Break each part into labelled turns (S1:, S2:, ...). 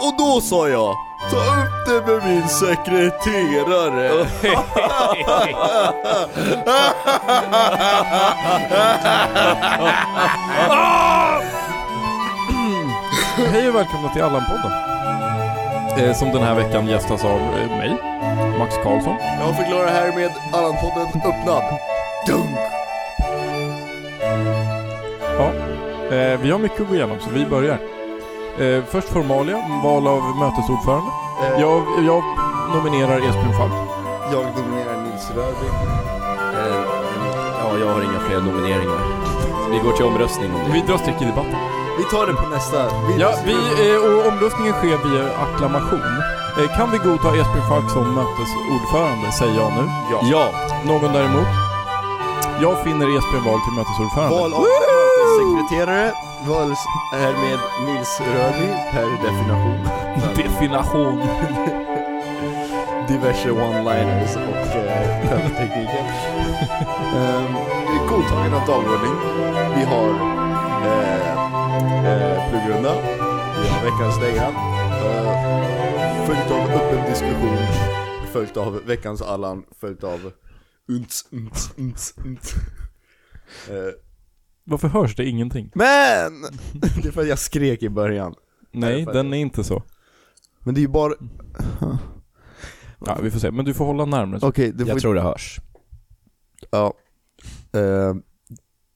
S1: Och då sa jag, ta upp det med min sekreterare.
S2: Hej och välkomna till Allan-podden. Eh, som den här veckan gästas av eh, mig, Max Karlsson.
S1: Jag förklarar härmed Allan-podden öppnad. Dunk!
S2: Eh, vi har mycket att gå igenom så vi börjar. Eh, först formalia, val av mötesordförande.
S1: Eh,
S2: Jag, jag nominerar Esbjörn Falk.
S1: Jag nominerar Nils Röding.
S3: Eh, Ja, jag har inga fler nomineringar. Så vi går till omröstning om det.
S2: Vi drar streck i debatten.
S1: Vi tar det på nästa. Vi,
S2: Ja, vi, eh, och omröstningen sker via acklamation. Eh, kan vi godta Esbjörn Falk som mötesordförande, säger jag nu.
S1: Ja.
S2: Någon däremot? Jag finner E Esbjörn vald till mötesordförande.
S1: Val av
S2: Woo!
S1: sekreterare valdes härmed Nils Röding per definition.
S2: Definition.
S1: Diverse one-liners och eh, tekniken. um, godtagande av dagordning. Vi har eh, eh, pluggrunda. Vi har veckans längran. Eh, följt av öppen diskussion. Följt av veckans Allan. Följt av unts, unts, unts, unts. Eh,
S2: Varför hörs det ingenting?
S1: Men! Det är för att jag skrek i början.
S2: Nej,
S1: Därför att-
S2: den är inte så.
S1: Men det är ju bara...
S2: Ja, vi får se. Men du får hålla närmare.
S1: Okej, det
S3: Jag
S1: får...
S3: tror det hörs.
S1: Ja. Eh,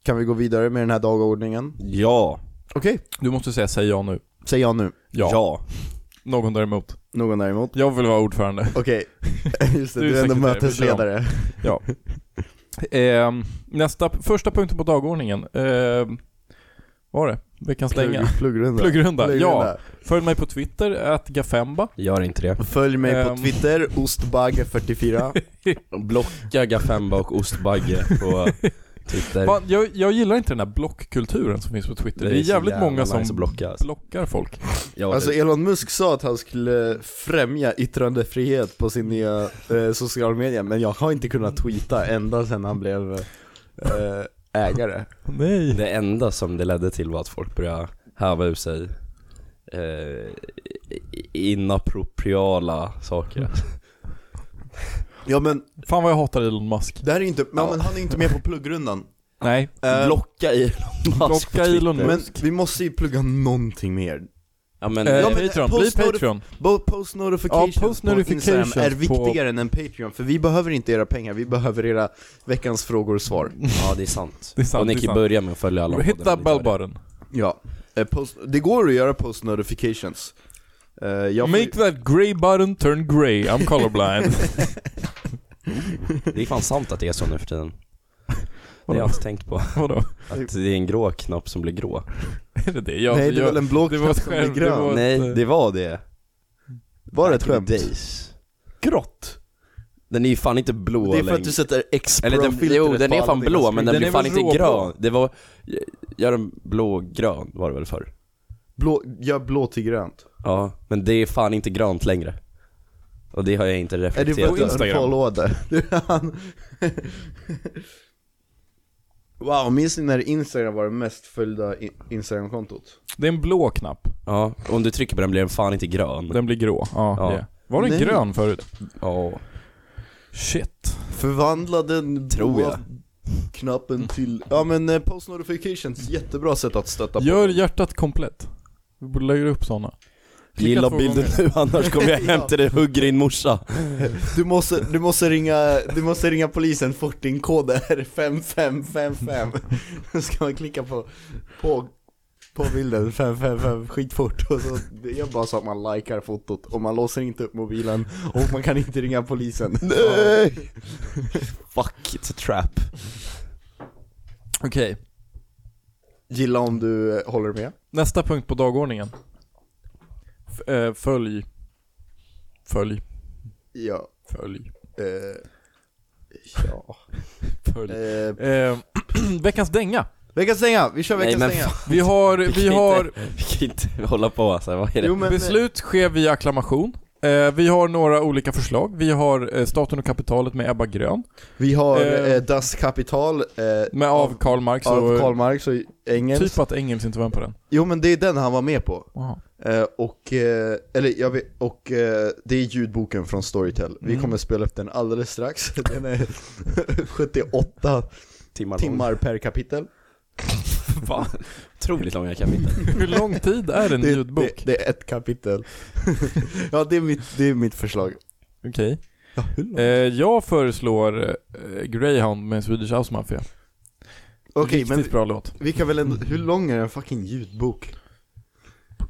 S1: kan vi gå vidare med den här dagordningen?
S3: Ja.
S1: Okej,
S2: Du måste säga säg ja nu.
S1: säger jag nu.
S2: Ja. Någon däremot.
S1: Någon däremot?
S2: Jag vill vara ordförande.
S1: Okej, just det,
S2: Du är
S1: du är ändå
S2: sekreterare,
S1: mötesledare.
S2: Ehm, nästa, första punkten på dagordningen. Ehm, vad var det? Veckans länge.
S1: Plugg- Pluggrunda.
S2: Pluggrunda,
S1: Pluggrunda.
S2: Följ mig på Twitter, att Gafemba.
S3: Gör inte det.
S1: Följ mig på
S2: Ehm.
S1: Twitter, ostbagge44.
S3: Blocka Gafemba och Ostbagge på Twitter.
S2: Fan, jag, jag gillar inte den här blockkulturen som finns på Twitter. Det är,
S3: så
S2: jävligt
S3: jävla
S2: många som
S3: nice att blocka. alltså.
S2: blockar folk.
S3: Jag,
S1: Alltså Elon Musk sa att han skulle främja yttrandefrihet på sin nya eh, sociala media, men jag har inte kunnat tweeta ända sedan han blev eh, ägare.
S2: Nej.
S3: det enda som det ledde till var att folk började häva ur sig eh, inappropriala saker.
S1: Ja men,
S2: Fan vad jag hatar Elon Musk.
S1: det här är inte, ja.
S3: Ja.
S1: men han är inte med på pluggrundan.
S2: Nej.
S1: Eh,
S3: Blocka Elon Musk på
S2: Blocka
S3: Twitter.
S2: Elon
S1: men
S2: Musk.
S1: vi måste ju plugga någonting mer.
S3: Ja men,
S2: Eh,
S1: Ja, men
S2: Patreon, bli
S1: post-
S2: Patreon.
S1: Bo- Post notifications,
S2: Ja, post
S1: på
S2: notifications
S1: Instagram är
S2: på-
S1: viktigare än en Patreon, för vi behöver inte era pengar, vi behöver era veckans frågor och svar.
S3: ja det är sant.
S2: Det är sant,
S3: och ni
S2: det är
S3: kan
S2: sant.
S3: börja med att följa alla
S2: Hitta
S3: podden om ni inte har det.
S2: bellbaren.
S1: Ja, eh, post, det går att göra post notifications. Eh, jag får-
S2: Make that grey button turn grey, I'm colorblind.
S3: Det är fan sant att det är så nu för tiden. Det har
S2: Vadå?
S3: jag inte tänkt på.
S2: Vadå?
S3: Att det är en grå knapp som blir grå.
S2: Är det det? Jag,
S1: Nej det är
S2: jag,
S1: väl en blå
S2: det var
S1: knapp
S2: ett
S1: som blir
S2: skämt, det
S1: grön?
S2: var-
S1: Var,
S3: Nej,
S2: att, eh,
S3: det var det.
S1: det ett
S3: Back in
S1: skämt?
S3: the Days.
S1: Grått?
S3: Den är ju fan inte
S1: Det
S3: blå
S1: är för att
S3: längre.
S1: du sätter x
S3: Eller den, jo, den är fan blå men den,
S2: Den
S3: blir
S2: är
S3: fan
S2: väl
S3: inte
S2: råblå?
S3: grön. Det var, gör den blå-grön var det väl förr?
S1: Blå, gör blå till grönt.
S3: Ja, men det är fan inte grönt längre. Och det har jag inte
S1: Är det
S3: reflekterat
S1: på
S2: på
S3: över.
S2: Instagram?
S1: Instagram? wow, minns ni när Instagram var det mest följda i- Instagram-kontot?
S2: det är en blå knapp.
S3: Ja, och om du trycker på den blir den fan inte grön.
S2: Den blir grå. Ja,
S3: Ja.
S2: det är. Var den
S1: Nej.
S2: grön förut?
S3: Ja.
S2: Shit.
S1: Förvandla den
S3: Tror
S1: blåa
S3: jag.
S1: knappen till, ja men eh, post notifications, jättebra sätt att stötta på
S2: Gör hjärtat komplett. Vi borde lägga upp sådana. Klicka
S3: Gilla
S2: två
S3: bilden
S2: gånger.
S3: nu annars kommer jag hem till dig och hugger din morsa.
S1: Du måste, du måste ringa, du måste ringa polisen fort, din kod är 5555 Då ska man klicka på, på, på bilden 555 skitfort och så, det gör bara så att man likar fotot och man låser inte upp mobilen och man kan inte ringa polisen
S3: Nej! Fuck, it's a trap.
S2: Okej.
S1: Gilla om du eh, håller med
S2: Nästa punkt på dagordningen. F- eh, följ. Följ.
S1: Ja,
S2: Följ.
S1: eh, ja
S2: Följ.
S1: eh,
S2: Eh, veckans dänga.
S1: Veckans stänga, vi kör
S3: Nej,
S1: veckans
S3: men
S1: stänga
S2: Vi har,
S3: Vi kan
S2: vi
S3: inte-
S2: har
S3: Vi kan inte hålla på alltså, vad är det?
S1: Jo, men- eh,
S2: Beslut sker via acklamation. Eh, vi har några olika förslag. Vi har eh, Staten och kapitalet med Ebba Grön.
S1: Vi har
S2: Eh,
S1: eh, Das Kapital eh,
S2: Med Typ. av Karl Marx
S1: av
S2: och
S1: Karl Marx och Engels
S2: typ att Engels inte var med på den.
S1: Jo men det är den han var med på
S2: Jaha.
S1: Eh, och, eh, eller, jag vet, och eh, det är ljudboken från Storytel. Vi
S2: Mm.
S1: kommer spela upp den alldeles strax. Den är 78
S3: Timmar,
S1: timmar per kapitel.
S3: lång. Va? Otroligt långa kapitel.
S2: Hur lång tid är en
S1: Det,
S2: ljudbok?
S1: det, det är ett kapitel. ja, det är mitt, det är mitt förslag.
S2: Okej.
S1: Ja, hur långt?
S2: Eh, jag föreslår eh, Greyhound med Swedish House Mafia.
S1: Okej,
S2: Riktigt
S1: men
S2: bra låt.
S1: vi kan väl ändå, hur lång är en fucking ljudbok?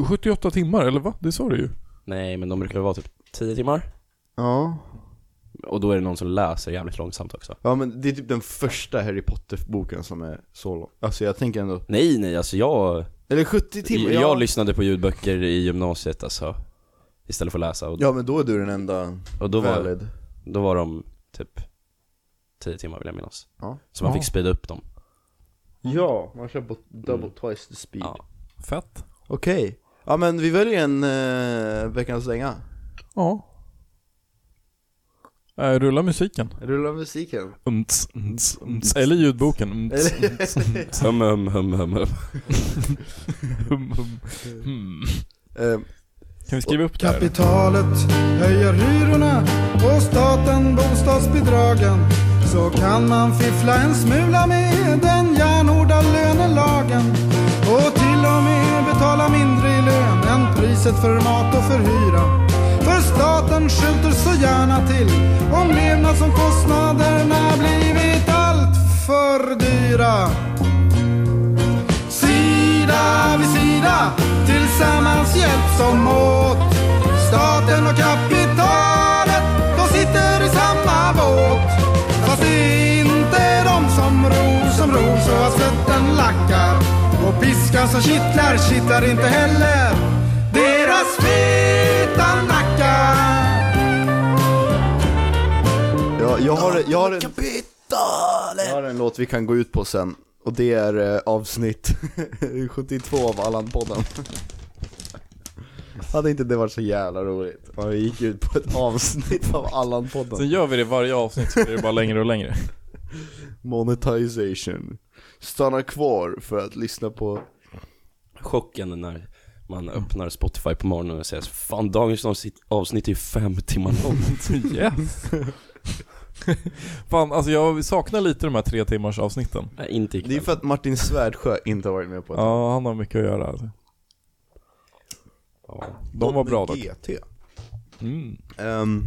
S2: 78 timmar, eller va? Det sa du ju.
S3: Nej, men de brukar vara typ 10 timmar.
S1: Ja.
S3: Och då är det någon som läser jävligt långsamt också.
S1: Ja men det är typ den första Harry Potter-boken som är så lång. Alltså jag tänker ändå,
S3: Nej, nej, alltså jag...
S1: eller 70 timmar?
S3: jag,
S1: ja.
S3: lyssnade på ljudböcker i gymnasiet alltså. Istället för att läsa. Och,
S1: ja men då är du den enda
S3: och då, var,
S1: valid.
S3: då var de typ 10 timmar vill jag minnas.
S1: Ja.
S3: Så man
S2: Ja.
S3: fick speeda upp dem.
S1: Ja, man kör på double
S3: Mm.
S1: twice the speed.
S3: Ja.
S2: Fett.
S1: Okej, ja men vi väljer en eh, veckans länga.
S2: Ja. Eh, rulla musiken.
S1: Rulla musiken.
S2: Umts, umts, umts. Eller ljudboken. Umts,
S1: Eller-
S2: umts, umts.
S3: Hum, hum, hum, hum, hum.
S2: Hum, hum. Hmm.
S1: Eh,
S2: Kan vi skriva upp det här?
S4: Kapitalet höjer hyrorna och staten bostadsbidragen. Så kan man fiffla en smula med den järnhårda lönelagen. Och till och med betala mindre i lön än priset för mat och för hyra. För staten skjuter så gärna till om levnadsomkostnaderna blivit allt för dyra. Sida vid sida, tillsammans hjälps de åt. Staten och kapitalet, de sitter i samma båt. Fast det är inte de som ror som ror så att svetten lackar. Och piskan som kittlar kittlar inte heller deras feta nackar.
S1: ja, jag, har, jag, har en, jag har en låt vi kan gå ut på sen, och det är eh, avsnitt 72 av Allan-podden. Hade inte det varit så jävla roligt? Om vi gick ut på ett avsnitt av Allan-podden.
S2: Sen gör vi det varje avsnitt så blir det bara längre och längre.
S1: Monetization. Stanna kvar för att lyssna på...
S3: Chocken när man öppnar Spotify på morgonen och säger Fan, dagens avsnitt, avsnitt är ju fem timmar långt.
S2: Yes. Fan, alltså jag saknar lite de här tre timmars avsnitten.
S3: Nej, inte ikväll.
S1: Det är för att Martin Svärdsjö inte har varit med på det.
S2: Ja, han har mycket att göra. alltså.
S3: ja.
S2: De var
S1: Med
S2: bra dock.
S1: GT.
S2: Mm.
S1: Ehm,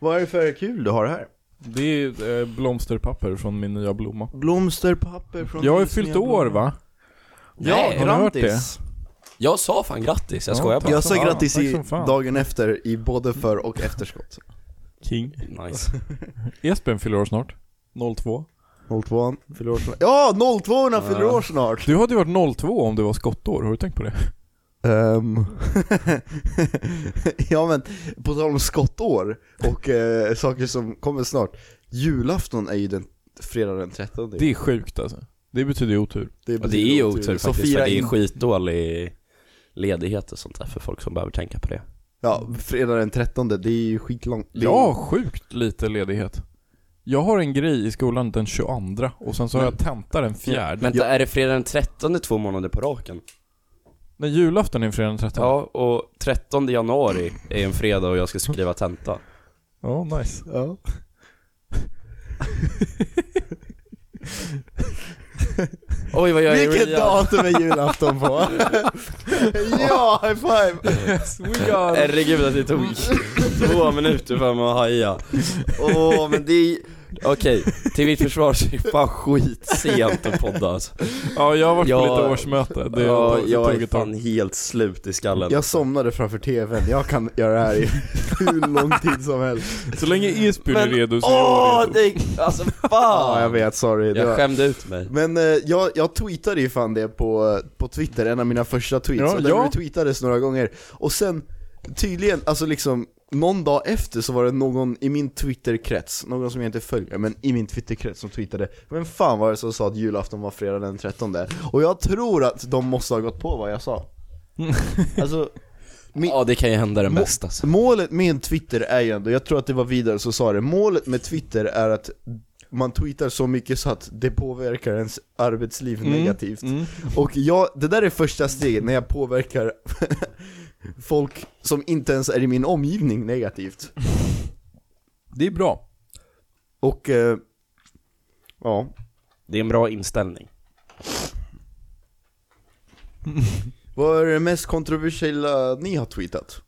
S1: Vad är det för kul du har här?
S2: Det är eh, blomsterpapper från min nya blomma.
S1: Blomsterpapper från
S2: Jag har ju
S1: Disney
S2: fyllt år
S1: Blom.
S2: va?
S1: Ja,
S3: Nej,
S2: har ni hört
S1: grattis!
S3: Jag sa fan grattis, jag
S2: Ja,
S3: skojar bara.
S1: Jag sa
S2: Ja,
S1: grattis
S2: tack
S1: i
S2: som fan.
S1: dagen efter i både för och efterskott.
S2: King.
S3: Nice.
S2: Espen fyller år snart. 02.
S1: 02 fyller år snart. Ja, 02 orna fyller år snart!
S2: Du hade ju varit 02 om du var skottår, har du tänkt på det?
S1: Ehm, ja men, på tal om skottår och eh, saker som kommer snart. Julafton är ju den fredag den 13.
S2: Det är sjukt alltså. Det betyder ju otur.
S3: Och det är ju otur
S1: Så
S3: faktiskt, för
S1: fira
S3: det är
S1: in-
S3: skitdålig ledighet och sånt där för folk som behöver tänka på det.
S1: Ja, fredag den 13, det är ju skitlångt. Det är-
S2: Jag har sjukt lite ledighet. Jag har en grej i skolan den 22 och sen så har jag tenta den 4.
S3: Vänta, är det fredag den 13 två månader på raken?
S2: Nej, julafton är fredag den 13.
S3: Ja, och 13 januari är en fredag och jag ska skriva tenta.
S2: Ja, nice.
S1: Ja.
S3: Oj vad jag är
S1: Vilket datum är julafton på? ja, high five!
S3: Herregud att det tog två minuter för mig att haja. Åh men det är... Okej, till mitt försvar så är det fan skitsent att podda alltså.
S2: Ja, jag har varit på
S3: Jag-
S2: lite årsmöte. Det
S3: ja,
S2: har
S3: jag
S2: tagit
S3: är
S2: ett tag.
S3: fan helt slut i skallen.
S1: Jag somnade framför tvn, jag kan göra det här i hur lång tid som helst.
S2: Så länge Esbjörn är
S3: Men-
S2: redo så är
S3: Åh,
S2: jag redo.
S3: det... Alltså
S1: Ja, jag
S3: fan!
S1: vet, sorry. Det
S3: jag
S1: var...
S3: skämde ut mig.
S1: Men eh, jag, jag tweetade ju fan det på, på Twitter, en av mina första tweets,
S2: Ja,
S1: och den
S2: ja.
S1: retweetades några gånger. Och sen, tydligen, alltså liksom, någon dag efter så var det någon i min Twitterkrets, någon som jag inte följer, men i min Twitterkrets som tweetade Vem fan var det som sa att julafton var fredag den 13? Och jag tror att de måste ha gått på vad jag sa. alltså, min,
S3: Ja, det kan ju hända det
S1: Må-
S3: mesta alltså.
S1: Målet med Twitter är ju ändå, jag tror att det var vidare som sa det, målet med Twitter är att man tweetar så mycket så att det påverkar ens arbetsliv
S2: Mm.
S1: negativt.
S2: Mm.
S1: Och jag, det där är första steget när jag påverkar folk som inte ens är i min omgivning negativt.
S2: Det är bra.
S1: Och, eh, ja.
S3: Det är en bra inställning.
S1: Vad är det mest kontroversiella ni har tweetat?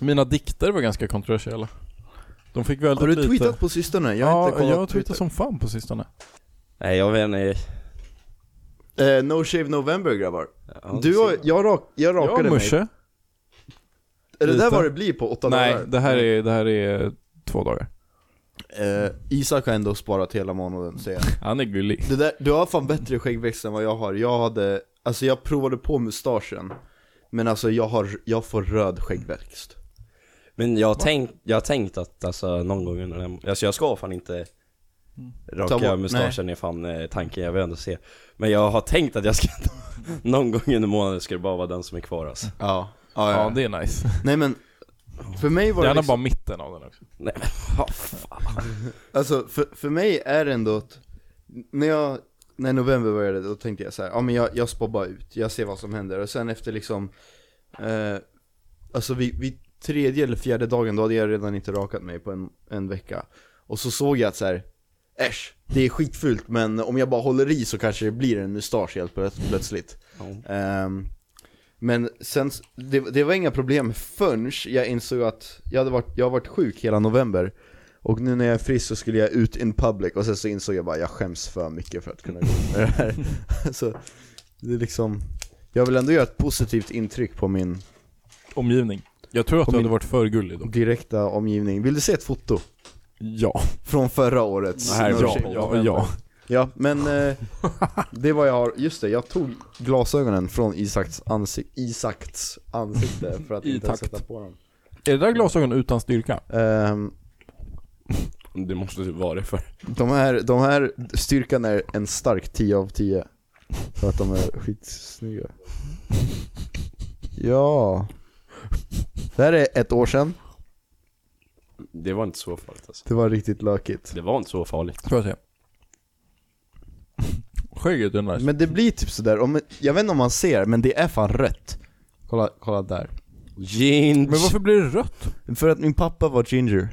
S2: Mina dikter var ganska kontroversiella. De fick väldigt
S1: Har du
S2: lite...
S1: tweetat på sistone? Jag har
S2: ja,
S1: inte kollat
S2: jag har
S1: Twitter.
S2: tweetat som fan på sistone.
S3: Nej jag vet inte.
S1: Eh, no Shave November grabbar.
S3: Ja,
S1: du har, jag, rak, jag
S2: Ja,
S1: rakade mig.
S2: Musche.
S1: Är det där
S2: lite.
S1: vad det blir på åtta
S2: Nej,
S1: dagar?
S2: det här, är, det här är två dagar.
S1: Eh, Isak har ändå sparat hela månaden säger jag.
S2: Han är gullig.
S1: Det där, du har fan bättre skäggväxt än vad jag har. Jag hade, alltså jag provade på mustaschen. Men alltså jag har, jag får röd skäggväxt.
S3: Men jag har tänkt, jag har tänkt att alltså någon gång under den, alltså jag ska fan inte
S1: Ta
S3: Raka
S1: bort-
S3: mustaschen är fan eh, tanken, jag vill ändå se Men jag har tänkt att jag ska Någon gång under månaden ska det bara vara den som är kvar alltså.
S1: Ja.
S2: Ja, det är nice.
S1: Nej men, för mig var det
S2: Gärna
S1: liksom,
S2: bara mitten av den också.
S3: Nej men vad fan
S1: alltså för, för mig är det ändå att, när jag, när november började då tänkte jag så här, ja men jag, jag spår bara ut, jag ser vad som händer. Och sen efter liksom, eh, alltså vid, vid tredje eller fjärde dagen då hade jag redan inte rakat mig på en, en vecka. Och så såg jag att så här, äsch, det är skitfult men om jag bara håller i så kanske det blir en mustasch helt plöts- plötsligt. Ehm, men sen, s- det, det var inga problem förrän jag insåg att jag hade varit, jag har varit sjuk hela november Och nu när jag är frisk så skulle jag ut in public och sen så insåg jag bara jag skäms för mycket för att kunna gå med det här Så det är liksom Jag vill ändå göra ett positivt intryck på min
S2: Omgivning. Jag tror att
S1: På
S2: du
S1: min-
S2: hade varit för gullig då.
S1: direkta omgivning Vill du se ett foto?
S2: Ja.
S1: Från förra årets
S3: här är
S2: ja,
S3: bra.
S1: Norrköping?
S2: ja, ja.
S1: Ja, men eh, det var jag har, just det, jag tog glasögonen från Isaks ansikte, Isaks ansikte för att
S2: I
S1: inte
S2: takt.
S1: sätta på dem
S2: Är det där glasögon utan styrka?
S1: Ehm,
S3: Det måste typ vara det för
S1: De här, de här, styrkan är en stark 10 av 10 För att de är skitsnygga Ja Det här är ett år sedan,
S3: Det var inte så farligt alltså.
S1: det var riktigt lökigt
S3: Det var inte så farligt
S2: Får jag se? Skägget är nice.
S1: Men det blir typ sådär, om, jag vet inte om man ser men det är fan rött Kolla, kolla där
S3: Ginge!
S2: Men varför blir det rött?
S1: För att min pappa var ginger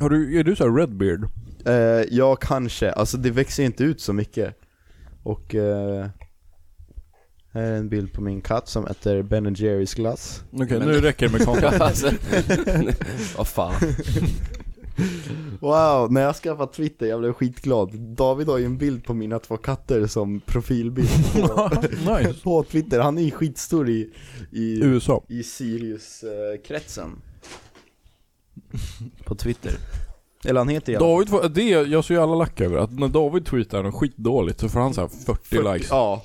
S2: Har du, är du såhär redbeard?
S1: eh, Ja kanske, alltså det växer inte ut så mycket Och eh, här är en bild på min katt som äter Ben Jerrys glass
S2: Okej, nu räcker det med content.
S3: alltså, vad fan
S1: Wow, när jag skaffade Twitter, jag blev skitglad. David har ju en bild på mina två katter som profilbild på,
S2: nice.
S1: på Twitter. Han är ju skitstor i, i,
S2: USA.
S1: i Sirius-kretsen. På Twitter. Eller han heter ju
S2: David får, det, är- jag är så jävla lack över att när David tweetar något skitdåligt så får han såhär 40, likes.
S1: Ja.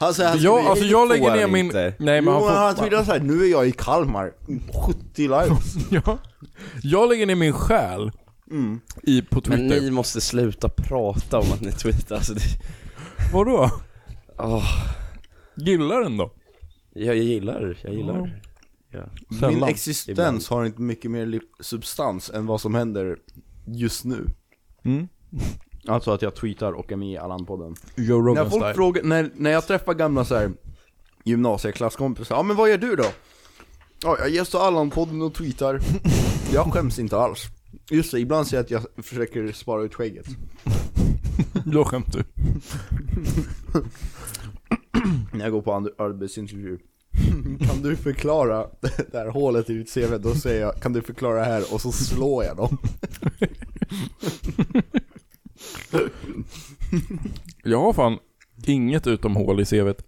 S1: Han säger, han
S2: Jag,
S1: skriver-
S2: alltså jag
S3: får
S2: lägger ner
S3: han
S2: min...
S3: inte.
S2: Nej men
S1: jo,
S2: han får...
S1: han twittrar såhär, nu är jag i Kalmar. 70 likes.
S2: Ja. Jag lägger ner min själ
S1: Mm.
S2: i, på Twitter.
S3: Men ni måste sluta prata om att ni tweetar alltså, det,
S2: Vadå?
S3: Åh,
S2: Gillar den då?
S3: jag, jag gillar, jag gillar
S1: Min
S2: Sällan.
S1: existens
S3: Ibland.
S1: har inte mycket mer li- substans än vad som händer just nu.
S2: Mm.
S1: Alltså att jag tweetar och är med i Allan-podden.
S2: Joe
S1: När
S2: Rogan
S1: folk
S2: style.
S1: frågar, när, när jag träffar gamla så här gymnasieklasskompisar, ja men vad gör du då? Ja, jag gästar Allan-podden och tweetar. Jag skäms inte alls. Just det, ibland säger jag att jag försöker spara ut skägget.
S2: Då skämt du.
S1: När jag går på andra- arbetsintervju. Kan du förklara det här hålet i ditt CV? Då säger jag, kan du förklara det här? Och så slår jag dem.
S2: Jag har fan inget utom hål i CVt.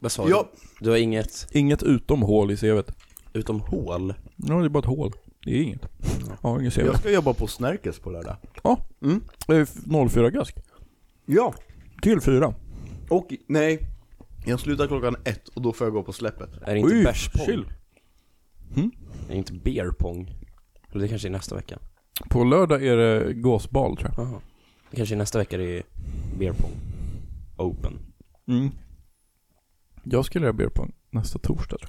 S3: Vad sa
S1: Ja,
S3: du? Du har inget
S2: Inget utom hål i CVt.
S3: utom hål?
S2: Ja, det är bara ett hål. Det är inget. Jag har ingen CV.
S1: jag ska jobba på Snärkes på lördag.
S2: Ja.
S1: Mm.
S2: Det är f- 04 gask.
S1: Ja,
S2: Till fyra.
S1: och nej. Jag slutar klockan ett och då får jag gå på släppet.
S3: Är det inte
S2: Oj,
S3: bärspong?
S2: chill.
S3: Är det inte beerpong? Eller det kanske är nästa vecka?
S2: På lördag är det gåsbal tror jag.
S3: Jaha. Det kanske är nästa vecka det är beerpong Open
S2: Mm. Jag ska lära ber på nästa torsdag tror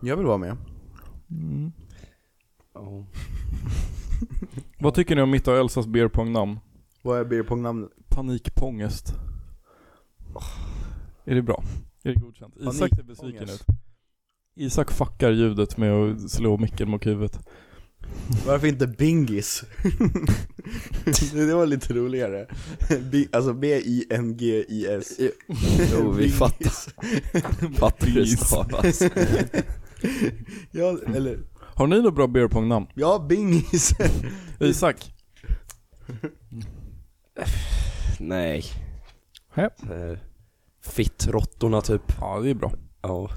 S2: jag. Oh.
S1: Jag vill vara med.
S3: Ja
S2: Vad tycker ni om mitt och Elsas beerpongnamn?
S1: Vad är beer pong namnet?
S2: Panikpångest. Är det bra? Är det godkänt? Isak ser besviken ut.
S1: Panikpångest.
S2: Isak fuckar ljudet med att slå micken mot huvudet.
S1: Varför inte bingis? det var lite roligare. B- alltså B-I-N-G-I-S.
S3: Jo, vi
S1: Bingis.
S3: fattar. Fattar hur det
S2: Please.
S3: stavas.
S1: Ja, eller,
S2: Har ni något bra beerpongnamn?
S1: ja bingis.
S2: Isak?
S3: Nej.
S2: Hä?
S3: Eh, Fittrottorna typ.
S2: Ja, det är bra.
S3: Ja.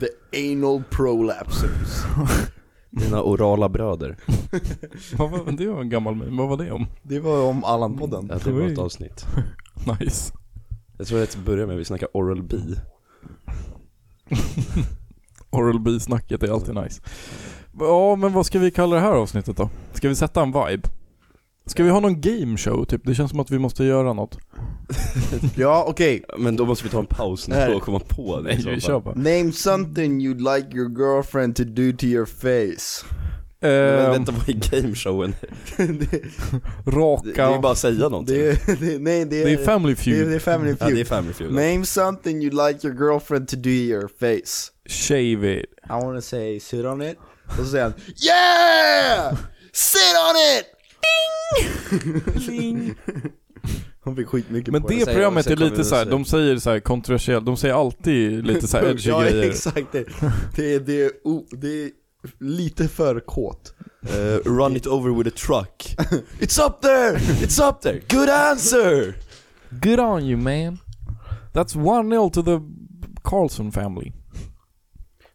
S1: The anal prolapsers.
S3: Mina orala bröder.
S2: Vad var, det var en gammal meme. Vad var det om?
S1: Det var om Allan-podden.
S3: Ja, det var ett avsnitt.
S2: Nice.
S3: Jag tror att till att börja med vi snackar oral B.
S2: Oral B-snacket är alltid nice. Ja, men vad ska vi kalla det här avsnittet då? Ska vi sätta en vibe? Ska vi ha någon game show typ? Det känns som att vi måste göra något.
S1: Ja, okej.
S3: Men då måste vi ta en paus nu
S1: Nej.
S3: och komma på det i
S2: Nej,
S3: så
S2: vi
S3: fall.
S2: kör bara.
S1: Name something you'd like your girlfriend to do to your face.
S3: Men
S2: Ehm,
S3: vänta, vad är gameshowen?
S1: det,
S3: Det,
S2: raka...
S3: det är bara att säga någonting.
S1: det, det, nej, det,
S2: Det är Family
S1: det, är-
S2: Feud.
S1: det är Family
S3: ja, det är
S1: Feud.
S3: Family Feud.
S1: Name something you'd like your girlfriend to do to your face.
S2: Shave it.
S1: I wanna say sit on it. Och så säger han Yeah! Sit on it! Han fick skitmycket
S2: Men
S1: på
S2: det
S3: säger-
S2: programmet
S3: sen
S2: är
S3: kommer
S2: lite
S3: vi
S2: så här,
S3: se.
S2: de säger så här kontroversiellt, de säger alltid lite så här edgy
S1: ja,
S2: grejer.
S1: exakt det. Det är, det, är, o- det är lite för kåt.
S3: Eh, run it over with a truck. It's up there! It's up there! Good answer!
S2: Good on you man. That's one nil to the Carlson family.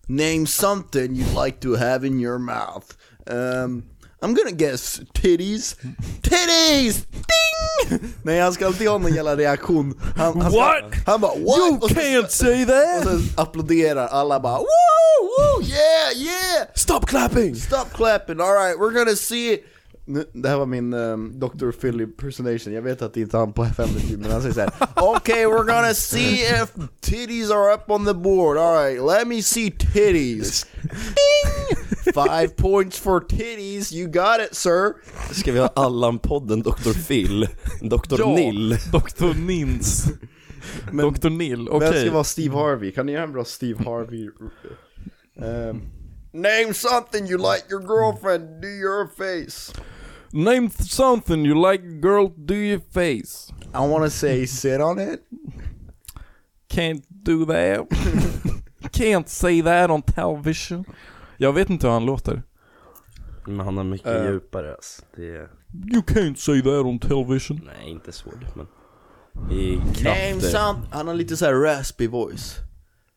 S1: Name something you'd like to have in your mouth. Um, I'm gonna guess titties. Titties! Ding! Nej han ska alltid ha någon jävla reaktion. Han, han, ska-
S2: What?
S1: han bara what? You
S2: Can't say
S1: Och
S2: that!
S1: sen applåderar alla bara woo, woo, yeah, yeah!
S3: Stop clapping!
S1: Stop clapping, alright we're gonna see it! Nu, det här var min um, Dr. Phil impersonation, jag vet att det inte är han på FM men han säger såhär Okay we're gonna see if titties are up on the board, alright let me see titties Ding! Five points for titties, you got it sir!
S3: Ska vi ha Allan-podden Dr. Phil? Dr.
S2: Ja.
S3: Nill?
S2: Dr. Nins.
S1: Men-
S2: Dr. Nill,
S1: Vem
S2: okej.
S1: ska vara Steve Harvey? Kan ni göra en bra Steve Harvey? Um, name something you like your girlfriend, do your face
S2: Name something you like girl do your face.
S1: I wanna say sit on it.
S2: Can't do that. Can't say that on television. Jag vet inte hur han låter.
S3: Men han har mycket
S1: Eh.
S3: djupare alltså. Det är...
S2: You can't say that on television.
S3: Nej, inte svårt men... I
S1: Name
S3: krafter.
S1: something. Han har lite såhär raspy voice.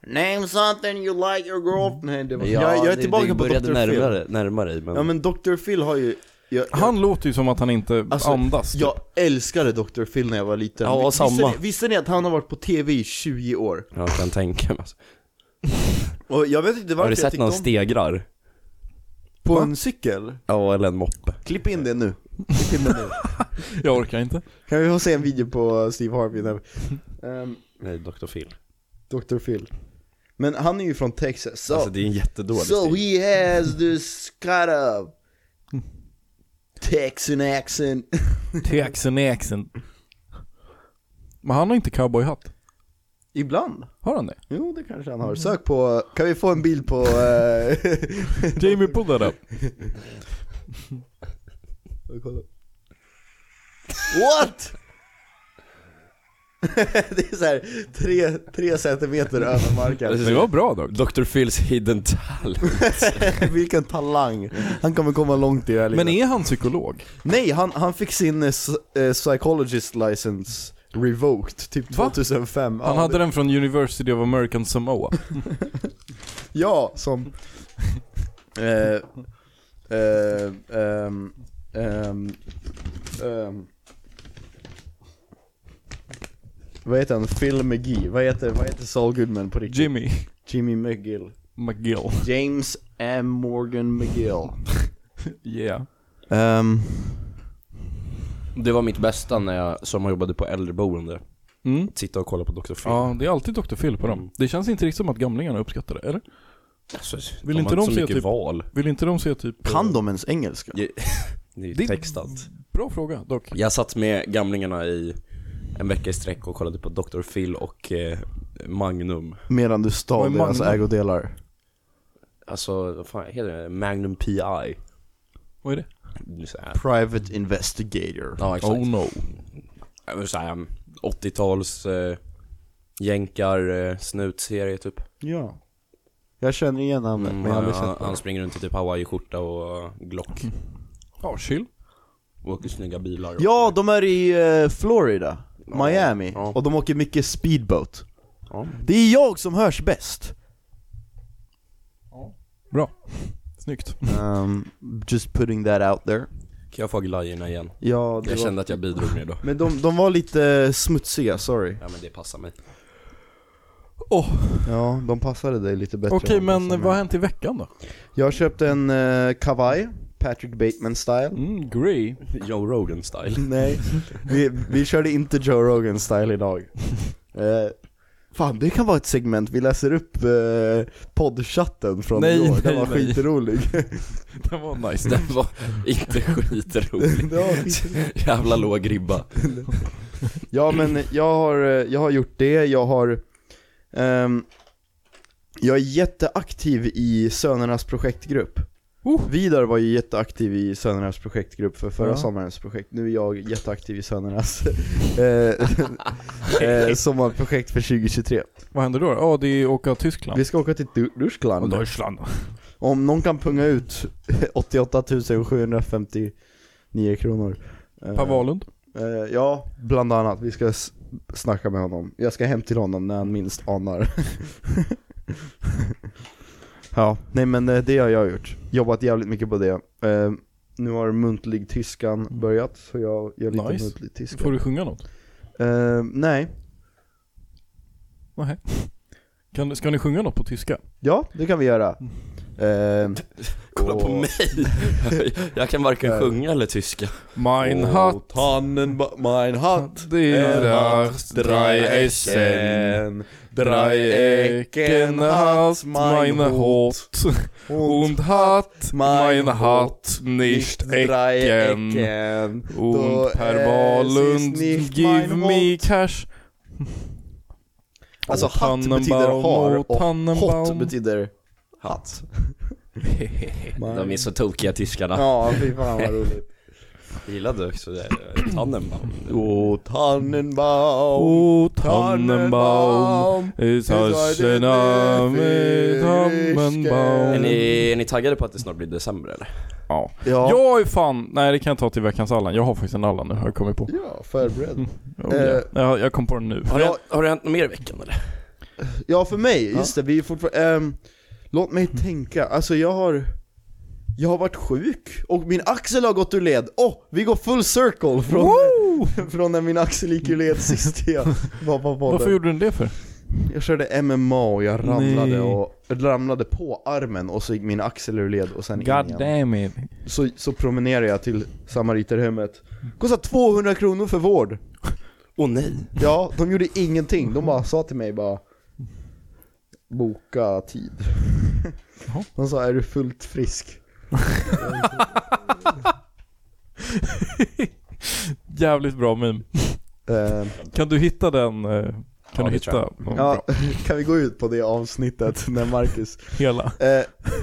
S1: Name something you like your girlfriend. Nej, det var... jag, jag är
S3: det-
S1: tillbaka
S3: det
S1: på
S3: började
S1: Dr. Phil.
S3: närmare, närmare dig men...
S1: Ja men Dr. Phil har ju... Jag, jag,
S2: Han låter ju som att han inte
S1: Alltså,
S2: andas. typ.
S1: jag älskade Dr. Phil när jag var liten.
S3: Ja,
S1: visste,
S3: samma.
S1: Ni, visste ni att han har varit på TV i 20 år?
S3: Jag kan tänka mig alltså.
S1: Och jag vet inte varför
S3: Har du
S1: jag
S3: sett
S1: tyckte
S3: någon
S1: om...
S3: stegrar?
S1: På en cykel?
S3: Ja, eller en moppe.
S1: Klipp in det nu. Klipp in det nu.
S2: jag orkar inte.
S1: kan vi få se en video på Steve Harvey där? Ehm,
S3: Nej, Dr. Phil.
S1: Dr. Phil. Men han är ju från Texas, så...
S3: Alltså det är en jättedålig
S1: So
S3: stil.
S1: he has this kind of Texan accent.
S2: Texan accent. Men han har inte cowboyhatt.
S1: Ibland.
S2: Har han det?
S1: Jo, det kanske han har. Sök på, kan vi få en bild på... eh,
S2: Jamie pull that up.
S1: kolla. What? det är så här, tre, tre centimeter över marken.
S2: Det var bra dock.
S3: Dr. Phils hidden talent.
S1: Vilken talang. Han kommer komma långt i det här livet.
S2: Men är han psykolog?
S1: Nej, han, han fick sin eh, s- eh, psychologist license revoked, typ
S2: Va?
S1: 2005.
S2: Han
S1: Ja,
S2: hade den från University of American Samoa.
S1: Ja, som... eh, eh, ehm, ehm, ehm. Vad heter han? Phil McGee? Vad heter, vad heter Saul Goodman på riktigt?
S2: Jimmy
S1: Jimmy McGill.
S2: McGill.
S1: James M. Morgan McGill.
S2: Yeah.
S1: Ehm,
S3: Det var mitt bästa när jag sommarjobbade på äldreboende.
S2: Mm.
S3: Sitta och kolla på Dr. Phil.
S2: Ja, det är alltid Dr. Phil på dem.
S3: Mm.
S2: Det känns inte riktigt som att gamlingarna uppskattar det, eller?
S3: Alltså,
S2: Vill
S3: de
S2: inte
S3: har
S2: de
S3: så
S2: se
S3: mycket
S2: typ-
S3: val.
S2: Vill inte de se typ...
S1: Kan de ens engelska?
S3: Ja. Det är ju
S2: Det är-
S3: textat.
S2: Bra fråga dock.
S3: Jag satt med gamlingarna i en vecka i sträck och kollade på Dr. Phil och eh, Magnum.
S1: Medan du
S2: Vad
S1: stal
S2: är
S1: deras
S2: Magnum?
S1: ägodelar.
S3: Alltså, vad fan heter det? Magnum PI.
S2: Vad är det?
S3: Det är så här-
S1: Private Investigator.
S3: Ja, exakt.
S2: Oh no.
S3: Ja, men så här, 80-tals eh, jänkar, eh, snutserie typ.
S1: Ja. Jag känner igen namnet men jag har aldrig
S3: Mm, han,
S1: sett
S3: han, han
S1: det.
S3: springer runt i typ hawaiiskjorta och Glock.
S2: Ja, chill.
S3: Och åker snygga bilar. och-
S1: Ja, de är i eh, Florida, Miami,
S3: Ja.
S1: och de åker mycket speedboat.
S3: Ja.
S1: Det är jag som hörs bäst.
S2: Bra. Snyggt.
S1: Um, just putting that out there.
S3: Kan jag få glajjorna igen?
S1: Ja, det
S3: Jag
S1: var...
S3: kände att jag bidrog med då.
S1: Men de, de var lite eh, smutsiga, sorry.
S3: Ja men det passar mig.
S1: Ja, de passade dig lite bättre.
S2: Okej,
S1: än de
S2: men
S1: passade
S2: vad
S1: mig.
S2: har hänt i veckan då?
S1: Jag köpte en eh, kavaj, Patrick Bateman style.
S2: Mm, grey.
S3: Joe Rogan style.
S1: Nej, vi, vi körde inte Joe Rogan style idag. Eh, fan, det kan vara ett segment, vi läser upp eh, poddchatten från
S2: Nej,
S1: i år, den
S2: nej,
S1: var
S2: nej.
S1: skitrolig.
S2: Den var nice.
S3: Den var inte skitrolig.
S1: Den var skitrolig.
S3: Jävla låg ribba.
S1: ja men jag har, eh, jag har gjort det, jag har ehm, Jag är jätteaktiv i Sönernas projektgrupp
S2: Oh.
S1: Vidar var ju jätteaktiv i Sönernas projektgrupp för förra
S2: Ja.
S1: sommarens projekt Nu är jag jätteaktiv i Sönernas eh, eh, sommarprojekt för 2023
S2: Vad händer då? Ja, det är åka till Tyskland.
S1: Vi ska åka till Du- Duschland
S2: Deutschland.
S1: Om någon kan punga ut 88 759 kronor eh,
S2: Per Wahlund.
S1: Eh, ja, bland annat. Vi ska s- snacka med honom. Jag ska hem till honom när han minst anar. ja, nej men eh, det har jag gjort. Jobbat jävligt mycket på det. Eh, nu har muntlig tyskan börjat, så jag gör lite
S2: Mm. Nice.
S1: muntlig tyska.
S2: Får du sjunga något?
S1: Eh, nej.
S2: Nej. Kan, ska ni sjunga något på tyska?
S1: Ja, det kan vi göra.
S2: Mm.
S1: Eh,
S3: Kolla på
S1: och-
S3: mig. Jag kan varken sjunga eller tyska.
S2: Mein
S3: Och
S2: Hatt.
S3: Tannen, ba- mein Hatt.
S2: Der
S3: Hatt, drei Essen. drei
S2: Ecken hat meine Hot und hat meine Hatt nicht Ecken.
S1: Då
S2: Und
S1: är
S2: Per Wahlund,
S1: sist nicht
S2: give
S1: mein
S2: me cash.
S1: Alltså
S2: Och
S1: hatt betyder
S2: Tannenbaum
S1: har
S2: och
S1: och hot
S2: Tannenbaum.
S1: betyder hatt.
S3: De är så tokiga tyskarna.
S1: Ja, fy fan vad roligt.
S3: Jag gillade också det. eh, Tannenbaum.
S1: Åh, Tannenbaum,
S2: Oh, Tannenbaum. Ist
S1: ist
S2: das
S1: ein
S2: ein Name,
S3: Är
S2: Tannenbaum.
S3: ni, är ni taggade på att det snart blir december eller?
S2: Ja.
S1: Ja,
S2: Jag är fan, nej det kan jag ta till veckans Allan. Jag har faktiskt en Allan nu har jag kommit på.
S1: ja förberedd.
S2: Oh, yeah.
S1: Eh.
S2: jag, jag kom på den nu.
S3: Har, det
S1: Ja.
S3: hänt, har det hänt något mer i veckan eller?
S1: Ja, för mig, just det, vi är fortfarande, ehm, låt mig
S2: Mm.
S1: tänka, alltså jag har jag har varit sjuk och min axel har gått ur led. Åh, oh, vi går full circle från, från när min axel gick ur led sist jag var på
S2: Varför
S1: podden.
S2: gjorde du det för?
S1: Jag körde MMA och jag ramlade
S2: Nej.
S1: och ramlade på armen och så gick min axel ur led och sen in igen.
S2: God damn it.
S1: så, så promenerade jag till samariterhemmet. Kostade 200 kronor för vård.
S3: Åh nej.
S1: Ja, de gjorde ingenting. De bara sa till mig bara Boka tid.
S2: Jaha.
S1: De sa är du fullt frisk?
S2: Jävligt bra meme.
S1: Eh,
S2: Kan du hitta den? eh, Kan du
S3: Ja, det tror
S2: hitta någon
S1: ja,
S2: bra?
S1: kan vi gå ut på det avsnittet när Marcus
S2: hela?
S1: Eh,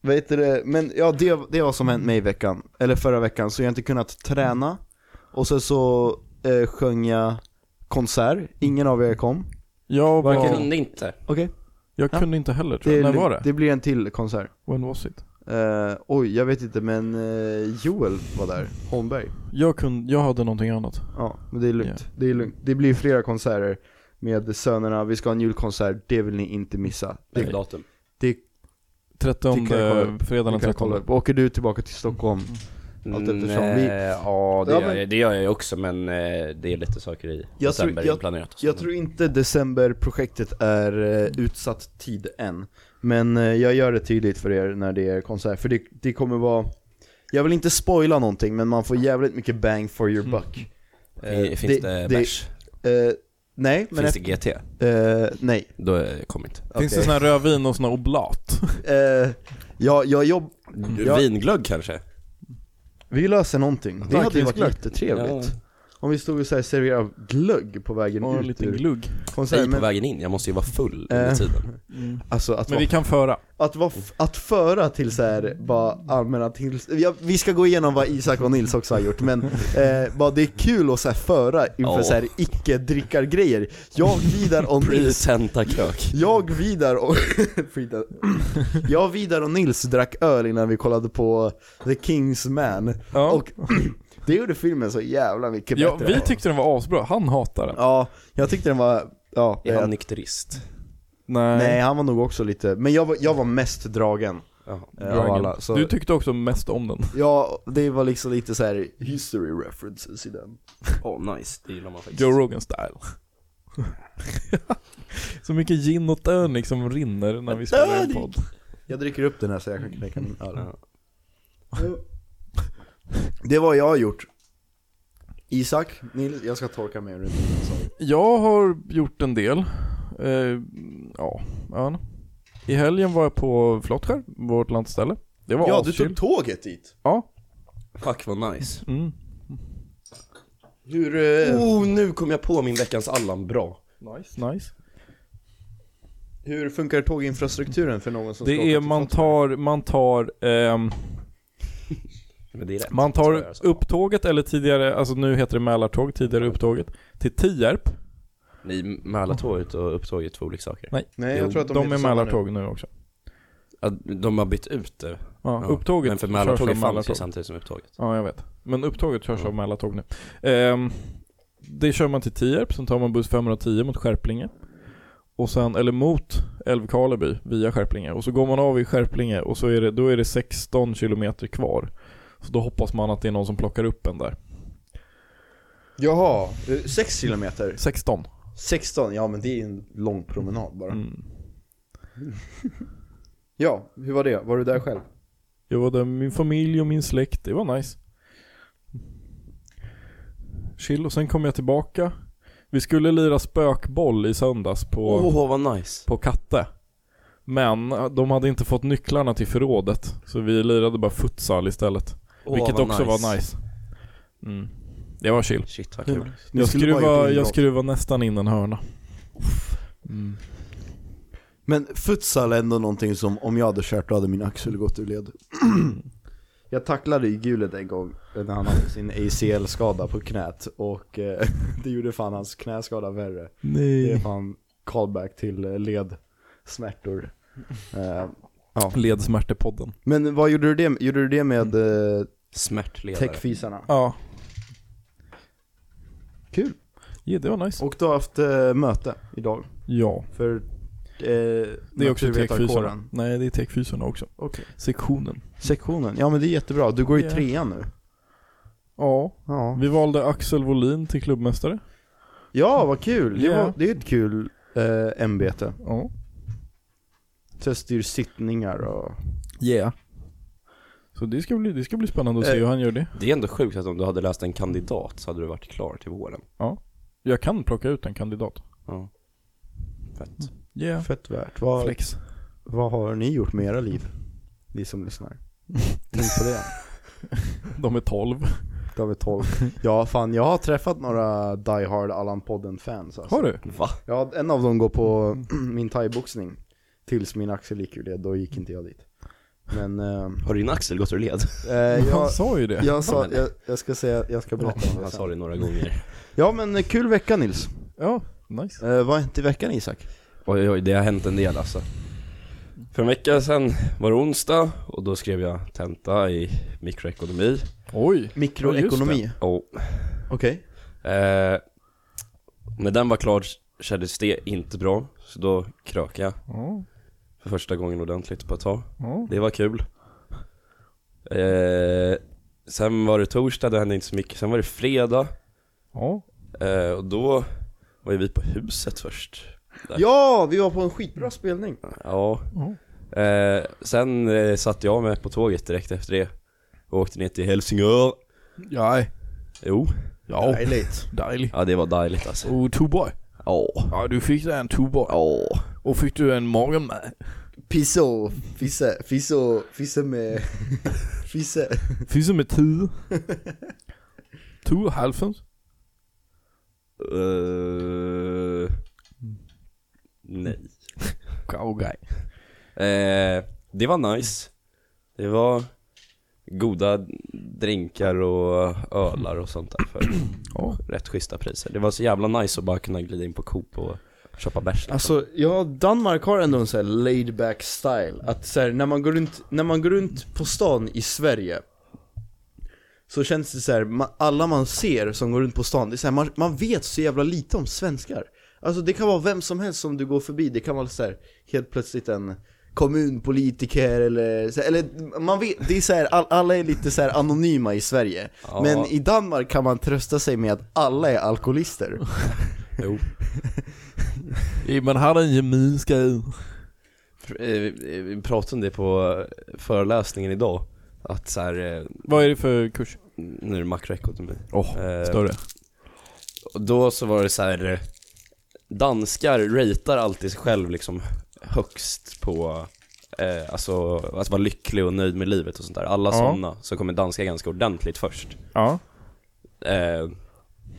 S1: vad heter det, men ja det, det är vad som hänt mig i veckan, eller förra veckan, så jag har inte kunnat träna Och sen så eh, sjöng jag konsert, ingen av er kom
S2: Jag,
S3: Jag
S2: var,
S3: kunde inte.
S1: Okej,
S2: jag
S1: Ja.
S2: kunde inte heller tror
S1: det,
S2: jag.
S1: är
S2: När
S1: lugnt.
S2: var det?
S1: det blir en till konsert
S2: When was it?
S1: eh, Oj, jag vet inte men eh, Joel var där, Holmberg
S2: Jag, kunde, jag hade någonting annat.
S1: Ja, men det är lugnt, det är lugnt Det blir flera konserter med sönerna, vi ska ha en julkonsert, det vill ni inte missa
S3: Vilket datum?
S1: Det
S2: trettonde
S1: Det kan jag kolla
S2: fredagen
S1: ni
S2: den
S1: kan kolla
S2: 13.
S1: upp, åker du tillbaka till Stockholm? Allt eftersom vi-
S3: Nej, Mm, eh, Ja, det,
S1: Ja,
S3: gör
S1: men-
S3: jag, det gör jag ju också men eh, det är lite saker i
S1: Jag tror-
S3: december
S1: jag-
S3: inplanerat och
S1: Jag
S3: sånt.
S1: tror inte decemberprojektet är eh, utsatt tid än. Men eh, jag gör det tydligt för er när det är konsert, för det, det kommer vara jag vill inte spoila någonting men man får jävligt mycket bang for your buck.
S3: Eh,
S1: Eh,
S3: Finns
S1: det-
S3: det,
S1: det-
S3: bärs?
S1: Eh, Nej, men...
S3: Finns det GT?
S1: eh, nej.
S3: Då är jag kom inte.
S2: Finns det
S1: Okej.
S2: sån här rödvin och sån här oblat?
S1: Eh, jag, jag jobb...
S3: Mm.
S1: Ja.
S3: Vinglögg kanske?
S1: Vi löser någonting. Det hade ju varit
S2: Glögg.
S1: jättetrevligt. Om vi stod och så här serverade glögg på vägen
S2: Och en
S1: ut
S2: liten
S1: ur
S2: glugg.
S3: Nej,
S1: konserten.
S3: på
S1: Men,
S3: vägen in, jag måste ju vara full
S1: Eh.
S3: under tiden.
S1: alltså att
S2: Men
S1: vara
S2: vi kan föra.
S1: Att, vara f- att föra till så här, bara allmänna till... Ja, vi ska gå igenom vad Isak och Nils också har gjort, men eh, bara det är kul att så här, föra inför
S3: Ja.
S1: så här icke-drickargrejer. Jag, Vidar och Nils...
S3: Presenta krök.
S1: Jag, Vidar och... Frida. jag, Vidar och Nils drack öl innan vi kollade på The King's Man.
S2: Ja.
S1: Och det gjorde filmen så jävla mycket
S2: Ja,
S1: bättre.
S2: vi tyckte den var asbra. Han hatar den.
S1: Ja, jag tyckte den var... Ja,
S3: Är
S1: jag-
S3: han nykterist?
S2: Nej.
S1: Nej, han var nog också lite... Men jag var, jag var mest dragen.
S3: Jaha.
S1: eh, av
S2: Dragon.
S1: alla, så-
S2: Du tyckte också mest om den.
S1: Ja, det var liksom lite så här history references i den.
S3: Åh oh, nice, det gillar man faktiskt.
S2: Joe Rogan style. så mycket gin och tonic som rinner när vi spelar en podd.
S1: Jag dricker upp den här så jag kan knäcka min öl.
S3: Ja.
S1: Det var jag har gjort. Isak, Nils, jag ska torka mig runt min sång.
S2: Jag har gjort en del. Eh, ja, ja. I helgen var jag på Flottskär, vårt landställe. Det var
S1: Ja, du
S2: aschill.
S1: tog tåget dit.
S2: Ja.
S3: Fuck vad nice.
S2: Mm.
S1: Hur... eh,
S3: Oh, nu kom jag på min veckans Allan bra.
S2: Nice. nice.
S1: Hur funkar tåginfrastrukturen för någon som
S2: Det är, man tar, man tar, ehm,
S3: Men det är rätt.
S2: man
S3: tror jag
S2: tar
S3: jag sa.
S2: upptåget eller tidigare, alltså nu heter det Mälartåg, tidigare upptåget, till Tierp.
S3: Ni Mälartåget och upptåget två olika saker.
S2: Nej.
S1: Nej, jag
S3: Jo,
S1: tror att de,
S2: De
S1: heter
S2: är
S1: samma nu.
S2: Mälartåg nu också.
S3: Ja, de har bytt ut det.
S2: Ja,
S3: Ja.
S2: upptåget
S3: Men för
S2: körs av
S3: Mälartåget fanns ju
S2: Mälartåg.
S3: samtidigt som upptåget.
S2: Ja, jag vet. Men upptåget körs av Mälartåg nu. Ehm, det kör man till Tierp, sen tar man buss 510 mot Skärplinge. Och sen, eller mot Älvkarleby via Skärplinge. Och så går man av i Skärplinge och så är det, då är det 16 kilometer kvar. Så då hoppas man att det är någon som plockar upp en där.
S1: Jaha, 6 kilometer?
S2: 16.
S1: 16, ja men det är en lång promenad bara.
S2: Mm.
S1: Ja, hur var det? Var du där själv?
S2: Jag var där med min familj och min släkt, det var nice. Chill, och sen kom jag tillbaka. Vi skulle lira spökboll i söndags på...
S3: Åh vad nice.
S2: på Katte. Men eh, de hade inte fått nycklarna till förrådet, så vi lirade bara futsal istället.
S3: Åh,
S2: vilket
S3: vad
S2: också var nice. Mm. Det var chill.
S3: Shit vad kul.
S1: Ni
S2: Jag
S1: skulle bara gjort
S2: skruvade, jag
S1: inbrott.
S2: skruvade nästan in en hörna. Mm.
S1: Men futsal är ändå någonting som, om jag hade kört då hade min axel gått ur led Jag tacklade ju gulet en gång när han hade sin ACL-skada på knät och eh, det gjorde fan hans knäskada värre Det är
S2: Nej.
S1: fan callback till eh, ledsmärtor eh,
S2: Ledsmärtepodden.
S1: Men vad gjorde du det, gjorde du det med eh,
S3: Smärtledare.
S1: techfisarna?
S2: Ja.
S1: Kul!
S2: ja, det var nice.
S1: Och du har haft eh, möte idag
S2: Ja.
S1: för eh,
S2: Det är också
S1: naturvetarkåren.
S2: tekfysorna. Nej, det är tekfysorna också.
S1: Okej.
S2: Sektionen.
S1: Sektionen, ja men det är jättebra, du går i
S2: Ja.
S1: trean nu
S2: Ja.
S1: Ja
S2: Vi valde Axel Wåhlin till klubbmästare.
S1: Ja, vad kul! Det,
S2: Ja.
S1: var, det är ett kul eh, ämbete.
S2: Ja.
S1: Så styr sittningar och...
S2: Yeah. Så det ska bli, det ska bli spännande att se
S1: Eh.
S2: hur han gör det.
S3: Det är ändå sjukt att om du hade läst en kandidat så hade du varit klar till våren.
S2: Jag kan plocka ut en kandidat.
S3: Ja. Fett.
S2: Yeah.
S1: Fett värt. Vad,
S2: Flex.
S1: vad har ni gjort med era liv? Ni som lyssnar. Tänk på det.
S2: De är 12.
S1: David 12. Ja, fan jag har träffat några Die Hard Allan Podden-fans alltså.
S2: Har du?
S3: Va?
S1: Ja, en av dem går på min thaiboxning. Tills min axel gick ur det, då gick inte jag dit. Men, eh,
S3: Har din axel gått ur led?
S1: eh,
S2: Han
S1: jag,
S2: sa ju det.
S1: jag, sa, jag, jag ska säga, jag ska berätta om det
S3: Han sa
S1: sen.
S3: det några gånger.
S1: Ja men eh, kul vecka Nils.
S2: Ja, nice.
S1: Eh, vad har hänt i veckan Isak?
S3: Oj, oj, det har hänt en del alltså. För en vecka sedan var det onsdag och då skrev jag tenta i mikroekonomi.
S2: Oj. Ja,
S1: Mikroekonomi.
S3: Och
S1: Okej.
S3: Eh, när den var klar kändes det inte bra, så då krökade jag
S2: Ja,
S3: för första gången ordentligt på ett tag.
S2: ja.
S3: Det var kul. Eh, sen var det torsdag, det hände inte så mycket. Sen var det fredag
S2: ja.
S3: eh, och då var ju vi på huset först. Där.
S1: Ja, vi var på en skitbra spelning.
S3: Ja.
S2: ja.
S3: Eh, sen eh, satt jag med på tåget direkt efter det och åkte ner till Helsingör.
S2: Nej.
S3: Jo,
S2: Ja.
S1: Dejligt.
S2: Dejlig.
S3: ja det var dejligt alltså.
S2: Och Oh, Tuborg.
S3: Ja.
S2: Ja, du fick dig en tuba.
S1: Ja.
S2: Och fick du en magen med?
S1: Pisso, fisse, fisso, fisse med... Fisse.
S2: Finns det med tio? Tio halvfems?
S3: Eh, nej.
S2: Okej.
S3: Eh, det var nice. Det var goda drinkar och ölar och sånt där för
S2: Ja.
S3: rätt schyssta priser. Det var så jävla nice att bara kunna glida in på Coop och köpa bärs.
S1: Alltså, ja, Danmark har ändå en sån här laid back style. Att så här, när man går runt, när man går runt på stan i Sverige så känns det så här, ma- alla man ser som går runt på stan, det är så här, man, man vet så jävla lite om svenskar. Alltså det kan vara vem som helst som du går förbi, det kan vara så här, helt plötsligt en kommunpolitiker eller, så här, eller man vet, det är så här, all, alla är lite så här anonyma i Sverige.
S3: Ja.
S1: Men i Danmark kan man trösta sig med att alla är alkoholister.
S3: Jo.
S2: Man hade en gemenska i.
S3: Pr- eh, Vi vi pratade om det på eh, föreläsningen idag. Att så här, eh,
S2: Vad är det för kurs?
S3: nu är det makroekonomi.
S2: Åh,
S3: Eh,
S2: större.
S3: Och då så var det så här eh, Danskar ratear alltid sig själv liksom högst på eh, Alltså att vara lycklig och nöjd med livet och sånt där Alla
S2: Ja.
S3: sådana så kommer danskar ganska ordentligt först
S2: Ja.
S3: eh,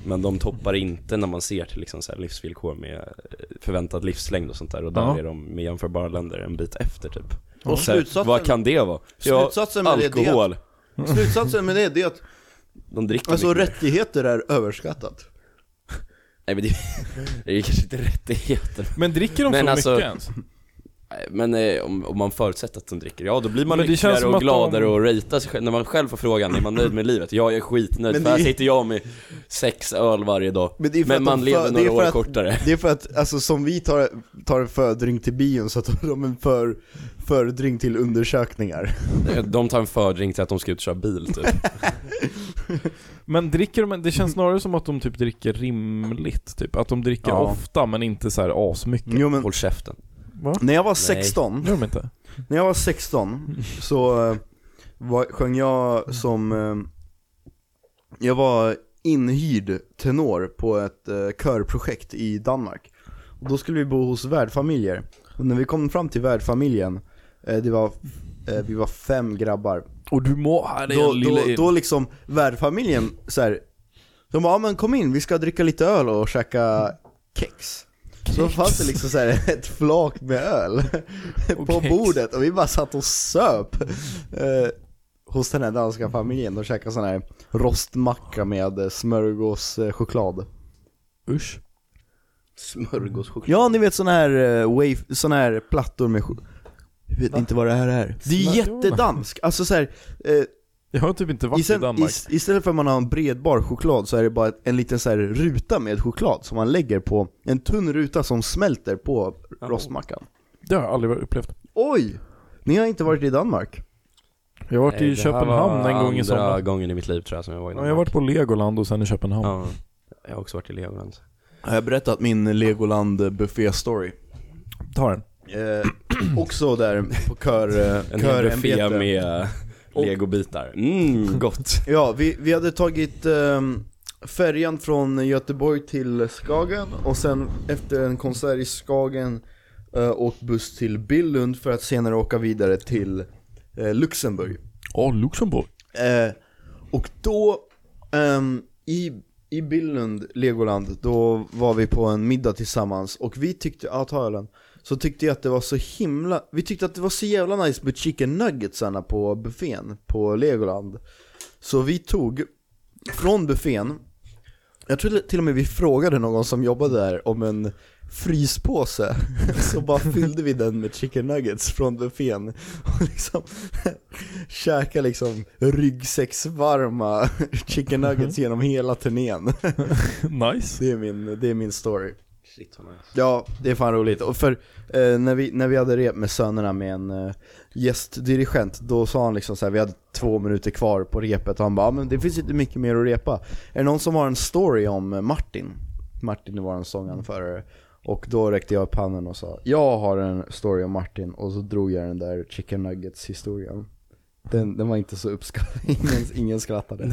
S3: Men de toppar inte när man ser till liksom så här livsvillkor med eh, förväntad livslängd och sånt där Och där
S2: Ja.
S3: är de med jämförbara länder en bit efter typ
S1: Och
S3: Så här,
S1: slutsatsen-
S3: Vad kan det vara? Ja,
S1: Slutsatsen med det, det är att,
S3: alkohol
S1: slutsatsen med det, det är att
S3: De dricker
S1: Alltså
S3: mycket mer.
S1: rättigheter är överskattat.
S3: Nej men det, det är kanske inte rättigheter
S2: Men dricker de
S3: Men
S2: så
S3: alltså-
S2: mycket ens?
S3: Nej, Men eh, om, om man förutsätter att de dricker, ja då blir man
S2: Men det känns
S3: lyckligare
S2: som
S3: och
S2: att
S3: gladare
S2: de-
S3: och ratear sig själv. När man själv får frågan, är man nöjd med livet? Ja, jag är skitnöjd
S1: Men
S3: för här
S1: det-
S3: sitter jag med sex öl varje dag.
S1: Men det är för att
S3: Men
S1: de
S3: man
S1: för-
S3: lever
S1: det är
S3: några
S1: för
S3: år
S1: att-
S3: kortare.
S1: Det är för att, alltså som vi tar, tar en fördrink till bion så tar de en för, fördrink till undersökningar.
S3: De tar en fördrink till att de ska ut och köra bil typ.
S2: Men dricker de, det känns snarare som att de typ dricker rimligt typ. Att de dricker
S1: Ja.
S2: ofta men inte så här asmycket.
S1: Jo men,
S3: Håll käften.
S1: när jag var
S3: Mm. Nej.
S1: 16,
S2: Gör de inte?
S1: när jag var 16 så eh, var, sjöng jag som, eh, jag var inhyrd tenor på ett eh, körprojekt i Danmark. Och då skulle vi bo hos värdfamiljer. Och när vi kom fram till värdfamiljen, eh, det var, eh, vi var fem grabbar.
S2: Och du må ha dig
S1: då,
S2: en lille
S1: då,
S2: in.
S1: då liksom värdfamiljen så här, de bara, "Ja, men kom in, vi ska dricka lite öl och käka kex. Så fanns det liksom så här ett flak med öl
S2: Och
S1: på
S2: kex.
S1: bordet och vi bara satt och söp eh, hos den här danska familjen. De käkade sån här rostmacka med eh, smörgåschoklad. liksom-
S2: Usch.
S3: Smörgåschoklad.
S1: Ja, ni vet sån här, eh, waf- sån här plattor med chok- Jag vet inte vad det här är. Det är
S2: Smör-
S1: jättedansk, alltså så här, eh,
S2: Jag har typ inte varit
S1: Isen-
S2: i Danmark.
S1: is- istället för att man har en bredbar choklad så är det bara ett- en liten så här ruta med choklad som man lägger på, en tunn ruta som smälter på
S3: Ja.
S1: rostmackan.
S2: Det har jag aldrig upplevt.
S1: Oj! Ni har inte varit i Danmark?
S2: Jag har varit i Köpenhamn en gång i
S3: andra
S2: somras.
S3: gången i mitt liv tror jag som jag var i
S2: Ja, jag har varit på Legoland och sen i Köpenhamn.
S3: Ja. Jag har också varit i Legoland.
S1: Har jag berättat min Legoland buffé-story?
S2: Ta den.
S1: Eh, också där på kör, eh,
S3: En hel buffé
S1: körämbete.
S3: med eh, legobitar. Mm, gott.
S1: Ja, vi, vi hade tagit ehm, färjan från Göteborg till Skagen och sen efter en konsert i Skagen eh, åkt buss till Billund för att senare åka vidare till eh, Luxemburg.
S2: Åh, Luxemburg.
S1: Eh, och då, ehm, i, i Billund, Legoland, då var vi på en middag tillsammans och vi tyckte, ja ta ölen, så tyckte jag att det var så himla, vi tyckte att det var så jävla nice med chicken nuggetsarna på buffén på Legoland. Så vi tog från buffén, jag tror till och med vi frågade någon som jobbade där om en fryspåse, så bara fyllde vi den med chicken nuggets från buffén och liksom käka liksom ryggsäcksvarma chicken nuggets genom hela turnén.
S2: nice.
S1: Det är min, det är min story.
S3: Shit, vad nice.
S1: Ja, det är fan roligt. Och för eh, när, vi, när vi hade rep med sönerna med en eh, gästdirigent, då sa han liksom så här, vi hade två minuter kvar på repet och han bara, "Ja, men det finns inte mycket mer att repa. Är det någon som har en story om eh, Martin? Martin var en sånganförare. Och då räckte jag upp handen och sa, jag har en story om Martin. Och så drog jag den där chicken nuggets historien. Den, den var inte så uppskattad, ingen, ingen skrattade.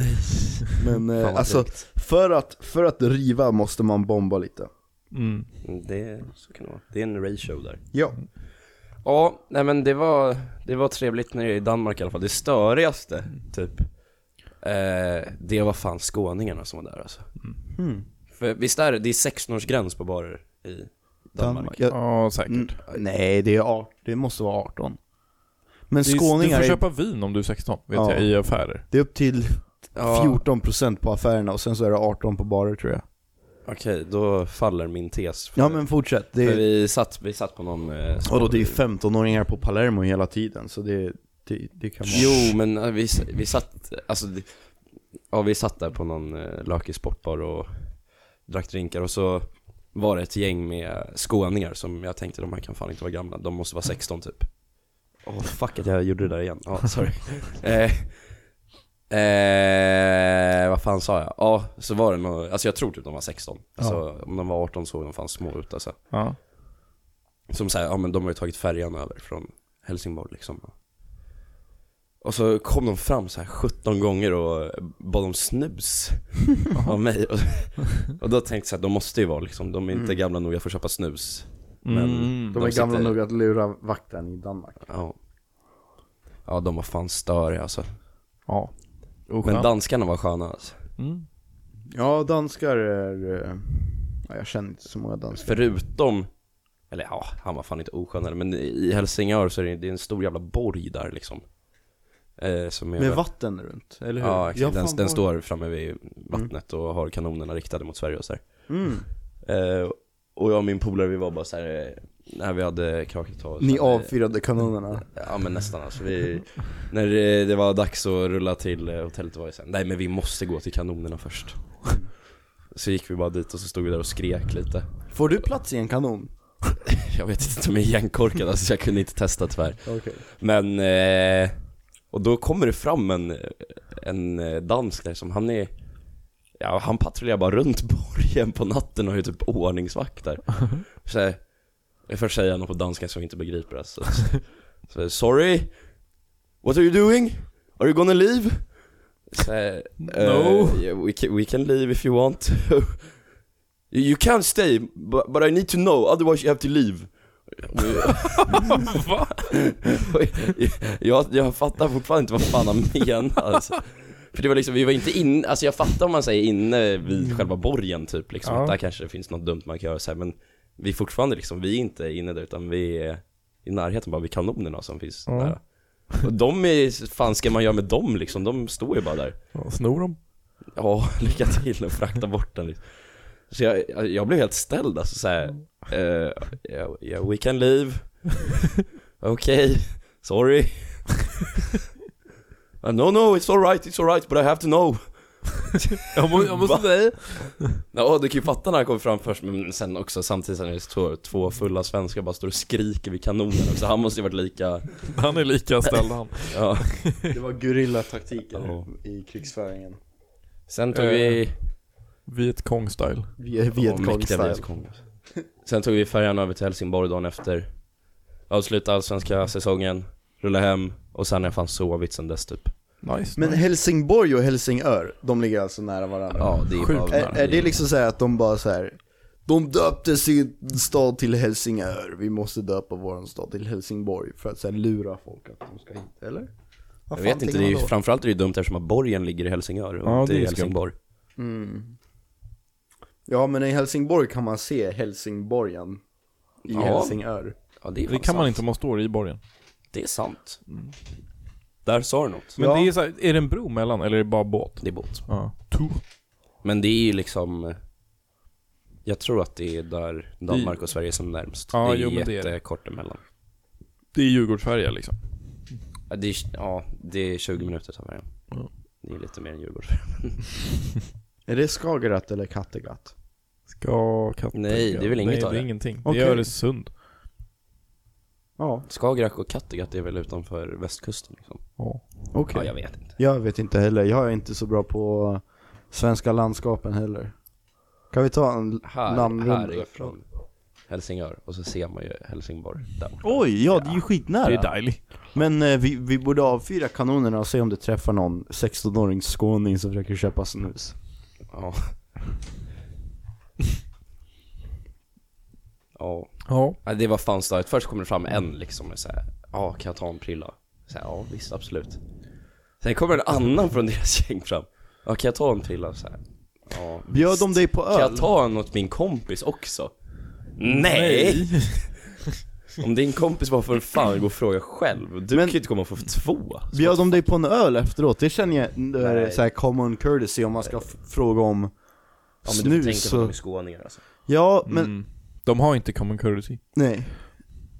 S1: Men
S3: Fan
S1: eh,
S3: vad
S1: alltså,
S3: drygt.
S1: för att, för att riva måste man bomba lite.
S2: Mm.
S3: Mm, Det, så kan det vara. Det är en ratio där.
S1: Ja.
S3: Ja, nej men det var, det var trevligt när det är i Danmark i alla fall. Det störigaste, typ, eh, det var fan skåningarna som var där alltså.
S1: Hmm.
S3: För visst är det, det är 16-årsgräns på barer i Danmark?
S1: Danmark. Jag,
S2: Ja, säkert.
S1: Mm, nej, det, är, art- det måste vara 18. Men
S2: Det är-
S1: skåningar,
S2: Du får
S1: är-
S2: köpa vin om du är 16, vet
S1: Ja.
S2: jag, i affärer.
S1: det är upp till
S3: Ja,
S1: 14% på affärerna och sen så är det 18 på barer tror jag.
S3: Okej, då faller min tes. För,
S1: Ja men fortsätt. Det
S3: för
S1: är,
S3: vi, satt, vi satt på någon... Eh,
S1: och då, det är 15-åringar på Palermo hela tiden så det, det, det kan vara...
S3: Jo, men eh, vi, s- vi satt, alltså, det- ja vi satt där på någon eh, Lakis sportbar och drack drinkar och så var det ett gäng med skåningar som jag tänkte de här kan fan inte vara gamla, de måste vara 16 typ. Åh fuck att jag gjorde det där igen, ja sorry. eh, eh, vad fan sa jag? Ja, så var det nog, alltså jag tror typ de var 16. Alltså om de var 18 såg de fan små ut alltså.
S2: Ja.
S3: Som såhär, ja men de har ju tagit färjan över från Helsingborg liksom Och så kom de fram så här 17 gånger och bad om snus av mig och, och då tänkte jag såhär, de måste ju vara liksom, de är inte gamla nog, jag får köpa snus Men-
S2: Mm.
S1: de är
S3: de
S1: gamla
S3: sitter-
S1: nog att lura vakten i Danmark.
S3: Ja, ja de var fan störiga alltså
S2: Ja. Och
S3: Men
S2: skönt.
S3: danskarna var sköna alltså.
S2: mm.
S1: Ja, danskar är... eh, Ja, jag känner inte så många danskar.
S3: Förutom, eller ja, han var fan inte oskönare men i Helsingör så är det, det är en stor jävla borg där liksom eh, som är
S1: Med vatten runt, eller hur?
S3: Ja,
S1: Jag
S3: exakt.
S1: har fan
S3: Den,
S1: Mm.
S3: den
S1: varit-
S3: står framme vid vattnet och har kanonerna riktade mot Sverige och sådär.
S1: Mm.
S3: Eh, och jag och min polare vi var bara såhär, eh, när vi hade krakat tag
S1: Ni avfyrade kanonerna.
S3: eh, Ja men nästan alltså. Vi, när eh, det, det var dags att rulla till eh, hotellet var det sen, nej men vi måste gå till kanonerna först. Så gick vi bara dit och så stod vi där och skrek lite.
S1: Får du plats i en kanon?
S3: Jag vet inte om jag är igenkorkad alltså, så jag kunde inte testa tyvärr.
S1: Okej.
S3: Men, eh, och då kommer det fram en, en eh, dansk där som han är Ja, han patrullerar bara runt borgen på natten och är typ ordningsvakt där Så här, jag först säger han något på danska som jag inte begriper alltså så, så, Sorry, what are you doing? Are you gonna leave? Så, här, eh,
S2: No.
S3: yeah, we, can, we can leave if you want You can stay, but, but I need to know, otherwise you have to leave
S2: Va?
S3: jag, jag fattar fortfarande inte vad fan han menar alltså. För det var liksom, vi var inte inne, alltså jag fattar om man säger inne vid själva borgen typ liksom,
S2: Mm. Ja.
S3: att där kanske det finns något dumt man kan göra så här, men vi är fortfarande liksom, vi är inte inne där utan vi är i närheten bara vid kanonerna som finns
S2: Ja.
S3: där. Och de är, fan ska man göra med dem liksom? De står ju bara där.
S2: Ja, snor de?
S3: Ja, lycka till och frakta bort den liksom. Så jag, jag blev helt ställd alltså såhär, eh, yeah, yeah, we can leave, okej, sorry Uh, No no, it's alright, it's alright, but I have to know
S2: Jag, må, jag måste
S3: Va?
S2: säga.
S3: Ja, du kan ju fatta när han kommer fram först, men sen också samtidigt sen är det två, två fulla svenskar bara står och skriker vid kanonen också, han måste ju varit lika,
S2: Han är lika ställd han.
S3: ja
S1: Det var gorillataktiken
S3: Ja.
S1: i krigsföringen.
S3: Sen tog vi
S2: Viet Cong style.
S1: Vi är
S3: Ja, mäktiga Vietcong. Sen tog vi färjan över till Helsingborg dagen efter Avslutade allsvenska säsongen, rullade hem och sen har jag fan sovit sen dess typ
S2: Nice.
S1: Men
S2: nice.
S1: Helsingborg och Helsingör, de ligger alltså nära varandra?
S3: Ja det är
S2: Sjukt
S3: bara-
S2: nära.
S1: Är, är det liksom så här att de bara så här. De döpte sin stad till Helsingör, vi måste döpa vår stad till Helsingborg för att så här lura folk att de ska hit, eller?
S3: Jag vet inte, det är ju, framförallt är det ju dumt eftersom att borgen ligger i Helsingör och
S2: Ja,
S3: inte
S2: det är
S3: i
S2: skumt.
S3: Helsingborg
S1: Mm. Ja men i Helsingborg kan man se Helsingborgen i
S3: Ja.
S1: Helsingör.
S3: Ja det är
S2: Det
S3: fan
S2: kan man
S3: sant.
S2: inte om man står i borgen.
S3: Det är sant Där sa du något
S2: Men
S1: Ja.
S2: det är så här, är det en bro mellan eller är det bara båt?
S3: Det är båt
S2: Ja. To.
S3: Men det är ju liksom Jag tror att det är där Danmark och Sverige är som närmst
S2: Ja,
S3: Det är
S2: jo, men det är det.
S3: jättekort emellan
S2: Det är Djurgårdsfärja liksom.
S3: Ja, det är, ja, det är 20 minuter tar färjan
S2: Ja.
S3: Det är lite mer än Djurgården
S1: Är det Skagerrak eller Kattegatt?
S2: Ska katten...
S3: Nej, det är väl inget
S2: Nej,
S3: av
S2: det. är
S3: det.
S2: ingenting.
S1: Okej.
S2: Det är Öresund.
S1: Ja,
S3: Skagerrak och Kattegatt är väl utanför västkusten liksom?
S2: Ja.
S1: okej.
S3: Ja, jag vet inte.
S1: Jag vet inte heller, jag är inte så bra på svenska landskapen heller. Kan vi ta en
S3: Här,
S1: namnrunda?
S3: här är från Helsingör och så ser man ju Helsingborg där borta.
S1: Oj, ja det är ju skitnära.
S2: Det är dejligt.
S1: Men eh, vi, vi borde avfyra kanonerna och se om det träffar någon 16-åring skåning som försöker köpa snus.
S3: Ja.
S2: Ja.
S3: Ja, det var fan starkt. Först kommer det fram en liksom och säger ja kan jag ta en prilla? Så här, ja visst absolut. Sen kommer en annan från deras gäng fram. Ja kan jag ta en prilla? Så här, ja.
S1: Bjöd de dig på
S3: Kan
S1: öl?
S3: jag ta en åt min kompis också? Nej! Om din kompis bara för fan gå och fråga själv. Du
S1: Men-
S3: kan ju inte komma och få två.
S1: Bjöd de dig på en öl efteråt? Det känner jag det är
S3: Nej.
S1: så här common courtesy om man ska f- fråga om
S3: Alltså, Ja men du får
S1: snus
S3: tänka på att de är
S1: och...
S3: skåningar alltså.
S1: Ja, men
S2: Mm. De har inte common courtesy.
S1: nej.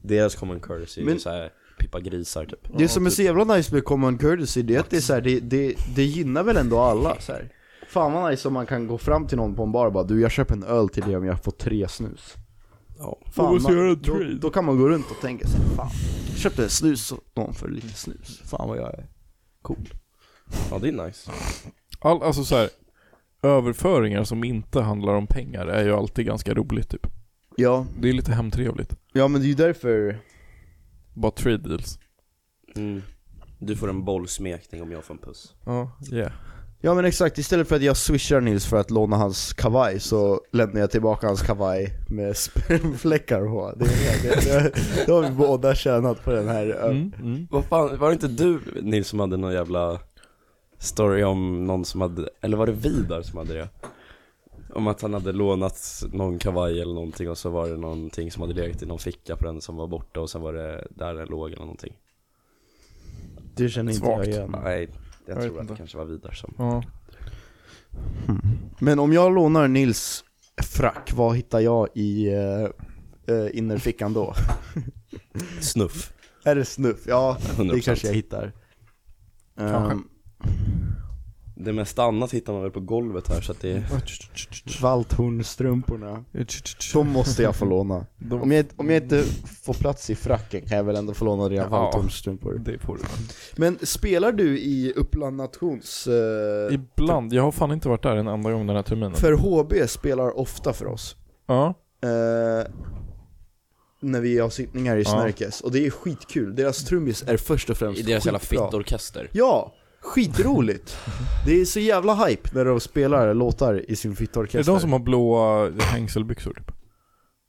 S3: Deras common courtesy men... är
S1: Men-
S3: så här, pippa grisar typ.
S1: Det som är så jävla nice med common courtesy, det är att det, är så här, det, det, det gynnar väl ändå alla så här. Fan vad nice om man kan gå fram till någon på en bar och bara du jag köper en öl till dig om jag får tre snus.
S3: Ja.
S1: Fan,
S2: måste
S1: man-
S2: göra en
S1: då,
S2: trade.
S1: då kan man gå runt och tänka sig, fan, jag köpte snus åt någon för lite snus. Fan vad jag är cool.
S3: typ. ja det är nice.
S2: All, alltså så här, överföringar som inte handlar om pengar är ju alltid ganska roligt typ.
S1: Ja,
S2: Det är lite hemtrevligt.
S1: ja men det är ju därför
S2: Bara trade deals.
S3: Mm. Du får en bollsmekning om jag får en puss.
S2: Ja, yeah.
S1: Ja men exakt, istället för att jag swishar Nils för att låna hans kavaj så lämnar jag tillbaka hans kavaj med spermfläckar på. Det, är det, det, det har vi båda tjänat på den här ö-
S2: Mm, mm.
S3: Vad fan, var det inte du Nils som hade någon jävla story om någon som hade, eller var det Vidar som hade det? Om att han hade lånat någon kavaj eller någonting och så var det någonting som hade legat i någon ficka på den som var borta och sen var det där den låg eller någonting.
S1: Det känner inte
S2: Svagt.
S1: jag igen.
S3: Nej, jag,
S2: Jag vet
S3: tror att
S2: inte.
S3: det kanske var Vidar som...
S2: Ja.
S1: Men om jag lånar Nils frack, vad hittar jag i eh, eh, innerfickan då?
S3: Snuff.
S1: är det snuff? Ja, det
S3: 100%.
S1: kanske jag hittar. Ehm,
S2: Kanske.
S3: Det mesta annat hittar man väl på golvet här så att det...
S1: Valthornstrumporna. De måste jag få låna.
S2: De-
S1: Om, jag, om jag inte får plats i fracken kan jag väl ändå få låna dina
S2: Ja.
S1: valthornstrumpor.
S2: Det får du.
S1: Men spelar du i Uppland Nations? Eh,
S2: Ibland, jag har fan inte varit där en andra gång den här terminen.
S1: för HB spelar ofta för oss.
S2: Ja.
S1: Eh, när vi har sittningar i
S2: Ja.
S1: Snärkes. Och det är skitkul. Deras trummis är först och främst
S3: I deras jävla
S1: skitbra.
S3: fittorkester.
S1: Ja! Skitroligt! det är så jävla hype när de spelar låtar i sin
S2: Är det
S1: fittorkester.
S2: de som har blåa hängselbyxor typ?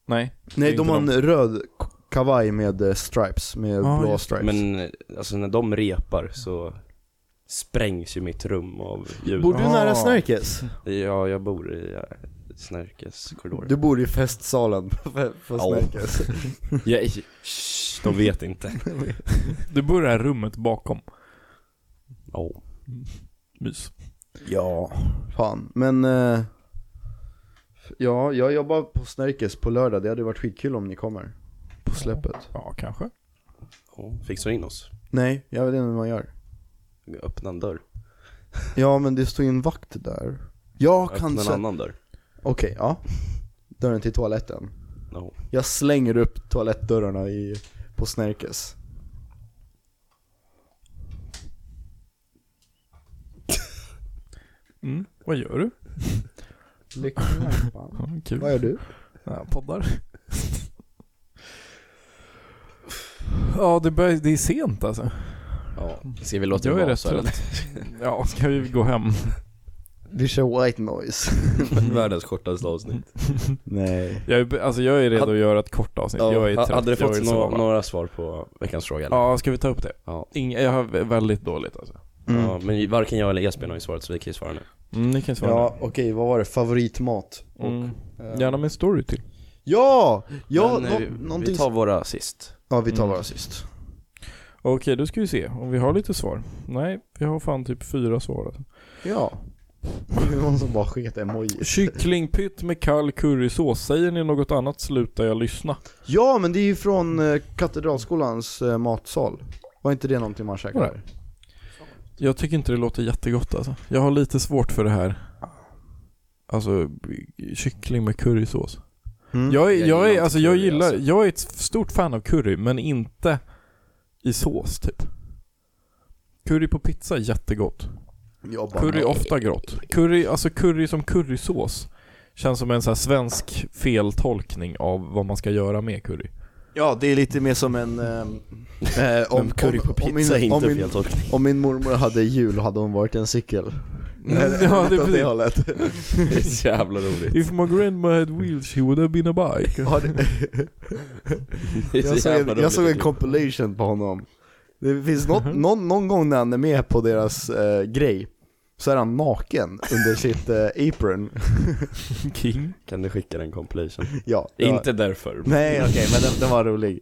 S2: Nej. det
S1: Nej,
S2: är
S1: de
S2: inte
S1: har en röd k- kavaj med eh, stripes, med
S2: Ja,
S1: blå
S2: just
S1: stripes.
S3: Men eh, alltså när de repar så sprängs ju mitt rum av ljud.
S1: Bor du
S2: Ah.
S1: nära Snärkes?
S3: Ja, jag bor i eh, Snärkes korridor.
S1: Du bor i festsalen på- på
S3: Ja.
S1: Snärkes.
S3: Jag, shh, de vet inte.
S2: Du bor i det här rummet bakom.
S3: Ja.
S2: Mys.
S1: Ja, fan. Men... eh, ja, jag jobbar på Snärkes på lördag. Det hade varit skitkul om ni kommer. På släppet.
S2: Ja, kanske.
S3: Ja, Fixar du in oss?
S1: Nej, jag vet inte hur man gör.
S3: Vi öppnar en dörr.
S1: Ja, men det står ju en vakt där. Jag kan
S3: Öppna en
S1: se...
S3: annan dörr.
S1: Okej, ja. Dörren till toaletten.
S3: No.
S1: Jag slänger upp toalettdörrarna i, på Snärkes.
S2: Mm. Vad gör du? Ja, kul.
S1: Vad gör du?
S2: Ja, poddar. ja, det, börjar, det är sent alltså.
S3: Ja, ska vi låta
S2: Jag
S3: det
S2: är
S3: vara
S2: rätt
S3: så eller?
S2: trött. Ja, ska vi gå hem?
S1: Du kör white noise.
S3: Världens kortaste avsnitt.
S1: Nej.
S2: Jag är, be- alltså, jag är redo att göra ett kort avsnitt. jag är
S3: ha-
S2: trött.
S3: Hade du
S2: jag
S3: fått
S2: vill
S3: nå-
S2: sova.
S3: några svar på veckans fråga? eller?
S2: Ja, ska vi ta upp det?
S3: Ja.
S2: Ing- jag har vä- väldigt dåligt alltså.
S1: Mm.
S3: ja. Men varken jag eller Esbjörn har ju svarat så vi kan ju svara nu.
S2: Mm, ni kan svara
S1: Ja, okej, vad var det? Favoritmat?
S2: nu. mm. Gärna med en story till.
S1: Ja! Ja,
S3: men,
S1: nå-
S3: eh, vi,
S1: någonting...
S3: vi tar våra sist.
S1: Ja, vi tar
S2: Mm.
S1: våra sist.
S2: Okej, då ska vi se om vi har lite svar. Nej, vi har fan typ fyra svar. Alltså.
S1: Ja. Det var någon som bara sket emojis.
S2: Kycklingpytt med kall currysås. Säger ni något annat slutar jag lyssna.
S1: Ja men det är ju från eh, Katedralskolans eh, matsal. Var inte det någonting man käkade?
S2: Var Jag tycker inte det låter jättegott alltså. Jag har lite svårt för det här. Alltså b- kyckling med currysås.
S1: Mm.
S2: Jag är,
S3: Jag
S2: jag är,
S3: gillar
S2: alltså
S3: inte
S2: jag
S3: curry,
S2: gillar,
S3: alltså.
S2: jag är ett stort fan av curry men inte i sås typ. Curry på pizza är jättegott.
S1: Jag bara,
S2: Curry ofta grått. Curry, alltså curry som currysås. Känns som en så här svensk feltolkning av vad man ska göra med curry.
S1: Ja det är lite mer som en... ehm, eh, om,
S3: Men curry på pizza
S1: om, min,
S3: är
S1: om,
S3: inte
S1: min,
S3: fel tolkning.
S1: om min mormor hade jul hade hon varit en cykel.
S2: Mm. ja, det är
S1: Åt det
S2: precis.
S1: hållet.
S3: Det är så jävla roligt.
S2: If my grandma had wheels she would have been a bike.
S1: Ja, det-
S3: Det är så
S1: Jag såg,
S3: jävla
S1: en, jag
S3: roligt
S1: såg en
S3: att-
S1: compilation på honom. Det finns något, någon, någon gång när han är med på deras eh, grej, så är han naken under sitt eh, apron.
S2: King.
S3: Kan du skicka den compilation?
S1: ja, det var-
S3: Inte därför.
S1: Nej okej, men den, den var rolig.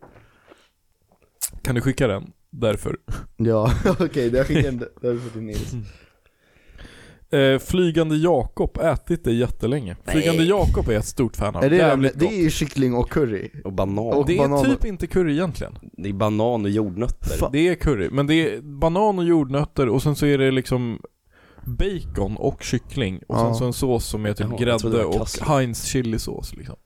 S2: Kan du skicka den? Därför.
S1: Ja, okej, jag skickar den därför till Nils.
S2: Eh, Flygande Jakob, ätit det jättelänge. Flygande Jakob är jag ett stort fan av.
S1: Är det, den,
S2: Jävligt
S1: det
S2: gott.
S1: är ju kyckling och curry.
S3: Och banan.
S1: Och-
S2: Det är
S1: banan-
S2: typ inte curry egentligen.
S3: Det är banan och jordnötter.
S1: Fan.
S2: Det är curry, men det är banan och jordnötter och sen så är det liksom bacon och kyckling och sen
S1: Ja.
S2: så en sås som är typ
S3: Jaha, jag trodde det
S2: grädde
S3: var
S2: och
S3: kassler.
S2: Heinz chilisås liksom.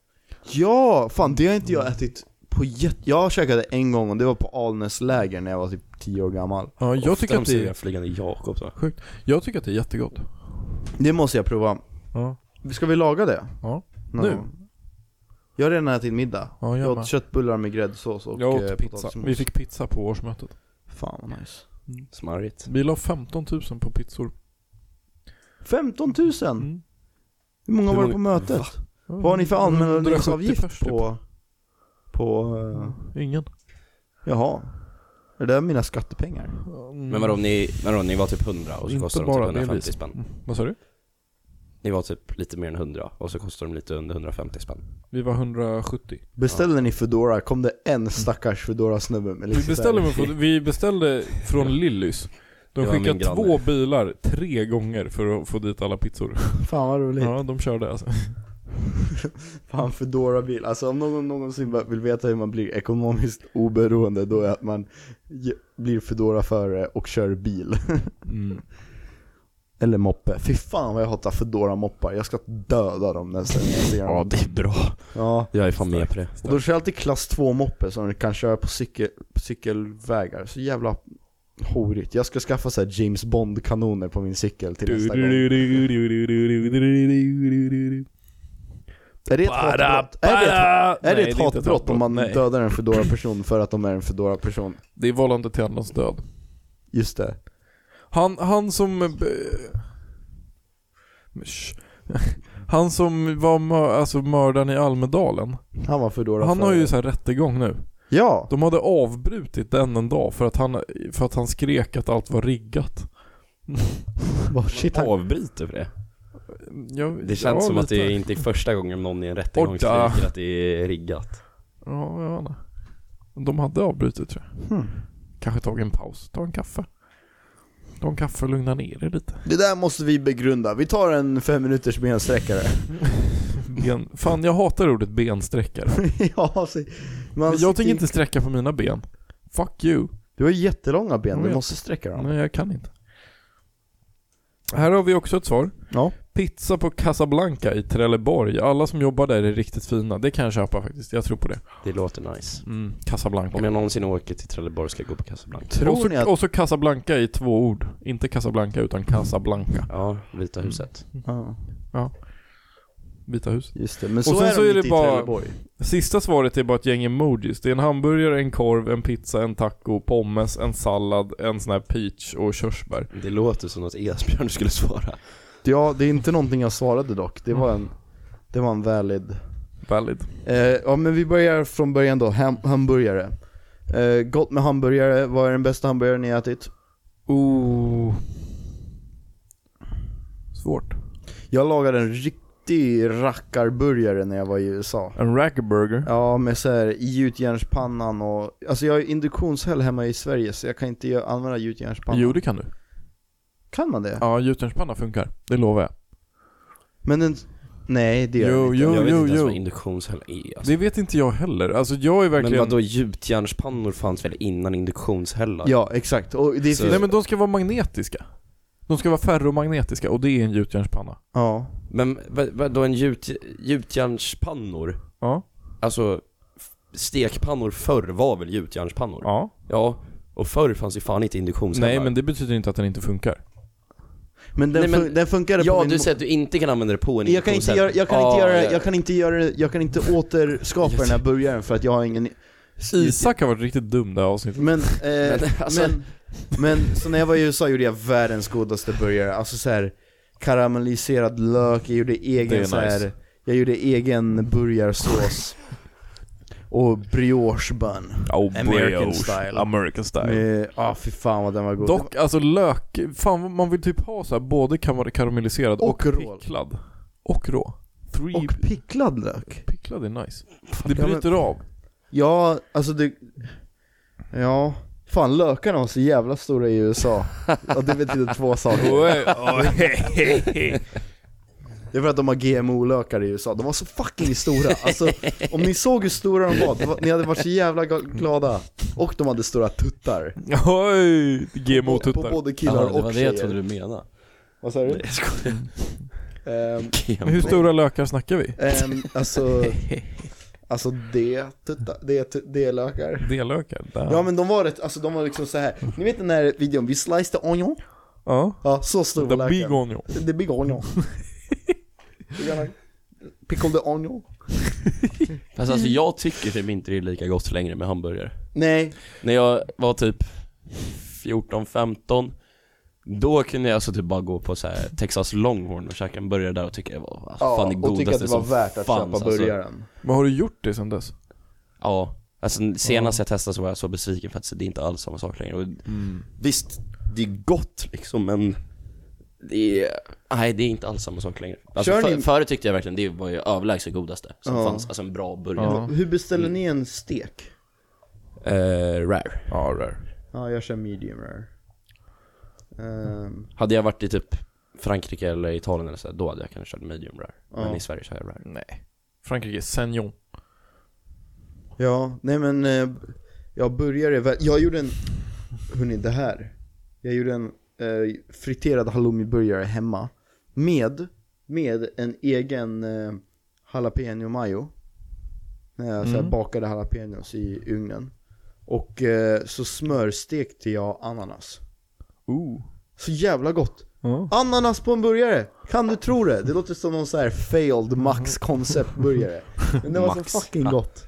S1: Ja, fan det har inte jag ätit på jätte... Jag käkade en gång och det var på Alnäs läger när jag var typ 10 år gammal.
S2: Ja, jag tycker,
S3: Ofta
S2: att
S3: de
S2: det
S3: säger
S2: är,
S3: flygande Jakob så.
S2: jag tycker att det är jättegott.
S1: Det måste jag prova.
S2: Ja,
S1: Ska vi laga det?
S2: Ja.
S1: Någon
S2: Nu?
S1: gång. Jag har redan ätit middag.
S2: ja
S1: Jag
S2: jag,
S1: åt köttbullar med gräddsås och
S2: jag
S1: eh,
S2: åt pizza.
S1: potatismos.
S2: Vi fick pizza på årsmötet.
S1: Fan vad nice.
S3: Smarrigt.
S2: Vi la 15 000 på pizzor.
S1: 15 000?
S2: Mm.
S1: Hur många
S3: Hur
S1: var det
S3: många-
S1: på mötet? Vad har ni för
S2: 170
S1: anmälningsavgift
S2: pers typ.
S1: på... På... eh,
S2: Ingen.
S1: jaha. Är det där mina skattepengar?
S3: Men vadå, ni, vadå, ni var typ 100 och så
S2: Mm. Inte
S3: kostade de typ
S2: bara det,
S3: 150
S2: visst.
S3: spänn.
S2: Mm. Vad sa du?
S3: Ni var typ lite mer än 100 och så kostade de lite under 150 spänn.
S2: Vi var 170.
S1: Beställde ni Foodora kom det en stackars foodora snubbe med
S2: Vi
S1: liksom
S2: beställde,
S1: så här-
S2: med- vi beställde från Lillys. De
S3: Det var min
S2: skickade
S3: granne.
S2: två bilar tre gånger för att få dit alla pizzor.
S1: Fan vad roligt.
S2: Ja, de körde alltså.
S1: Fan foodora bil Alltså om någon någonsin bara vill veta hur man blir ekonomiskt oberoende då är att man ge- blir foodora förare och kör bil.
S2: Mm.
S1: Eller moppe. Fy fan vad jag hatar foodora moppar Jag ska döda dem nästa gång jag ser dem.
S3: det är bra.
S1: Ja.
S3: Jag är fan med på det.
S1: Och då kör jag alltid klass 2 moppe som du kan köra på cykel, cykelvägar. Så jävla horigt. Jag ska skaffa så här James Bond-kanoner på min cykel till nästa gång. Är det ett hatbrott? Är det ett, är det
S2: Nej,
S1: ett
S2: inte
S1: hatbrott om man
S2: Nej.
S1: dödar en fedora person för att de är en fedora person?
S2: Det är vållande till annans död.
S1: Just det.
S2: Han, han som... eh, men sh- Han som var mör, alltså mördaren i Almedalen.
S1: Han var fedora
S2: Han har
S1: för-
S2: ju så här rättegång nu.
S1: Ja!
S2: De hade avbrutit den en dag för att han, för att han skrek att allt var riggat.
S1: Vad shit han...
S3: Avbryter för det.
S2: Jag,
S3: Det känns
S2: ja,
S3: som att
S2: lite.
S3: det inte är första gången någon i en rättegång
S2: Orta.
S3: skriker att det är riggat.
S2: Ja, jag vet inte. De hade avbrutit tror jag.
S1: Hmm.
S2: Kanske tagit en paus, ta en kaffe. Ta en kaffe och lugna ner er lite.
S1: Det där måste vi begrunda. Vi tar en fem minuters bensträckare.
S2: Ben... Fan, jag hatar ordet bensträckare.
S1: ja, så... man
S2: Men jag
S1: sitter i-
S2: tänker inte sträcka på mina ben. Fuck you.
S1: Du har jättelånga ben,
S2: Jag
S1: du
S2: vet.
S1: måste sträcka dem.
S2: Nej, jag kan inte. Här har vi också ett svar.
S1: Ja.
S2: Pizza på Casablanca i Trelleborg. Alla som jobbar där är riktigt fina. Det kan jag köpa faktiskt. Jag tror på det.
S3: Det låter nice.
S2: Mm, Casablanca.
S3: Om jag någonsin åker till Trelleborg ska jag gå på Casablanca.
S2: och,
S1: Tror ni
S2: så,
S1: att...
S2: och så Casablanca i två ord. Inte Casablanca utan Casablanca.
S3: Ja, Vita
S2: Mm.
S3: huset.
S1: Ja,
S2: Vita huset.
S1: just det. Men så
S2: sen
S1: är
S2: så
S1: de
S2: är det
S1: inte i
S2: bara-
S1: Trelleborg.
S2: Sista svaret är bara ett gäng emojis. Det är en hamburgare, en korv, en pizza, en taco, pommes, en sallad, en sån här peach och körsbär.
S3: Det låter som något Esbjörn skulle svara.
S1: Ja, det är inte någonting jag svarade dock. Det
S2: Mm.
S1: var en, det var en valid...
S2: Valid.
S1: Eh, ja men vi börjar från början då, Ham- hamburgare. Eh, gott med hamburgare, vad är den bästa hamburgaren ni ätit?
S2: Oh. Svårt.
S1: Jag lagade en riktig rackarburgare när jag var i USA.
S2: En raggerburger.
S1: Ja med såhär gjutjärnspannan och, alltså jag har ju induktionshäll hemma i Sverige så jag kan inte gö- använda gjutjärnspannan.
S2: Jo, det kan du.
S1: Kan man det?
S2: Ja, gjutjärnspanna funkar. Det lovar jag.
S1: Men en, nej det gör jag
S2: Jo,
S1: inte.
S2: jo.
S3: jag vet inte ens vad induktionshäll är alltså.
S2: Det vet inte jag heller. Alltså jag är
S3: Men
S2: verkligen...
S3: vadå, gjutjärnspannor fanns väl innan induktionshällar?
S1: Ja exakt, och det
S3: Så-
S1: finns,
S2: Nej men de ska vara magnetiska. De ska vara ferromagnetiska och det är en gjutjärnspanna.
S1: ja.
S3: Men vad- vadå, en gjut, gjutjärnspannor?
S2: Ja.
S3: Alltså, f- stekpannor förr var väl gjutjärnspannor?
S2: Ja.
S3: Ja, och förr fanns ju fan inte induktionshällar.
S2: Nej men det betyder inte att den inte funkar.
S1: Men den,
S3: Nej, men-
S1: fun- den funkade på
S3: Ja,
S1: min
S3: du säger att du inte kan använda det på en
S1: Jag kan, inte
S3: induktionshäll.
S1: göra, jag, kan inte
S3: Ja,
S1: göra,
S3: ja.
S1: jag kan inte göra det- jag kan inte återskapa den här burgaren för att jag har ingen...
S2: Isak har varit riktigt dum det här avsnittet.
S1: Men, eh, men,
S3: alltså-
S1: men, så när jag var i USA gjorde jag världens godaste burgare, alltså så här. karamelliserad lök, jag gjorde
S2: Det är
S1: egen så här,
S2: nice.
S1: jag gjorde egen burgarsås och brioche bun.
S2: Oh,
S1: American
S2: brioche.
S1: style.
S2: American style.
S1: Med, ah fy fan vad den var god.
S2: Dock, alltså lök, fan vad man vill typ ha så här både kar- karamelliserad och,
S1: Och rå.
S2: picklad. Och rå. Three
S1: Och picklad lök.
S2: picklad är nice. Det
S1: ja, men-
S2: bryter av.
S1: Ja, alltså det... Ja. Fan lökarna var så jävla stora i USA. Och det betyder två saker. Det är för att de har GMO-lökar i USA. De var så fucking stora. Alltså om ni såg hur stora de var, det var ni hade varit så jävla ga- glada. Och de hade stora tuttar.
S2: Oj!
S1: På, på
S2: GMO-tuttar.
S1: både killar
S3: Ja, det var
S1: och
S3: det
S1: tjejer.
S3: jag trodde du menade.
S1: Vad sa du?
S3: Nej, jag skojar.
S1: Ehm,
S2: Men hur stora lökar snackar vi?
S1: ehm, alltså... Alltså det, tuttar, det, tut- det lökar.
S2: D-lökar? Där.
S1: Ja men de var rätt, alltså de var liksom så här. ni vet den där videon, vi sliced the onion?
S2: ja.
S1: Ja, så stor var
S2: The
S1: löken.
S2: big onion.
S1: The big onion. We're gonna Pickle the onion.
S3: Fast alltså jag tycker typ inte det är lika gott längre med hamburgare.
S1: Mm. Nej,
S3: När jag var typ 14-15 Då kunde jag alltså typ bara gå på så här Texas Longhorn och käka en burgare där och tycka det var alltså,
S1: ja,
S3: fan det
S1: och tycka att
S3: godaste
S1: det var
S3: som
S1: värt att
S3: fanns, alltså.
S1: köpa burgaren.
S2: Men har du gjort det sen dess?
S3: Ja, alltså senast jag testade så var jag så besviken för att det är inte alls samma sak längre och, Visst, det är gott liksom men det är, nej det är inte alls samma sak längre alltså,
S1: Kör
S3: för,
S1: ni-
S3: Förut tyckte jag verkligen det var ju överlägset godaste som
S1: Ja.
S3: fanns, alltså en bra burgare
S2: Ja.
S1: Hur beställer ni en stek?
S3: eh, Rare
S2: Ja, rare.
S1: Ja, jag kör medium rare. Ehm,
S3: Hade jag varit i typ Frankrike eller Italien eller så, här, då hade jag kanske kört medium rare Men
S1: Ja.
S3: i Sverige kör jag rare
S2: Nej. Frankrike, Saignon.
S1: ja, nej men eh, jag började, väl- jag gjorde en, hörni det här. Jag gjorde en eh, friterad halloumiburgare hemma. Med, med en egen eh, jalapeno mayo. När jag så här
S2: Mm.
S1: bakade jalapenos i ugnen. Och eh, så smörstekte jag ananas.
S2: Ooh.
S1: Så jävla gott.
S2: Ja.
S1: Ananas på en burgare! Kan du tro det? Det låter som någon så här failed Max koncept burgare. Men det var
S3: Max,
S1: så fucking
S3: ja.
S1: gott.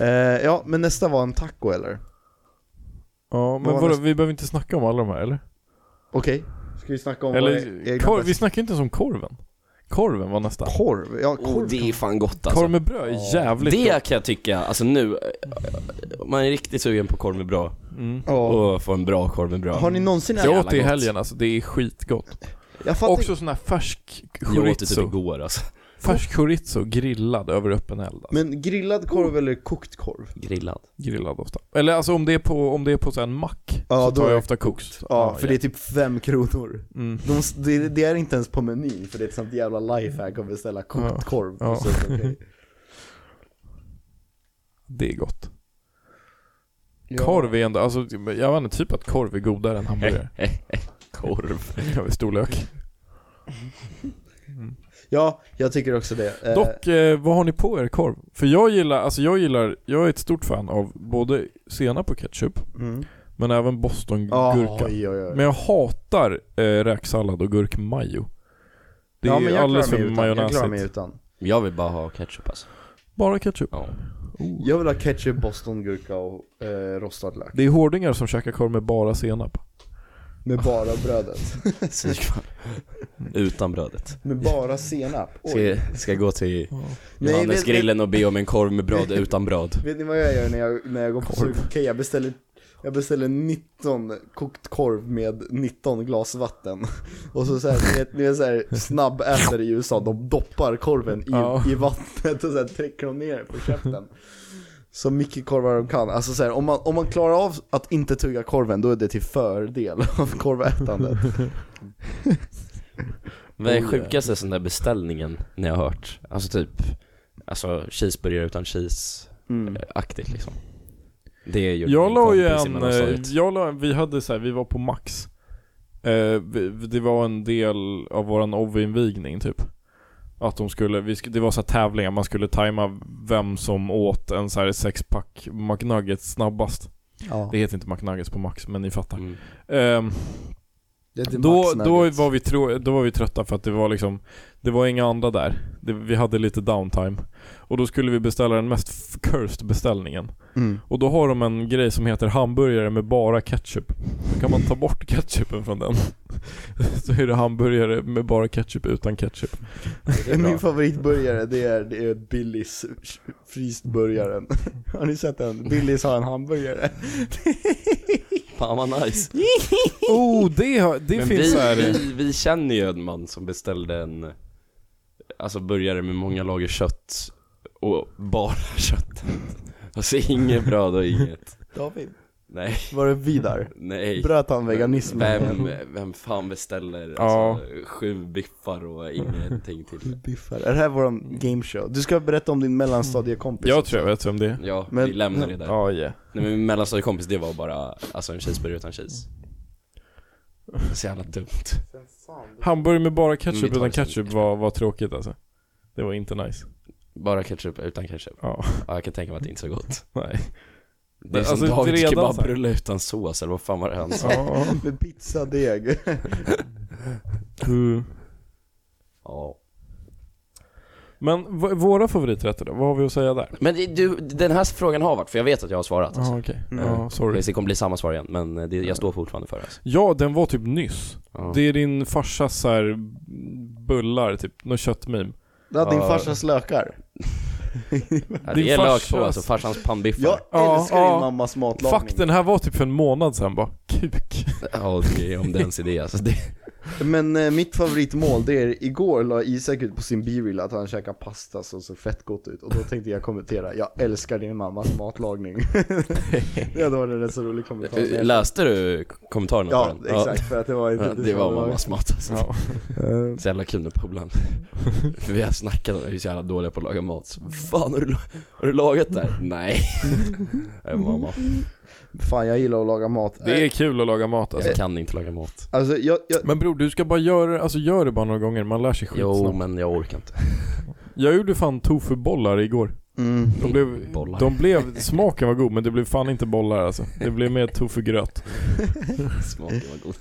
S1: Eh, ja, men nästa var en taco eller?
S2: ja men
S1: Vad var
S2: vadå,
S1: nästa?
S2: vi behöver inte snacka om alla de här eller?
S1: Okej, ska vi snacka om våra
S2: Eller,
S1: egna
S2: korv,
S1: bästa-
S2: vi snackar inte ens om korven. Korven var nästa.
S1: Korv, ja korv.
S3: Oh, det är fan gott alltså
S2: Korv med bröd är jävligt gott.
S3: Det kan jag tycka, alltså nu, eh, om man är riktigt sugen på korv med bra
S2: Mm.
S1: Ja.
S3: och få en bra korv med bra
S1: Har ni någonsin
S3: Ja.
S1: ätit?
S2: Jag
S3: jävla
S2: åt det i
S3: gott.
S2: helgen alltså, det är skitgott.
S1: Jag fattar inte.
S2: Också sån här färsk
S3: Jag åt det typ
S2: chorizo.
S3: igår alltså
S2: Färsk chorizo grillad över öppen eld. Alltså.
S1: Men grillad korv eller kokt korv?
S3: Grillad
S2: Grillad ofta. Eller alltså om det är på, om det är på så här en mack
S1: Ja,
S2: så
S1: då
S2: tar
S1: är
S2: jag
S1: det
S2: ofta koks.
S1: Ja, för det är typ fem kronor.
S2: Mm.
S1: De, s- det, det är inte ens på menyn för det är ett sånt jävla lifehack att beställa kokt
S2: Ja.
S1: korv.
S2: Ja.
S1: Så, okej.
S2: Det är gott. Korv är ändå, alltså jag vet inte, typ att korv är godare än hamburgare.
S3: Korv
S2: Över storlök.
S1: Ja, jag tycker också det. Eh,
S2: Dock, eh, vad har ni på er korv? För jag gillar, alltså jag gillar, jag är ett stort fan av både senap och ketchup,
S1: Mm.
S2: men även bostongurka.
S1: Ah, Ja, oj, oj, oj.
S2: Men jag hatar eh, räksallad och gurkmajo. Det
S1: ja,
S2: är
S1: men jag
S2: alldeles
S1: klarar
S2: för
S1: mig utan. Jag klarar mig
S2: majonnäsigt.
S1: utan.
S3: Jag vill bara ha ketchup alltså
S2: Bara ketchup.
S3: ja.
S1: Jag vill ha ketchup, bostongurka och eh, rostad lök.
S2: Det är hårdingar som käkar korv med bara senap.
S1: Med bara brödet.
S3: Fy fan. Utan brödet
S1: Med bara senap. Oj.
S3: ska, ska jag gå till
S1: Nej, vet- vet-
S3: Johannesgrillen och be om en korv med bröd utan bröd
S1: Vet ni vad jag gör när jag, när jag går på
S2: Korv.
S1: sug? Okej, jag beställer, jag beställer 19 kokt korv med 19 glas vatten. Och så såhär, ni vet, ni vet såhär snabbätare i USA, de doppar korven i,
S2: Ja.
S1: i vattnet och såhär trycker de ner på käften. Så mycket korvar de kan. Alltså så här, om, man, om man klarar av att inte tugga korven, då är det till fördel av korvätandet.
S3: Vad är
S2: Oj.
S3: sjukaste sån där beställningen ni har hört? Alltså typ, alltså cheeseburgare utan cheese-aktigt
S1: Mm.
S3: liksom Det är ju
S2: Jag
S3: min
S2: la ju
S3: kompis i
S2: en, eh,
S3: mellanstadiet.
S2: jag la, vi hade så här, vi var på Max. Eh, vi, det var en del av våran OV-invigning typ. Att de skulle, vi, sk- det var så här tävlingar, man skulle tajma vem som åt en så här sexpack McNuggets snabbast.
S1: Ja.
S2: Det heter inte McNuggets på Max, men ni fattar.
S3: Mm.
S2: Ehm,
S1: Det är till
S2: Då,
S1: Max
S2: då,
S1: Nuggets.
S2: var vi trå- då var vi trötta för att det var liksom Det var inga andra där det, Vi hade lite downtime Och då skulle vi beställa den mest f- cursed beställningen
S1: Mm.
S2: Och då har de en grej som heter hamburgare med bara ketchup Då kan man ta bort ketchupen från den Så är det hamburgare med bara ketchup utan ketchup
S1: Min favoritburgare det är, det är Billys fristburgaren. Har ni sett den? Billys har en hamburgare.
S3: Fan vad nice.
S2: Oh det, har- det
S3: Men
S2: finns
S3: vi,
S2: här
S3: vi, vi känner ju en man som beställde en, alltså burgare med många lager kött och bara kött. Alltså inget bröd och inget.
S1: David.
S3: Nej,
S1: Var det Vidar?
S3: nej.
S1: Bröt han veganismen?
S3: Vem, vem fan beställer alltså, sju biffar och ingenting till?
S1: Biffar. Är det här vår gameshow? Du ska berätta om din mellanstadiekompis.
S2: Jag tror jag vet vem det är
S3: Ja,
S1: Men-
S3: vi lämnar det där.
S2: Ja yeah.
S3: Nej men min mellanstadiekompis det var bara, alltså en cheeseburgare utan cheese. Så jävla dumt.
S2: Hamburgare med bara
S3: Mm, vi
S2: ketchup
S3: tar
S2: utan
S3: det sen.
S2: ketchup var, var tråkigt alltså Det var inte nice
S3: Bara ketchup utan ketchup.
S2: Ja,
S3: Ja, jag kan tänka mig att det inte är så gott.
S2: nej
S3: Det är
S2: Alltså,
S3: som Davids
S2: redan så här.
S3: kebabrulle utan sås, eller vad fan var det han sa?
S2: Ja.
S1: Med pizzadeg.
S2: Mm.
S3: Ja.
S2: Men v- våra favoriträtter då? Vad har vi att säga där?
S3: Men det- du, den här frågan har varit, för jag vet att jag har svarat alltså.
S2: Ja, okej.
S3: Mm.
S2: Ja, sorry.
S3: Det kommer bli samma svar igen, men eh, det, jag står fortfarande för det alltså.
S2: Ja, den var typ nyss.
S3: Ja.
S2: Det är din farsas så här bullar, typ någon köttmeme.
S1: Det var din
S3: Ja.
S1: farsas lökar.
S3: Ja,
S2: Din
S3: det är lök på
S2: farsas-
S3: alltså, farsans pannbiffar.
S1: Jag
S2: Ja,
S1: älskar
S2: ja.
S1: din mammas matlagning.
S2: Fuck, den här var typ för en månad sedan bara. Kuk.
S3: Ja, det är om det ens är det alltså. Det,
S1: Men eh, mitt favoritmål det är, igår la Isak ut på sin bireel att han käkade pasta som såg fett gott ut och då tänkte jag kommentera, jag älskar din mammas matlagning. det hade varit en rätt så rolig kommentar.
S3: Eh, läste du kommentarerna på
S1: Ja,
S3: den?
S1: exakt, för att det var
S3: Ja,
S1: inte
S3: det var mammas mat alltså.
S2: Ja.
S1: Eh,
S3: Så jävla kul med polaren. För vi har snackat om att vi är så jävla dåliga på att laga mat. Så, Fan, har du, la- har du lagat det här? Nej. Det är mamma.
S1: Fan jag gillar att laga mat.
S2: Det är
S1: Eh,
S2: kul att laga mat alltså.
S3: Jag kan inte laga mat.
S1: Alltså jag, jag,
S2: Men bror, du ska bara göra alltså gör det bara några gånger, man lär sig
S3: Jo,
S2: skitsnabbt.
S3: men jag orkar inte.
S2: Jag gjorde fan tofubollar igår.
S1: mm,
S2: De blev,
S3: Bollar.
S2: de blev, smaken var god men det blev fan inte bollar alltså. Det blev mer tofugröt.
S3: Smaken var god.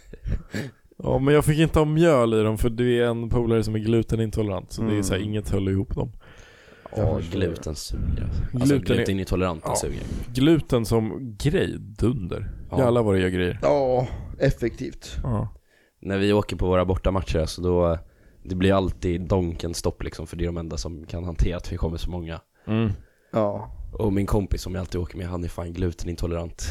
S2: Ja men jag fick inte ha mjöl i dem för det är en polare som är glutenintolerant så det är
S1: Mm.
S2: så här, inget höll ihop dem.
S3: Ja, gluten suger. Alltså,
S2: Gluten är-
S3: glutenintoleranten
S2: Ja.
S3: suger.
S2: Gluten som grej, dunder.
S3: Ja.
S2: Jävlar vad det gör grejer.
S1: ja, effektivt.
S2: Ja.
S3: När vi åker på våra bortamatcher alltså då, det blir alltid donken stopp liksom för det är de enda som kan hantera att vi kommer så många.
S2: Mm.
S1: Ja.
S3: Och min kompis som jag alltid åker med, han är fan glutenintolerant.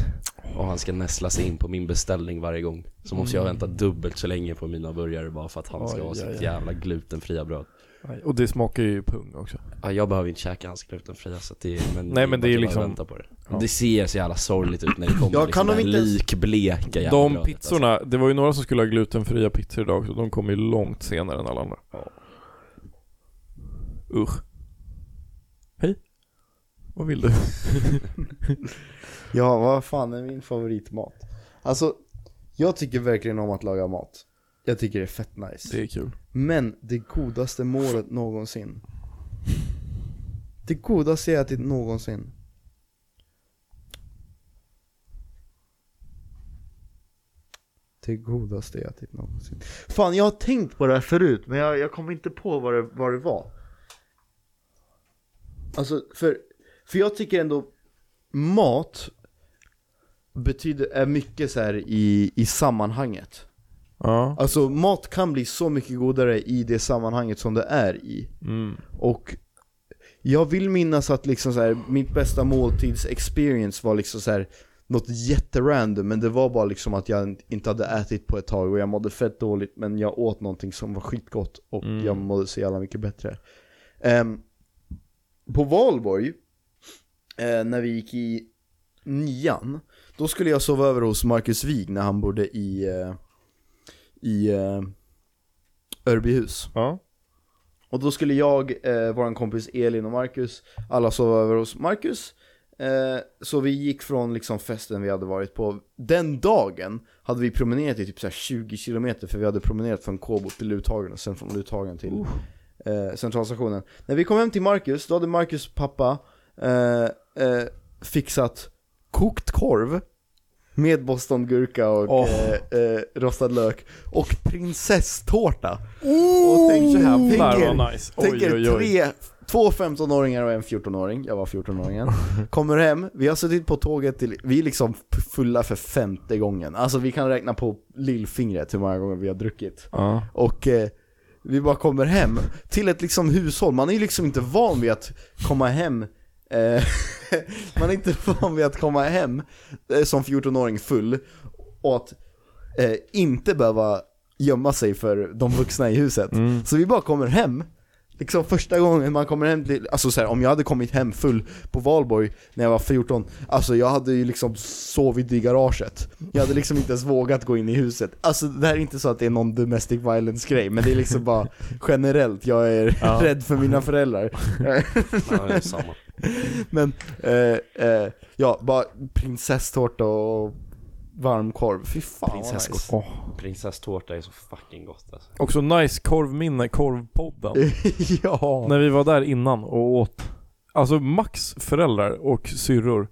S3: Och han ska näsla sig in på min beställning varje gång. Så måste jag vänta dubbelt så länge på mina burgare bara för att han ska
S2: Mm. Oj,
S3: ha
S2: oj,
S3: sitt
S2: oj.
S3: jävla glutenfria bröd.
S2: Och det smakar ju pung också.
S3: Ja, jag behöver inte käka hans glutenfria så att det är, men,
S2: Nej, men det är
S3: bara
S2: liksom-
S3: att vänta på det.
S2: Ja.
S3: Det ser så jävla sorgligt ut när det kommer
S1: Ja, kan
S3: liksom
S1: de
S3: det här
S1: inte ens-
S3: likbleka jävla
S2: De
S3: brödet, alltså.
S2: pizzorna, det var ju några som skulle ha glutenfria pizzor idag också. De kom ju långt senare än alla andra. Usch. Hej. Vad vill du?
S1: Ja, vad fan är min favoritmat? Alltså, jag tycker verkligen om att laga mat. Jag tycker det är fett nice.
S2: Det är kul.
S1: Men det godaste målet någonsin Det godaste jag ätit någonsin Det godaste jag ätit någonsin Fan jag har tänkt på det här förut men jag, jag kommer inte på vad det, vad det var Alltså för, för jag tycker ändå mat betyder, är mycket så här i, i sammanhanget
S2: Ja.
S1: Alltså mat kan bli så mycket godare i det sammanhanget som det är i.
S2: Mm.
S1: Och jag vill minnas att liksom så här, mitt bästa måltidsexperience var liksom så här något jätterandom, men det var bara liksom att jag inte hade ätit på ett tag och jag mådde fett dåligt men jag åt någonting som var skitgott och
S2: Mm.
S1: jag mådde så jävla mycket bättre. Ehm, på valborg, eh, när vi gick i nian, då skulle jag sova över hos Marcus Wig när han bodde i, eh, i eh, Örbyhus.
S2: Ja.
S1: Och då skulle jag, eh, vår kompis Elin och Marcus, alla sova över hos Marcus. Eh, så vi gick från liksom festen vi hade varit på. Den dagen hade vi promenerat i typ så här 20 kilometer för vi hade promenerat från Kåbo till Luthagen och sen från Luthagen till eh, centralstationen. När vi kom hem till Marcus, då hade Marcus pappa eh, eh, fixat kokt korv Med bostongurka och
S2: Åh.
S1: eh, eh, rostad lök. Och prinsesstårta. Och tänk så här,
S2: Det
S1: tänk er,
S2: var nice.
S1: tänk
S2: Oj, oj,
S1: er
S2: oj.
S1: tre, två 15-åringar och en 14-åring. Jag var 14-åringen. Kommer hem, vi har suttit på tåget till, vi är liksom fulla för femte gången. Alltså vi kan räkna på lillfingret hur många gånger vi har druckit.
S2: Ja.
S1: Och eh, vi bara kommer hem till ett liksom hushåll, man är ju liksom inte van vid att komma hem eh, Man är inte van vid att komma hem eh, som 14-åring full och att eh, inte behöva gömma sig för de vuxna i huset.
S3: Mm.
S1: Så vi bara kommer hem Liksom första gången man kommer hem till, alltså så här, om jag hade kommit hem full på valborg när jag var 14 Alltså jag hade ju liksom sovit i garaget Jag hade liksom inte ens vågat gå in i huset Alltså det här är inte så att det är någon domestic violence grej Men det är liksom bara generellt, jag är rädd för mina föräldrar
S3: Ja, det är samma.
S1: Men, eh, eh, ja, bara prinsesstårta och varmkorv, fy fan vad
S3: Prinsesskott.
S1: nice.
S3: Prinsesstårta är så fucking gott alltså.
S2: Också nice korvminne, korvpodden.
S1: Ja!
S2: När vi var där innan och åt Alltså Max föräldrar och syrror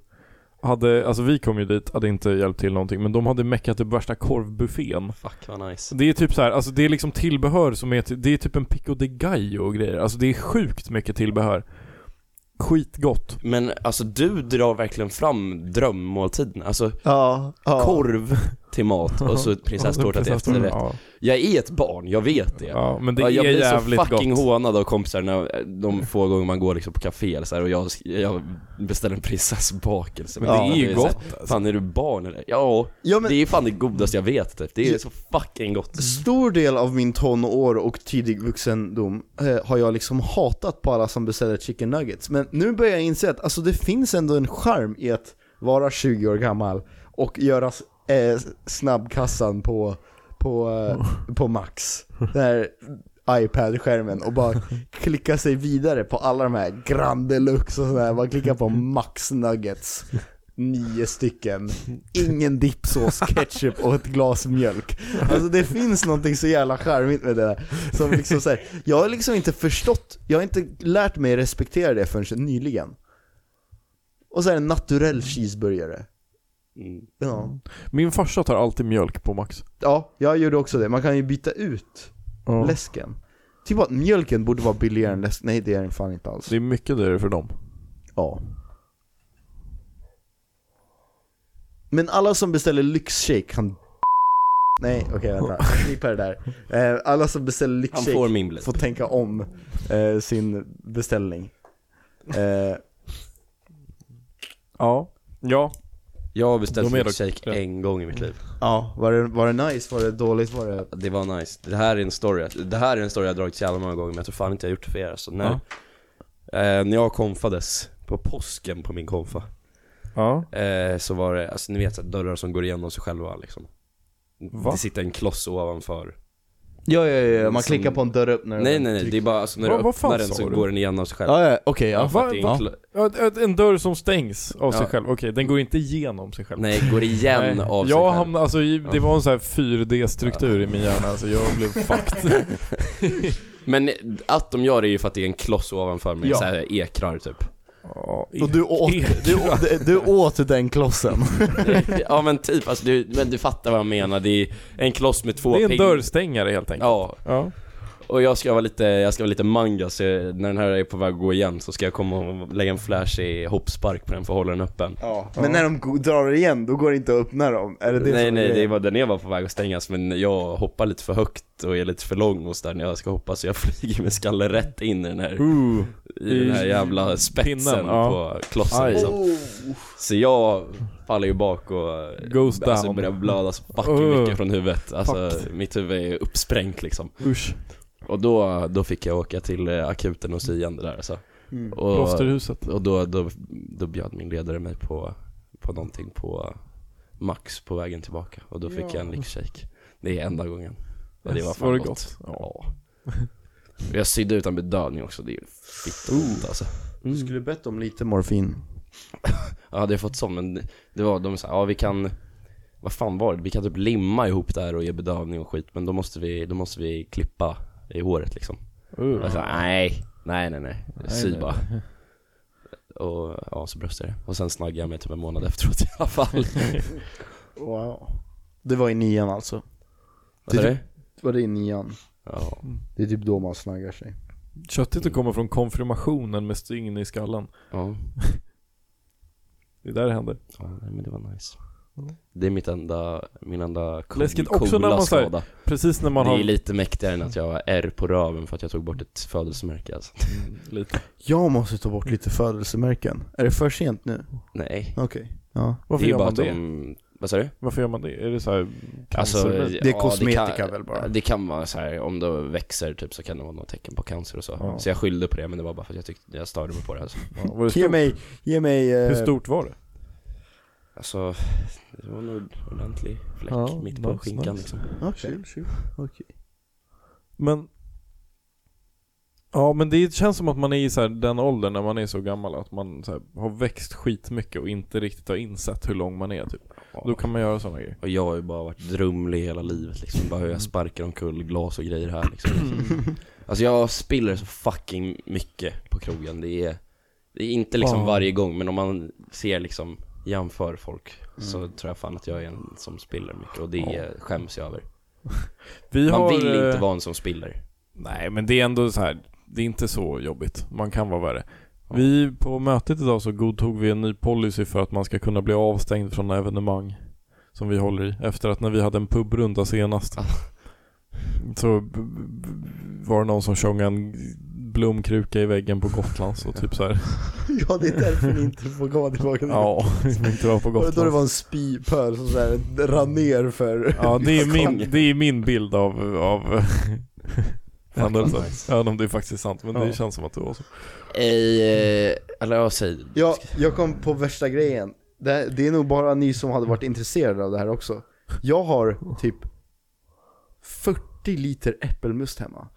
S2: hade, alltså vi kom ju dit, hade inte hjälpt till någonting men de hade meckat upp värsta korvbuffén.
S3: Fuck vad nice.
S2: Det är typ så här, alltså det är liksom tillbehör som är, till- det är typ en pico de gallo och grejer. Alltså det är sjukt mycket tillbehör. Skitgott.
S3: Men alltså du drar verkligen fram drömmåltiden. Alltså
S1: Ja, ja.
S3: korv till mat och så prinsesstårta till
S2: Prinsesstårta,
S3: efterrätt.
S2: Ja,
S3: Jag är ett barn, jag vet det.
S2: ja men det
S3: Ja, jag
S2: är
S3: blir
S2: jävligt
S3: så fucking
S2: gott.
S3: hånad av kompisar när de få gånger man går liksom på café eller så här, och jag, jag beställer en prinsessbakelse
S2: Men det
S3: Ja,
S2: är ju
S3: så här,
S2: gott. alltså.
S3: Fan är du barn eller? Ja,
S1: Ja, men-
S3: det är fan det godaste jag vet typ. Det är så fucking gott
S1: Stor del av min tonår och tidig vuxendom eh, har jag liksom hatat på alla som beställer chicken nuggets. Men nu börjar jag inse att alltså, det finns ändå en charm i att vara 20 år gammal och göra eh, snabbkassan på, på, eh, på Max. Den här iPad-skärmen och bara klicka sig vidare på alla de här Grand Deluxe och sådär. Bara klicka på Max Nuggets. Nio stycken, ingen dipsås, ketchup och ett glas mjölk. Alltså det finns någonting så jävla charmigt med det där. Som liksom så här, jag har liksom inte förstått, jag har inte lärt mig respektera det förrän nyligen. Och så är det en naturell cheeseburgare.
S3: Mm.
S1: Ja.
S2: Min farsa tar alltid mjölk på Max.
S1: ja, jag gjorde också det. Man kan ju byta ut
S2: Ja.
S1: läsken. Typ att mjölken borde vara billigare än läsk. Nej det är den fan inte alls.
S2: Det är mycket dyrare för dem.
S1: Ja. Men alla som beställer lyxshake kan Nej, okej vänta. Klippa det där. Eh, Alla som beställer
S3: Han
S1: lyxshake
S3: får min blick
S1: får tänka om eh, sin beställning. Eh,
S2: Ja. Ja.
S3: Jag har
S2: De är
S3: beställt
S2: dock-
S3: shake en gång i mitt liv
S1: ja, var det, var det nice? Var det dåligt? Var det...
S3: Det var nice, det här är en story, det här är en story jag har dragit så jävla många gånger men jag tror fan inte jag har gjort det för er alltså. när, eh, när jag konfades, på påsken på min konfa
S2: Ja.
S3: eh, Så var det, alltså ni vet så här, dörrar som går igenom sig själva liksom
S2: Va? Eh,
S3: Det sitter en kloss ovanför
S1: Ja, ja, ja,
S3: man klickar på
S1: en dörröppnare.
S3: Nej nej nej, det är bara alltså när
S2: Va-
S3: du
S2: vad fan
S3: öppnar den
S2: sa
S3: så
S2: du?
S3: går den igenom sig själv
S1: Ja, ja, okej, ja.
S3: För att det är en
S2: Va?
S3: klo-
S2: Ja, ett- En dörr som stängs av sig
S3: Ja.
S2: själv. Okej, den går inte igenom sig själv.
S3: Nej, går igen
S2: Nej,
S3: av sig
S2: jag
S3: själv.
S2: hamnade, alltså i- det var en sån här 4D-struktur i min hjärna, alltså jag blev fucked.
S3: Men att de gör det är ju för att det är en kloss ovanför mig,
S1: Ja.
S3: så här ekrar typ
S2: Ja,
S1: Och du åt, du, åt, du åt den klossen.
S3: Ja men typ, alltså du, men du fattar vad jag menar, det är en kloss med två
S2: det är en
S3: ping-
S2: dörrstängare helt enkelt.
S3: Ja,
S2: Ja.
S3: och jag ska vara lite, jag ska vara lite manga så jag, när den här är på väg att gå igen så ska jag komma och lägga en flashig hoppspark på den för att hålla den öppen
S1: Men när de go- drar igen, då går det inte att öppna dem. Är det det
S3: Nej
S1: som är
S3: nej, det
S1: grejen?
S3: var, den är bara på väg att stängas men jag hoppar lite för högt och är lite för lång och så där när jag ska hoppa så jag flyger med skallen rätt in i den här
S2: Ooh.
S3: I den här
S2: I
S3: jävla spetsen
S2: Mm. pinnen, ja.
S3: på klossen
S2: Aj.
S3: liksom. Så jag faller ju bak och
S2: Goes
S3: alltså,
S2: down.
S3: börjar blöda så fucking
S2: Uh,
S3: mycket från huvudet. Alltså mitt huvud är uppsprängt liksom.
S2: Usch,
S3: Och då, då fick jag åka till eh, akuten och syan det där alltså.
S2: Mm.
S3: Och,
S2: klosterhuset.
S3: och då, då, då bjöd min ledare mig på, på någonting på Max på vägen tillbaka. Och då fick jag en lyxshake. Det är enda gången. Och det var
S2: Yes,
S3: fan
S2: var det
S3: gott.
S2: gott?
S3: Ja. Och Jag sydde utan bedövning också, det är fitt ont alltså.
S1: Du skulle bett om lite morfin.
S3: Jag hade fått sån men det var, de sa ja vi kan Vad fan var det? Vi kan typ limma ihop det här och ge bedövning och skit Men då måste vi, då måste vi klippa i håret liksom
S2: Uh.
S3: Jag sa nej, nej nej nej, sy bara Och ja, så bröstade jag det. Och sen snaggade jag mig typ en månad efteråt i alla fall
S1: Wow. Det var i nian alltså.
S2: Typ.
S3: Vad är det?
S1: Var det i nian?
S3: Ja.
S1: Det är typ då man snaggar sig.
S2: Köttigt att komma från konfirmationen med stygn i skallen.
S3: Ja.
S2: Det är där det händer.
S3: ja, nej, men det var nice.
S1: Mm.
S3: Det är mitt enda, min enda cool,
S2: Läskigt också när
S3: coola
S2: man så här-
S3: skada.
S2: Precis när man har...
S3: Det är lite mäktigare än att jag har R på röven för att jag tog bort ett födelsemärke alltså.
S2: Mm, lite.
S1: Jag måste ta bort lite födelsemärken. Är det för sent nu?
S3: Nej.
S1: Okej. Ja.
S2: Varför
S3: det är
S2: gör
S3: bara
S2: man
S3: att
S2: det?
S3: de, vad sa du?
S2: Varför gör man det? Är det så här
S3: Alltså,
S2: cancer?
S3: ja,
S1: Det är kosmetika
S3: kan-
S1: väl bara?
S3: Det kan vara så här, om det växer typ så kan det vara något tecken på cancer och så.
S2: Ja.
S3: Så jag skyllde på det men det var bara för att jag tyckte, jag störde mig på det alltså.
S2: ja, var det
S1: Ge
S2: stort?
S1: mig, ge mig... eh,
S2: Hur stort var det?
S3: Alltså, det var nog en ordentlig fläck
S2: Ja,
S3: mitt på
S2: nice,
S3: skinkan
S2: nice.
S3: liksom.
S1: Okej. Okej.
S2: Men... Ja men det känns som att man är i så här, den åldern när man är så gammal att man så här, har växt skitmycket och inte riktigt har insett hur lång man är typ.
S3: Ja.
S2: Då kan man göra sådana grejer.
S3: Och jag har ju bara varit drumlig hela livet liksom, bara hur jag sparkar omkull glas och grejer här liksom Alltså jag spiller så fucking mycket på krogen, det är, det är inte liksom
S2: Fan.
S3: varje gång men om man ser liksom, jämför folk
S1: Mm.
S3: Så tror jag fan att jag är en som spiller mycket och det skäms jag över
S2: Vi
S3: Man
S2: har,
S3: vill inte
S2: eh,
S3: vara en som spiller
S2: Nej men det är ändå så här. det är inte så jobbigt. Man kan vara värre. Vi, på mötet idag så godtog vi en ny policy för att man ska kunna bli avstängd från evenemang som vi håller i. Efter att när vi hade en pubrunda senast
S3: Ah.
S2: så b- b- var det någon som tjongade en blomkruka i väggen på Gotland så typ så här.
S1: Ja, det är därför ni inte får komma tillbaka.
S2: Ja, som inte var på
S1: Var det då det
S2: Gotland.
S1: var en spypöl som såhär rann ner för...
S2: Ja, det är min, det är min bild av, av händelsen. Även om det faktiskt är sant, men det
S1: Ja.
S2: känns som att det var så.
S3: Ej, eh, eller jag säger
S1: Ja, jag kom på värsta grejen. Det, här- det är nog bara ni som hade varit intresserade av det här också. Jag har typ 40 liter äppelmust hemma.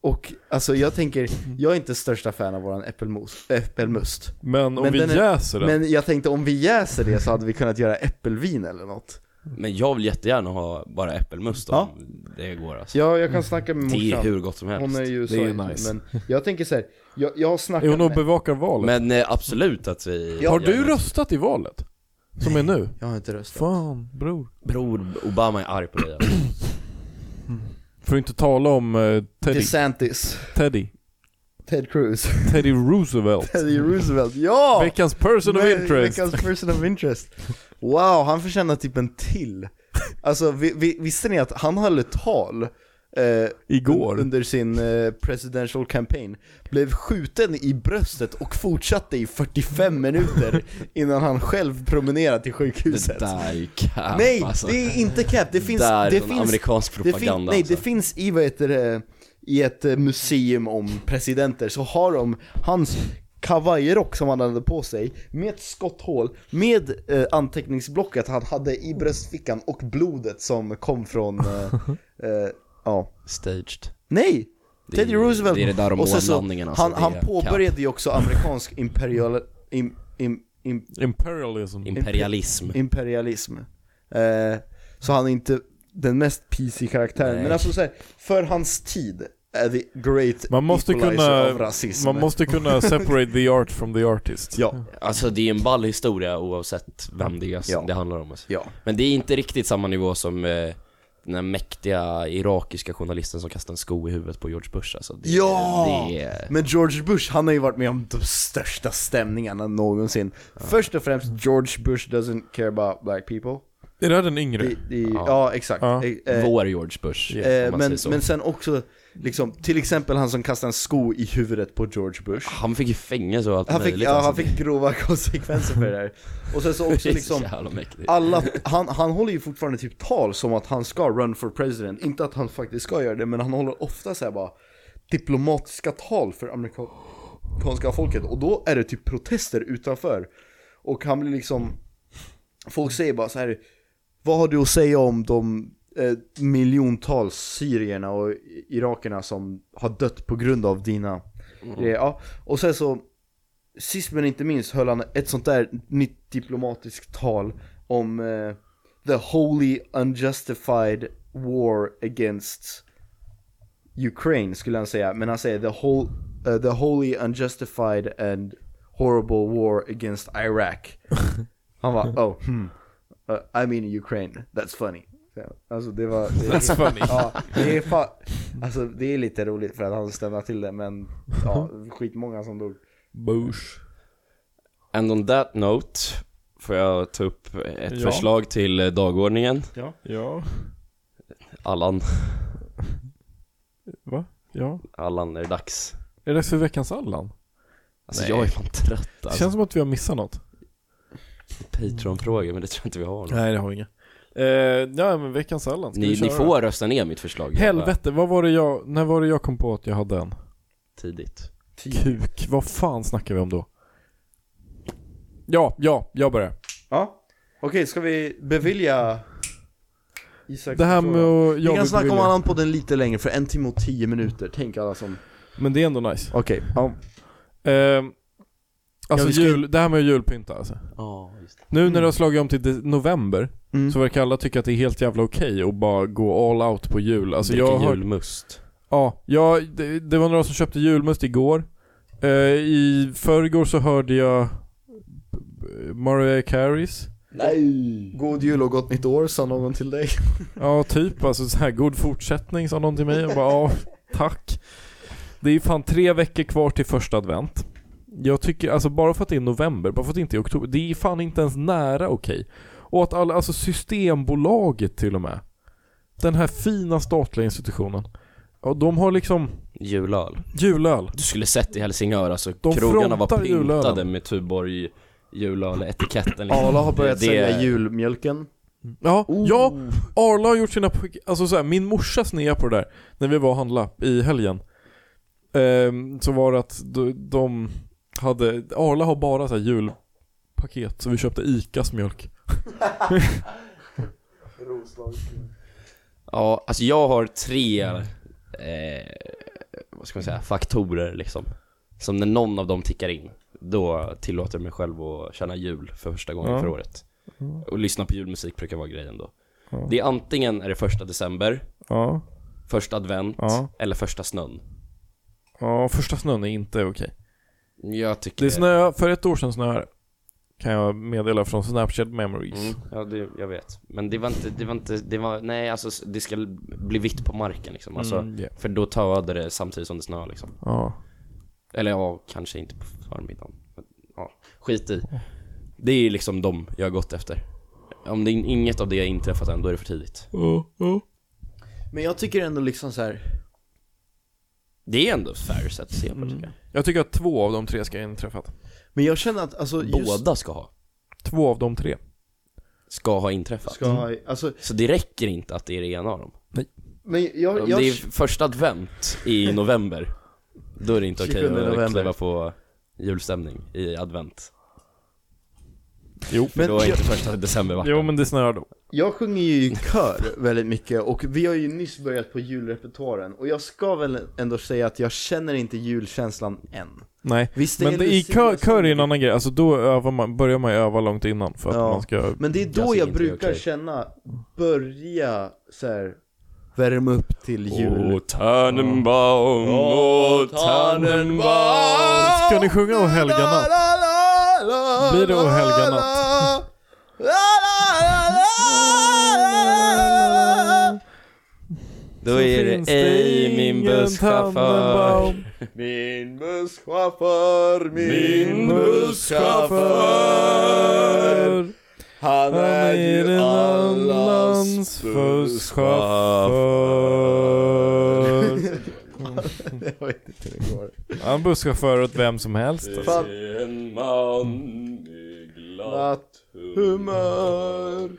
S1: Och alltså jag tänker, jag är inte största fan av våran äppelmos, äppelmust.
S2: Men om
S1: Men
S2: vi
S1: den är-
S2: jäser den.
S1: Men jag tänkte om vi jäser det så hade vi kunnat göra äppelvin eller något.
S3: Men jag vill jättegärna ha bara äppelmust om
S1: Ja.
S3: det går alltså
S1: Ja, jag kan snacka med
S3: Det är
S1: morsan.
S3: hur gott som helst
S1: Hon är ju
S2: Det är ju
S1: så
S2: nice.
S1: men jag tänker så här, jag, jag har snackat
S2: Är hon och
S1: med...
S2: bevakar valet?
S3: Men eh, absolut att vi
S2: har
S3: gör
S2: du
S3: något.
S2: röstat i valet? Som är nu?
S1: Jag har inte röstat.
S2: Fan, bror.
S3: Bror, Obama är arg på dig alltså.
S2: För att inte tala om eh, Teddy.
S1: DeSantis,
S2: Teddy.
S1: Ted Cruz,
S2: Teddy Roosevelt.
S1: Teddy Roosevelt, ja!
S2: Veckans person of
S1: Nej,
S2: interest.
S1: Veckans person of interest. Wow, han förtjänar typ en till. Alltså vi, vi, visste ni att han höll ett tal eh,
S2: Igår.
S1: un- under sin eh, presidential campaign, blev skjuten i bröstet och fortsatte i 45 minuter innan han själv promenerade till sjukhuset.
S3: där är ju cap
S1: Nej,
S3: alltså.
S1: det är inte cap, det finns,
S3: Där är
S1: det
S3: sån
S1: finns
S3: amerikansk
S1: det fin-
S3: propaganda
S1: nej,
S3: alltså.
S1: det finns i vad heter det, i ett eh, museum om presidenter så har de hans kavajrock som han hade på sig med ett skotthål, med eh, anteckningsblocket han hade i bröstfickan och blodet som kom från, eh, eh, ja,
S3: Staged
S1: nej!
S3: Det är-
S1: Teddy Roosevelt!
S3: det är det där om
S1: och sen så,
S3: månlandningen, alltså,
S1: han,
S3: det
S1: han
S3: är
S1: påbörjade ju också amerikansk imperial, im, im, im,
S2: Imperialism.
S3: imperialism
S1: imperialism. Eh, så han är inte den mest PC karaktären.
S3: Nej.
S1: Men alltså så här, för hans tid är the great
S2: Man måste,
S1: equalizer
S2: kunna,
S1: av rasism.
S2: man måste kunna separate the art from the artist.
S1: Ja,
S3: Alltså det är en ball historia oavsett vem det, är,
S1: Ja.
S3: det handlar om alltså.
S1: ja.
S3: Men det är inte riktigt samma nivå som eh, den här mäktiga irakiska journalisten som kastade en sko i huvudet på George Bush alltså. det,
S1: Ja!
S3: det är,
S1: Men George Bush, han har ju varit med om de största stämningarna någonsin. Först och främst, George Bush doesn't care about black people.
S2: Är det här den yngre?
S1: Det, det, ja. exakt.
S2: Ja.
S1: Eh, eh,
S3: Vår George Bush, om
S1: eh,
S3: man
S1: men,
S3: säger så.
S1: men sen också, liksom, till exempel han som kastade en sko i huvudet på George Bush.
S3: Han fick ju fängelse och allt
S1: Han fick,
S3: Ah, möjligt
S1: ja,
S3: alltså.
S1: han fick grova konsekvenser för det här. Och sen så
S3: Det är
S1: också
S3: så
S1: liksom,
S3: jävla mäktigt.
S1: alla, han, han håller ju fortfarande typ tal som att han ska run for president. Inte att han faktiskt ska göra det, men han håller ofta så här bara diplomatiska tal för amerikanska folket. Och då är det typ protester utanför. Och han blir liksom, folk säger bara så här, vad har du att säga om de eh, miljontals syrierna och i- irakerna som har dött på grund av dina grejer? Ja. Och sen så, sist men inte minst höll han ett sånt där nytt diplomatiskt tal om eh, the holy unjustified war against Ukraine skulle han säga, men han säger the, whole, eh, the holy unjustified and horrible war against Iraq. Han var oh, hmm. uh, I mean Ukraine, that's funny. Så, Alltså det var... Det,
S2: That's funny.
S1: Ja, det är fa- alltså det är lite roligt för att han stämde till det men ja, skitmånga som dog.
S2: Bush.
S3: And on that note får jag ta upp ett
S2: Ja.
S3: förslag till eh, dagordningen.
S2: Ja.
S3: Allan,
S2: Va? Ja.
S3: Allan är det dags?
S2: Är det dags för veckans Allan?
S3: Alltså
S2: Nej.
S3: jag är fan trött
S2: Det
S3: alltså.
S2: känns som att vi har missat något.
S3: Patreon-frågor, men det tror jag inte vi har.
S2: Nej, det har vi inga. Eh, ja, men veckans Allan. Ska vi
S3: Ni,
S2: köra?
S3: ni får rösta ner mitt förslag.
S2: Helvete, vad var det jag, när var det jag kom på att jag hade en?
S3: Tidigt.
S2: Kuk, vad fan snackar vi om då? Ja, ja, jag börjar.
S1: Ja, okej ska vi bevilja Isak
S2: Det här med att
S1: Vi
S2: jag
S1: kan
S2: vill
S1: snacka om
S2: bevilja-
S1: annan podden lite längre för en timme och tio minuter, tänk alla som...
S2: Men det är ändå nice.
S1: Okej, ja.
S2: Ehm, alltså
S1: vi ska-
S2: jul, det här med att julpynta alltså.
S3: Ja, just det.
S2: Nu när det har slagit om till de- november
S1: Mm.
S2: så verkar alla tycka att det är helt jävla okej att bara gå all out på jul. Alltså
S3: Dricka
S2: jag har,
S3: julmust.
S2: ja, jag, det, det var några som köpte julmust igår. Eh, I förrgår så hörde jag Mariah Careys.
S1: God jul och gott nytt år sa någon till dig.
S2: Ja, typ. Alltså så här, god fortsättning sa någon till mig. Jag bara, ja, tack. Det är ju fan tre veckor kvar till första advent. Jag tycker, alltså bara för att det är november, bara för att det inte är oktober, det är fan inte ens nära okej. Och att alla, alltså Systembolaget till och med. Den här fina statliga institutionen. Ja, de har liksom
S3: Julöl.
S2: julöl.
S3: Du skulle sett i Helsingör alltså,
S2: De
S3: krogarna var
S2: frontar
S3: pyntade
S2: julölen.
S3: med Tuborg julöl-etiketten liksom.
S1: Arla har börjat
S3: Det-
S1: sälja julmjölken.
S2: Ja, ja, Arla har gjort sina, alltså så här, min morsa snea på det där när vi var och handla i helgen. Ehm, så var det att de, de hade, Arla har bara så här julpaket så vi köpte ICAs mjölk.
S3: Ja, alltså jag har tre, eh, vad ska man säga, faktorer liksom. Som när någon av dem tickar in, då tillåter jag mig själv att känna jul för första gången
S2: Ja.
S3: för året. Och lyssna på julmusik brukar vara grejen då.
S2: Ja.
S3: Det är antingen är det första december,
S2: Ja,
S3: första advent
S2: Ja.
S3: eller första snön.
S2: ja första snön är inte okej.
S3: Jag tycker...
S2: Det snö, för ett år sedan snöade det, kan jag meddela från Snapchat memories.
S3: Mm, ja, det, jag vet. Men det var inte, det var inte, det var, nej alltså s- det ska bli vitt på marken liksom. Alltså,
S2: Mm, ja.
S3: För då töade det samtidigt som det snöar liksom.
S2: Ja.
S3: Eller ja, kanske inte på förmiddagen. Men, ja, skit i. Det är liksom de jag har gått efter. Om det, inget av det har inträffat än, då är det för tidigt.
S1: Men jag tycker ändå liksom så här.
S3: Det är ändå ett fair sätt att se på tycker jag.
S1: Mm.
S2: Jag tycker att två av de tre ska ha inträffat.
S1: men jag känner att alltså just...
S3: Båda ska ha,
S2: Två av de tre.
S3: ska ha inträffat.
S1: Ska ha, alltså,
S3: Så det räcker inte att det är det ena av dem.
S1: men jag,
S3: Om
S1: jag,
S3: det är första advent i november, då är det inte okej
S1: 27
S3: att
S1: november.
S3: kliva på julstämning i advent.
S2: Jo.
S3: För
S1: Men
S3: då är
S1: jag-
S3: inte första december vackert.
S2: Jo men det snöar då.
S1: jag sjunger ju i kör väldigt mycket och vi har ju nyss börjat på julrepertoaren och jag ska väl ändå säga att jag känner inte julkänslan än.
S2: Nej.
S1: Visst
S2: Men
S1: en
S2: det, i
S1: Lucia
S2: kör,
S1: som-
S2: kör är en annan grej, alltså då övar man, börjar man ju öva långt innan för att
S1: Ja.
S2: man ska
S1: Men det är då
S3: Jag
S1: jag,
S3: tycker inte det är
S1: brukar
S3: okej.
S1: känna, börja så här värma upp till jul.
S3: Åh Tannenbaum, åh Tannenbaum
S2: Ska ni sjunga och helga natt? Blir det och helga natt?
S3: Då är
S2: Finns
S3: det ej min
S2: ingen
S3: busschaufför
S2: tannenbaum.
S1: Min busschaufför,
S3: Min busschaufför.
S1: Han
S2: Han är en annans busschaufför
S1: Jag vet inte hur det går.
S2: Han busschaufför åt vem som helst alltså.
S1: Fan.
S3: En man i glatt
S1: Natt, humör.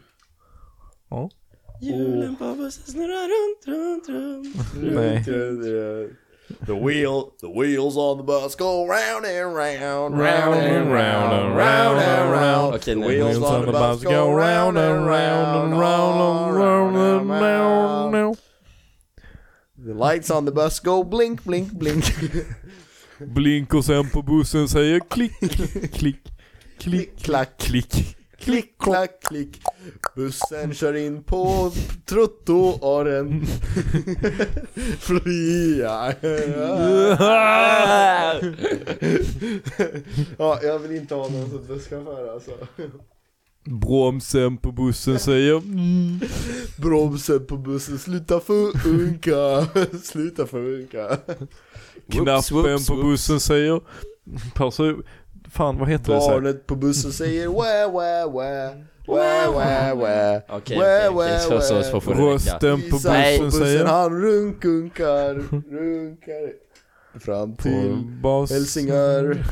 S2: Ja.
S3: Hjulen på bussen snurrar runt, runt, runt
S2: Nej.
S1: The wheel, the wheels on the bus go round and round,
S2: Round and round and round and round.
S3: Okej,
S1: The
S3: nej,
S1: wheels on the bus go round and round and round and round and round. The lights on the bus go blink, blink, blink.
S2: Blink och sen på bussen säger klick, klick, klick,
S1: Klick, klack,
S2: klick
S1: klick, klack, klick. Bussen kör in på trottoaren. Fria. Ja, jag vill inte ha någon som busschaufför alltså.
S2: Bromsen på bussen säger mm.
S1: Bromsen på bussen, sluta funka, sluta funka.
S3: Whoops,
S2: Knappen
S3: whoops,
S2: på
S3: whoops.
S2: bussen säger Persu Fan vad heter det? så här?
S1: Barnet på bussen säger wä wä wä, wä wä wä.
S3: Okej,
S1: Wä,
S3: okej,
S1: wä,
S3: okej, så, så,
S1: wä.
S3: så får det räcka.
S2: Rösten på
S1: Isak på
S2: bussen
S1: bussen
S2: säger
S1: han runkunkar, runkar fram
S2: På
S1: till
S2: bas...
S1: Hälsingör.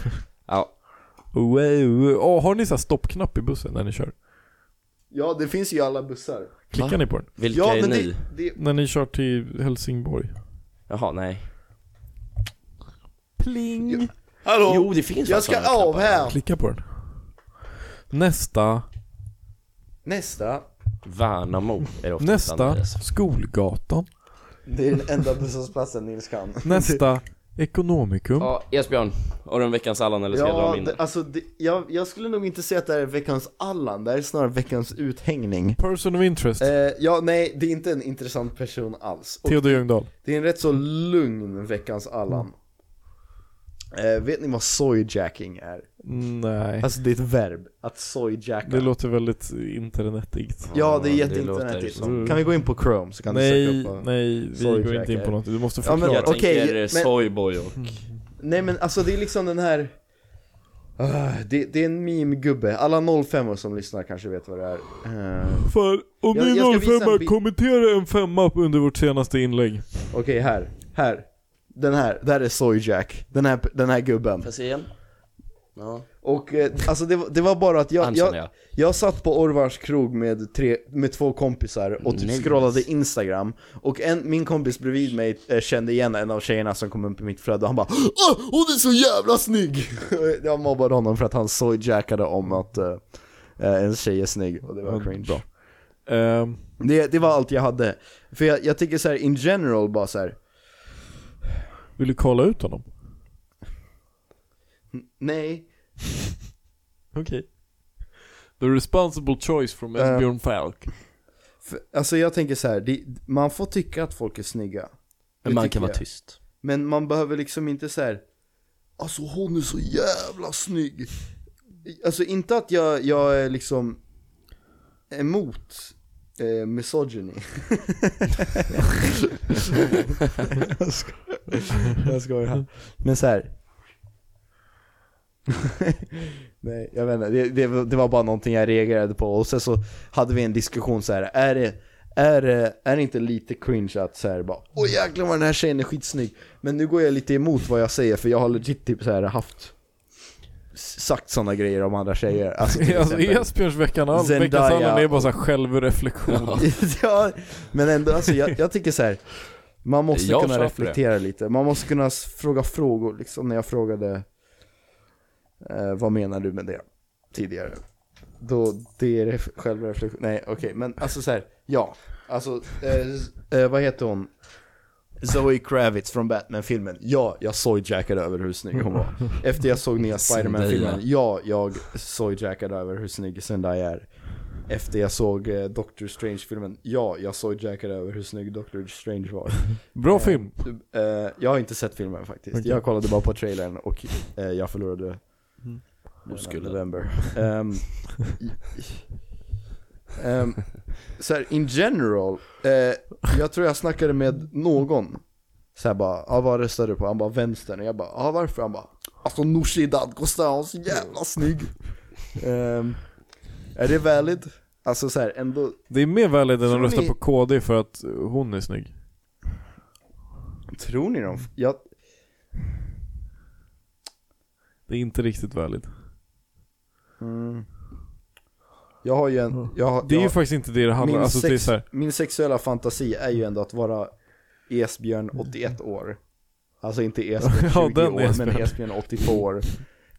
S3: Ja,
S2: Wow, wow. Åh, har ni så här stoppknapp i bussen när ni kör?
S1: Ja, det finns ju i alla bussar.
S2: Klickar
S3: Va?
S2: ni på den?
S3: vilka
S1: Ja,
S3: är
S1: men
S3: ni?
S1: det, det,
S2: När ni kör till Helsingborg?
S3: Jaha, nej.
S2: Pling!
S1: Hallå?
S3: Jo, det finns
S1: jag
S3: faktiskt
S1: ska
S3: sådana
S1: av
S3: knappar.
S1: här!
S2: Klicka på den. Nästa,
S1: Nästa.
S3: Värnamo är det ofta
S2: nästa,
S3: Andreas.
S2: Skolgatan.
S5: Det är den enda busshållplatsen Nils kan.
S2: Nästa, Ekonomikum.
S3: Ja, Esbjörn. Har du en veckans Allan eller ska jag dra
S1: Ja,
S3: min?
S1: det, alltså det, jag, jag skulle nog inte säga att det här är veckans Allan, det här är snarare veckans uthängning.
S2: Person of interest,
S1: Eh, ja, nej, det är inte en intressant person alls. Och
S2: Theodor Ljungdahl.
S1: det är en rätt så lugn veckans Allan. Eh, vet ni vad soyjacking är?
S2: Nej,
S1: Alltså det är ett verb, att
S2: det
S1: soyjacka.
S2: låter väldigt internetigt.
S1: Ja, det är
S3: Ja, det låter
S1: jätteinternetigt.
S3: som-
S1: Kan vi gå in på Chrome så kan du
S2: Nej,
S1: söka upp vad-
S2: nej, vi
S1: Sorry,
S2: går inte in
S1: Jack.
S2: på något. Du måste
S1: Ja, men-
S2: förklara.
S3: Jag
S1: Okej,
S3: tänker
S1: men- Mm.
S3: Soyboy och...
S1: Nej men alltså det är liksom den här Ah, det, det är en meme-gubbe, alla 05 som lyssnar kanske vet vad det är Eh,
S2: För om
S1: Jag- jag ska
S2: ni
S1: visa en
S2: 05
S1: bild.
S2: kommentera en femma under vårt senaste inlägg.
S1: Okej, här, här Den här, där är Soyjack, den här, den här gubben
S3: Får jag se igen? Ja.
S1: Och eh, alltså det, var- det var bara att jag,
S3: Han känner
S1: jag,
S3: jag.
S1: jag satt på Orvars krog med, tre, med två kompisar och typ
S3: Nice.
S1: scrollade Instagram Och en, min kompis bredvid mig eh, kände igen en av tjejerna som kom upp i mitt flöde och han bara Åh, hon är så jävla snygg! jag mobbade honom för att han soyjackade om att eh, eh, en tjej är snygg och det var
S2: Ja,
S1: cringe
S2: bra. Ehm,
S1: det, det var allt jag hade, för jag, jag tycker så här in general bara så här.
S2: vill du kolla ut honom?
S1: Nej,
S2: Okej. The responsible choice
S1: Ehm.
S2: from Esbjörn Falk.
S1: för, alltså jag tänker så här, det, man får tycka att folk är snygga Det tycker jag.
S3: tyst.
S1: Men man behöver liksom inte så här. Alltså hon är så jävla snygg. Alltså inte att jag, jag är liksom emot eh, misogyny. jag skojar. Jag skojar. Men så här. Nej, jag vet inte. Det, det, var- det var bara någonting jag reagerade på. Och sen så hade vi en diskussion så här. Är det, är, det- är det inte lite cringe att så här bara Åh jäklar vad den här tjejen är skitsnygg. Men nu går jag lite emot vad jag säger för jag har legit typ så här haft s- sagt sådana grejer om andra tjejer. Alltså, till
S2: Alltså
S1: exempel-
S2: Esbjörns veckan all,
S1: Zendaya.
S2: veckans allan är bara så här självreflektion.
S1: ja, men ändå alltså jag, jag tycker så här. Man måste
S3: Jag
S1: kunna
S3: köper
S1: reflektera lite, man måste kunna s- fråga frågor liksom när jag frågade eh, Vad menar du med det? Tidigare Då, det är ref- självreflektion, nej okej men alltså så här, ja Alltså, eh, s- eh, vad heter hon? Zoe Kravitz från Batman-filmen, ja jag soyjackade över hur snygg hon var Efter jag såg nya Spiderman-filmen, ja jag soyjackade över hur snygg Zendaya är efter jag såg eh, Doctor Strange-filmen, ja, jag såg Jackar över hur snygg Doctor Strange var.
S2: Bra film.
S1: Eh, jag har inte sett filmen faktiskt,
S2: Okej.
S1: jag kollade bara på trailern och eh, jag förlorade
S2: Mm.
S1: månaden
S3: Oskulden.
S1: november. Ehm, i- ehm, så här, in general, eh, jag tror jag snackade med någon så här bara, ah, vad röstar du på? Han bara vänstern, och jag bara, ah, varför? Han bara, alltså Nooshi Dadgostar, hon är så jävla snygg. Ehm, är det valid? Alltså så här, ändå
S2: Det är mer väldigt än
S1: Tror
S2: att rösta
S1: ni-
S2: på KD för att hon är snygg.
S1: Tror ni dem? Jag,
S2: Det är inte riktigt väldigt.
S1: jag har ju en... Jag, har-
S2: Det är ju
S1: jag,
S2: faktiskt inte det det handlar om.
S1: min,
S2: Alltså det är
S1: sex,
S2: så här,
S1: min sexuella fantasi är ju ändå att vara Esbjörn 81 år. Alltså inte Esbjörn 20
S2: Ja, den
S1: år, men
S2: Esbjörn.
S1: Esbjörn 82 år.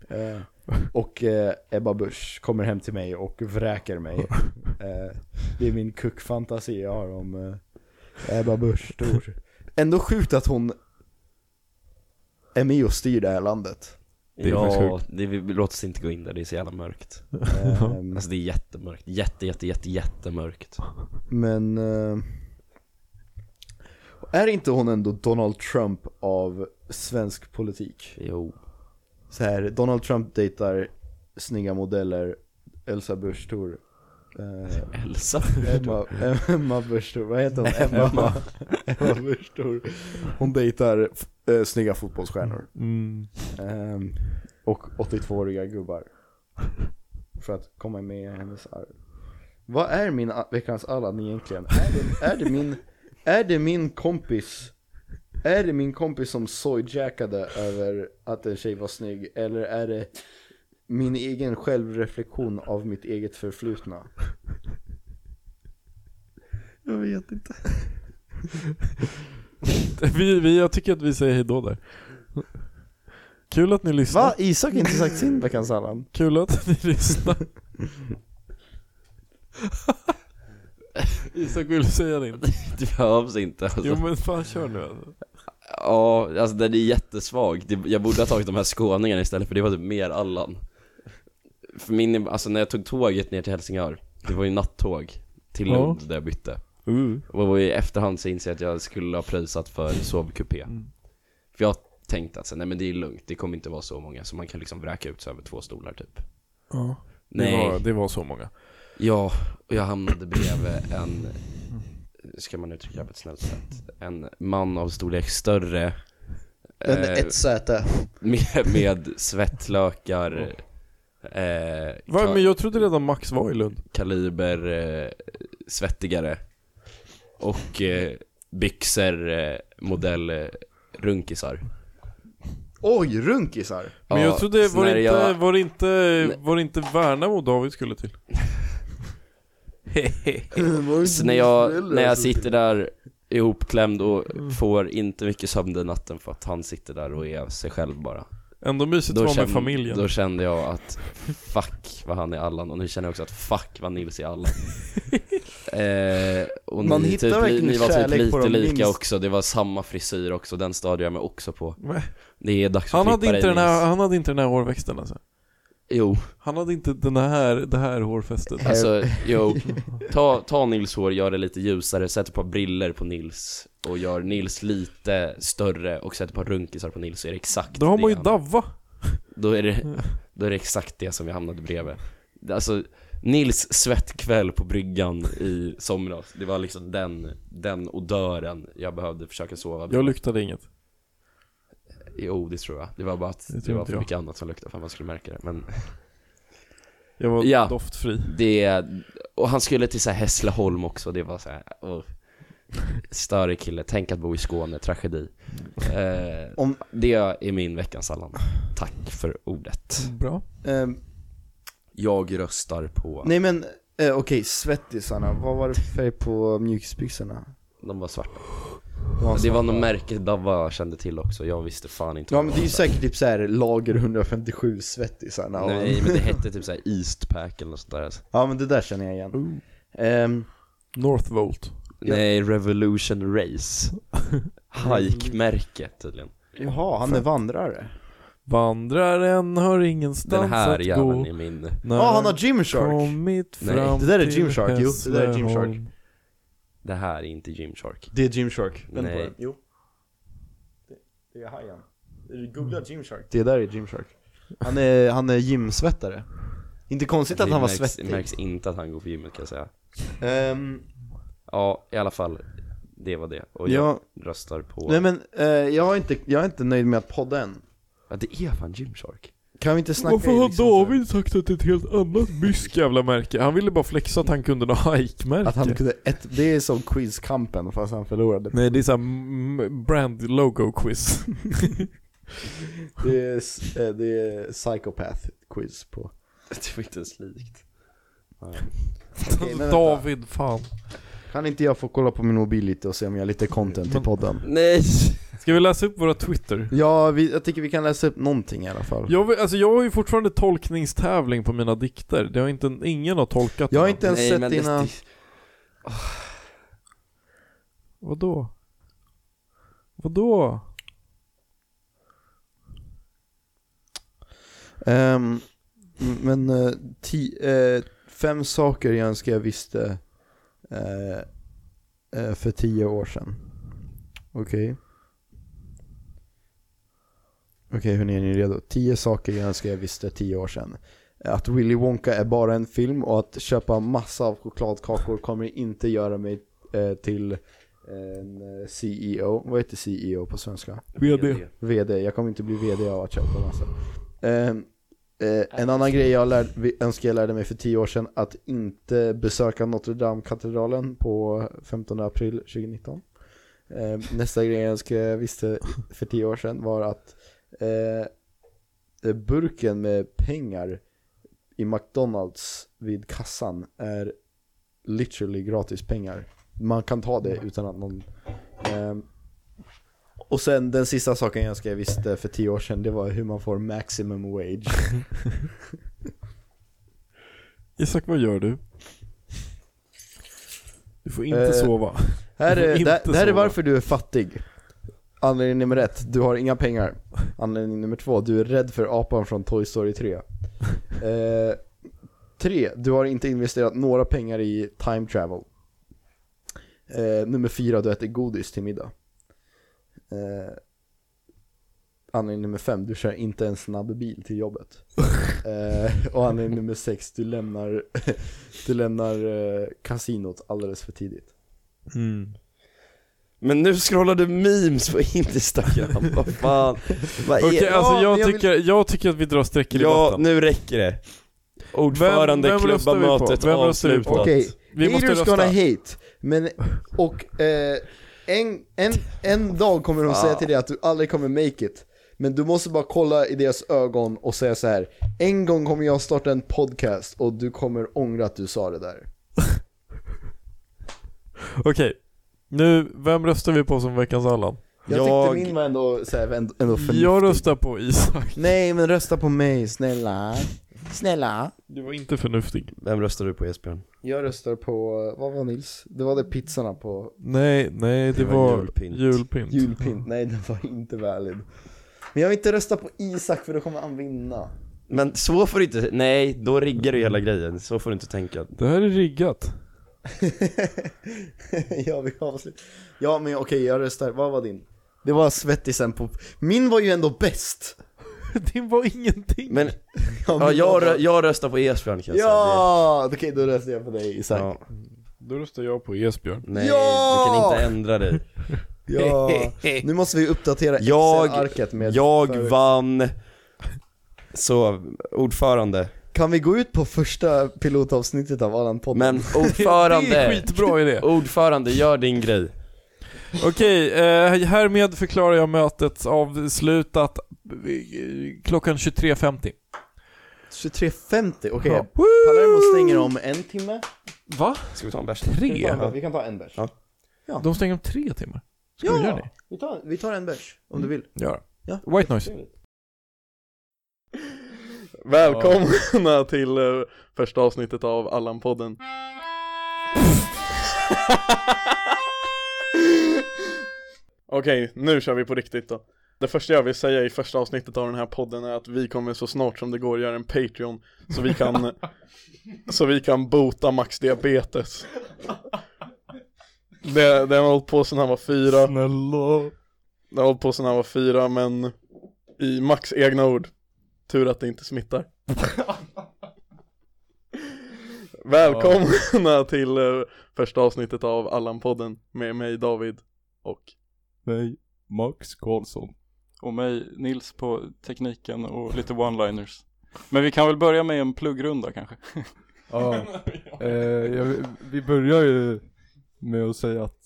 S1: Eh, och eh, Ebba Busch kommer hem till mig och vräker mig. Eh, det är min kuckfantasi jag har om eh, Ebba Busch. Stor. Ändå sjukt att hon är med och styr det här landet.
S2: Det är faktiskt
S3: ja,
S2: sjukt.
S3: det, vi, låt oss inte gå in där, det är så jävla mörkt.
S1: Ehm,
S3: Alltså det är jättemörkt. Jätte, jätte, jätte, jättemörkt.
S1: Men... eh, är inte hon ändå Donald Trump av svensk politik?
S3: Jo.
S1: Så här, Donald Trump dejtar snygga modeller, Elsa Busch Thor Eh,
S3: Elsa.
S1: Emma, Emma Burstor, vad heter hon? Emma,
S3: Emma.
S1: Emma Burstor. Hon dejtar eh, snygga fotbollsstjärnor.
S2: Mm.
S1: Ehm, och 82-åriga gubbar. För att komma med i hennes arv. Vad är min a- veckans Allan egentligen? Är det, är det, min, är det min kompis? Är det min kompis som sojjackade över att en tjej var snygg? Eller är det min egen självreflektion av mitt eget förflutna?
S3: Jag vet inte.
S2: Vi, vi, jag tycker att vi säger hejdå där. Kul att ni lyssnar.
S1: Va? Isak har inte sagt sin veckans Allan?
S2: Kul att ni lyssnar. Isak, vill du säga din?
S3: Det behövs inte alltså.
S2: Jo men fan kör nu alltså.
S3: Ja, alltså den är jättesvag. Det- Jag borde ha tagit de här skåningarna istället för det var typ mer Allan. För min, alltså när jag tog tåget ner till Helsingör, det var ju nattåg till
S2: Ja.
S3: Lund där jag bytte.
S2: Uh.
S3: Och det var ju i efterhand så inser jag att jag skulle ha pröjsat för sovkupé.
S2: Mm.
S3: För jag tänkte att så, nej men det är lugnt, det kommer inte vara så många, så man kan liksom vräka ut sig över två stolar typ.
S2: Ja.
S3: Nej.
S2: Det, var, det var så många.
S3: Ja, och jag hamnade bredvid en, ska man uttrycka det på ett snällt sätt, en man av storlek större
S1: En
S3: eh,
S1: ett säte.
S3: med, med svettlökar, eh,
S2: Va,
S3: ka-
S2: men jag trodde redan Max var i Lund.
S3: kaliber, eh, svettigare och eh, byxor, eh, modell, eh, runkisar.
S1: Oj, runkisar!
S2: Men jag trodde, var det,
S3: snärja-
S2: inte, var, det inte,
S3: Nej.
S2: var det inte Värnamo David skulle till?
S3: Så när jag, när jag sitter där ihopklämd och
S2: Mm.
S3: får inte mycket sömn den natten för att han sitter där och är sig själv bara.
S2: Ändå mysigt att vara Typ med familjen.
S3: då kände jag att fuck vad han är Allan och nu känner jag också att fuck vad Nils är Allan. eh, och
S1: Man
S3: ni,
S1: hittar
S3: typ, ni,
S1: verkligen
S3: ni var typ
S1: kärlek på
S3: lite
S1: de
S3: lika
S1: minst-
S3: också, det var samma frisyr också, den störde jag mig också på.
S2: Nej.
S3: Det är dags att
S2: Han hade,
S3: klippa
S2: inte
S3: dig,
S2: den här,
S3: Nils.
S2: han hade inte den här hårväxten alltså.
S3: Jo,
S2: Han hade inte den här, det här hårfästet.
S1: Eh.
S3: alltså jo. Ta, ta Nils hår, gör det lite ljusare, sätt ett par briller på Nils och gör Nils lite större och sätt ett par runkisar på Nils så är det exakt
S2: Då har man
S3: det
S2: ju
S3: han-
S2: Davva.
S3: Då är,
S2: Mm.
S3: det, då är det exakt det som vi hamnade bredvid. Alltså, Nils svettkväll på bryggan i somras, det var liksom den, den odören jag behövde försöka sova med.
S2: Jag luktade inget.
S3: Jo, det tror jag. Det var bara att
S2: Det
S3: det,
S2: tror
S3: var
S2: inte
S3: för
S2: jag.
S3: mycket annat som luktade för att man skulle märka det. Men
S2: Jag var
S3: Ja.
S2: doftfri.
S3: det, och han skulle till så här Hässleholm också, det var så här, oh. Större kille, tänk att bo i Skåne, tragedi. Eh,
S1: Om-
S3: Det är min veckans Allan. Tack för ordet.
S2: Bra.
S1: Ehm,
S3: Jag röstar på,
S1: nej men, eh, okej, svettisarna. Vad var det för färg på mjukisbyxorna?
S3: de var svarta.
S1: De var
S3: Det var
S1: svarta.
S3: något märke Dava kände till också, jag visste fan inte
S1: Alltså, Ja
S3: vad
S1: men
S3: var.
S1: det är ju säkert typ såhär lager 157 svettisarna. och-
S3: Nej men det hette typ såhär Eastpack eller något sånt där alltså.
S1: Ja men det där känner jag igen.
S2: Ooh.
S1: Ehm,
S2: Northvolt.
S3: Nej, Revolution Race Hike-märke tydligen
S1: jaha, han är vandrare.
S2: Vandraren har ingenstans
S3: Den här
S2: att gå.
S3: jäveln är min
S2: När
S1: Ja, han har Gymshark!
S2: kommit
S3: Nej.
S2: fram
S1: Det där är
S2: till
S1: Gymshark, jo, det där är
S2: Hässleholm.
S1: Gymshark.
S3: Det här är inte Gymshark
S1: Det är Gymshark.
S3: Vänd på Nej. den.
S1: Jo. Det, är hajen. Googla Gymshark. Det där är Gymshark. Han är, han är gymsvettare. Inte konstigt att han var
S3: märks,
S1: svettig.
S3: märks inte att han går på gymmet kan jag säga
S1: Ehm,
S3: Ja, i alla fall Det var det, och jag
S1: ja,
S3: röstar på
S1: nej men eh, jag, är inte, jag är inte nöjd med att podda än.
S3: Ja det är fan Gymshark
S1: Kan vi inte snacka
S2: Varför
S1: i
S2: har
S1: liksom så här-
S2: David sagt att det är ett helt annat myskt jävla märke? Han ville bara flexa att han kunde ha hike-märke.
S1: Att han kunde ett, det är som quizkampen fast han förlorade.
S2: Nej det är såhär mm, brand logo quiz.
S1: Det är, s- eh, det är psychopath quiz på.
S3: Det var inte ens likt
S1: Okej, men vänta.
S2: David fan.
S1: Kan inte jag få kolla på min mobil lite och se om jag har lite content till
S2: Men-
S1: podden?
S3: Nej!
S2: Ska vi läsa upp våra Twitter?
S1: Ja, vi, jag tycker vi kan läsa upp någonting i alla fall.
S2: Jag, vill, alltså jag har ju fortfarande tolkningstävling på mina dikter. Det har inte, ingen har tolkat
S1: Jag har
S2: dem.
S1: inte ens
S3: Nej, men
S1: sett
S3: det-
S1: dina...
S3: det-
S2: Vadå? Vadå?
S1: Ehm, mm, men eh, ti, eh, fem saker jag önskar jag visste eh, eh, för tio år sedan. Okej. Okej, hörni, är ni redo? Tio saker jag önskar jag visste tio år sedan. att Willy Wonka är bara en film och att köpa massa av chokladkakor kommer inte göra mig eh, till en eh, CEO. Vad heter CEO på svenska?
S2: VD.
S1: VD, jag kommer inte bli VD av att köpa massa. Ehm, eh, en annan grej jag lär, vi- önskar jag lärde mig för 10 år sedan, att inte besöka Notre Dame-katedralen på 15 april 2019. Ehm, nästa grej jag önskar jag visste för 10 år sedan var att eh, burken med pengar i McDonalds vid kassan är literally gratis pengar. Man kan ta det utan att någon... ehm, och sen den sista saken jag önskar jag visste för tio år sedan, det var hur man får maximum wage.
S2: Isak, vad gör du? Du får inte
S1: Eh,
S2: sova.
S1: Här
S2: Du får
S1: är,
S2: inte
S1: det, det här är
S2: sova.
S1: varför du är fattig. Anledning nummer ett, du har inga pengar. Anledning nummer två, du är rädd för apan från Toy Story 3. Eh, tre, du har inte investerat några pengar i time travel. Eh, nummer fyra, du äter godis till middag. Eh, anledning nummer fem, du kör inte en snabb bil till jobbet. Eh, och anledning nummer sex, du lämnar, du lämnar eh, kasinot alldeles för tidigt.
S2: Mm.
S3: Men nu scrollar du memes på Instagram, vad fan? Vad är
S2: Okej,
S3: det?
S2: alltså
S1: Ja,
S2: jag,
S1: men jag vill-
S2: tycker, jag tycker att vi drar streck i
S3: Ja,
S2: debatten.
S3: nu räcker det. Ordförande
S2: vem röstar vi på?
S3: klubbamötet
S2: Vem röstar vi på?
S3: avslutat.
S1: Okej,
S2: Vi måste
S1: haters
S2: rösta.
S1: gonna hate. Men, och eh, en, en, en dag kommer de säga till dig att du aldrig kommer make it. Men du måste bara kolla i deras ögon och säga så här. En gång kommer jag starta en podcast och du kommer ångra att du sa det där.
S2: Okej. Nu, vem röstar vi på som veckans Allan?
S1: Jag,
S3: Jag-
S1: tyckte min var ändå, så här, ändå, ändå förnuftig.
S2: Jag röstar på Isak.
S1: Nej men rösta på mig, snälla. Snälla.
S2: Du var inte förnuftig.
S3: Vem röstar du på Esbjörn?
S1: Jag röstar på, vad var Nils? Det var det pizzorna på
S2: Nej, nej, det,
S3: Det var
S2: var
S3: julpynt.
S2: julpynt.
S1: julpynt. Nej den var inte valid. Men jag vill inte rösta på Isak för då kommer han vinna.
S3: Men så får du inte, nej, då riggar du hela grejen. Så får du inte tänka.
S2: Det här är riggat.
S1: ja, vi avslutar. Ja, men okej, jag röstar. Vad var din? Det var svettisen på... Min var ju ändå bäst!
S2: det var ingenting.
S3: Men, ja,
S1: min
S3: jag,
S1: var-
S3: rö- jag röstar på Esbjörn kan jag säga.
S1: Ja! Okej, då röstar jag på dig
S3: Det-
S1: Isak.
S3: Ja,
S2: Då röstar jag på Esbjörn.
S3: nej,
S1: Ja!
S3: du kan inte ändra dig.
S1: Ja. Nu måste vi uppdatera
S3: Jag-
S1: Excel-arket med...
S3: Jag
S1: för-
S3: vann, så ordförande.
S1: Kan vi gå ut på första pilotavsnittet av Allan-podden?
S3: Men
S2: Det är
S3: ordförande,
S2: skitbra idé.
S3: Oh. ordförande gör din grej.
S2: Okej, eh, härmed förklarar jag mötet avslutat eh, klockan 23.50.
S1: 23.50, okej.
S2: Ja.
S1: Palermo stänger om en timme.
S2: Va?
S3: Ska vi ta en bärs?
S1: Vi kan ta en-
S2: Tre?
S1: Vi kan ta en bärs.
S3: Ja.
S2: De stänger om tre timmar. Skojar
S1: Ja.
S2: ni?
S1: Vi tar, vi tar en bärs, om du vill.
S2: Ja.
S1: Ja.
S2: White noise.
S6: Välkomna till eh, första avsnittet av Allan-podden. Okej, nu kör vi på riktigt då. Det första jag vill säga i första avsnittet av den här podden är att vi kommer så snart som det går göra en Patreon så vi kan, så vi kan bota Max diabetes. Det, den har hållit på sedan han var fyra.
S2: Snälla.
S6: Den har hållit på sedan han var fyra men i Max egna ord, tur att det inte smittar. Välkomna till eh, första avsnittet av Allan-podden med mig David och
S2: Nej, Max Karlsson.
S6: och mig Nils på tekniken och lite one-liners. Men vi kan väl börja med en pluggrunda kanske?
S7: Ja, eh, jag, vi börjar ju med att säga att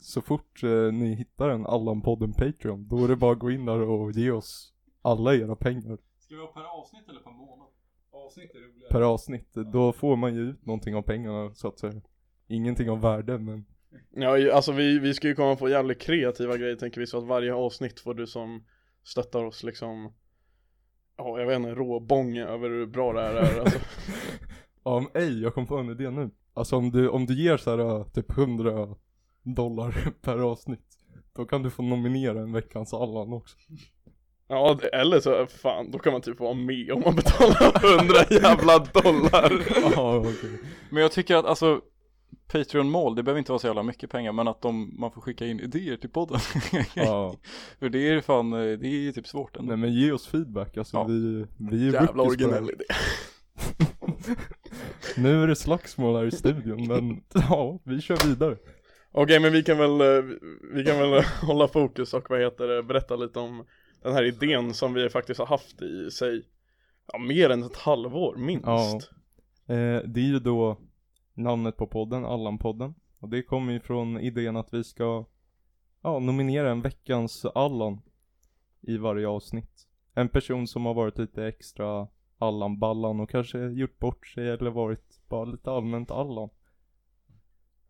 S7: så fort eh, ni hittar en Allan-podden Patreon, då är det bara att gå in där och ge oss alla era pengar
S6: Ska vi ha per avsnitt eller per månad? Avsnitt är roligare.
S7: per avsnitt. Då får man ju ut någonting av pengarna så att säga. Ingenting av värde men
S6: Ja, ju- alltså vi, vi ska ju komma på jävligt kreativa grejer tänker vi så att varje avsnitt får du som stöttar oss liksom Ja, jag vet inte, råbånge över hur bra det här är alltså.
S7: ja, om ej, jag kom på en idé nu. Alltså om du, om du ger så här eh, typ 100 dollar per avsnitt, då kan du få nominera en veckans Allan också.
S6: Ja, det- eller så, fan, då kan man typ vara med om man betalar 100 jävla dollar
S7: Ja, okej.
S8: Men jag tycker att alltså Patreon-mål, det behöver inte vara så jävla mycket pengar men att de, man får skicka in idéer till podden.
S7: Ja.
S8: För det är ju fan, eh, det är ju typ svårt ändå.
S7: Nej men ge oss feedback, alltså
S8: Ja.
S7: vi, vi är
S6: Jävla
S7: rookies på det här.
S6: originell idé
S7: Nu är det slagsmål här i studion men ja, vi kör vidare.
S6: Okej men vi kan väl, eh, vi kan väl hålla fokus och vad heter det, berätta lite om den här idén som vi faktiskt har haft i sig ja, mer än ett halvår minst.
S7: Ja. Eh, det är ju då namnet på podden, Allan-podden. Och det kommer ju från idén att vi ska ja, nominera en veckans Allan i varje avsnitt. En person som har varit lite extra Allan-ballan och kanske gjort bort sig eller varit bara lite allmänt Allan.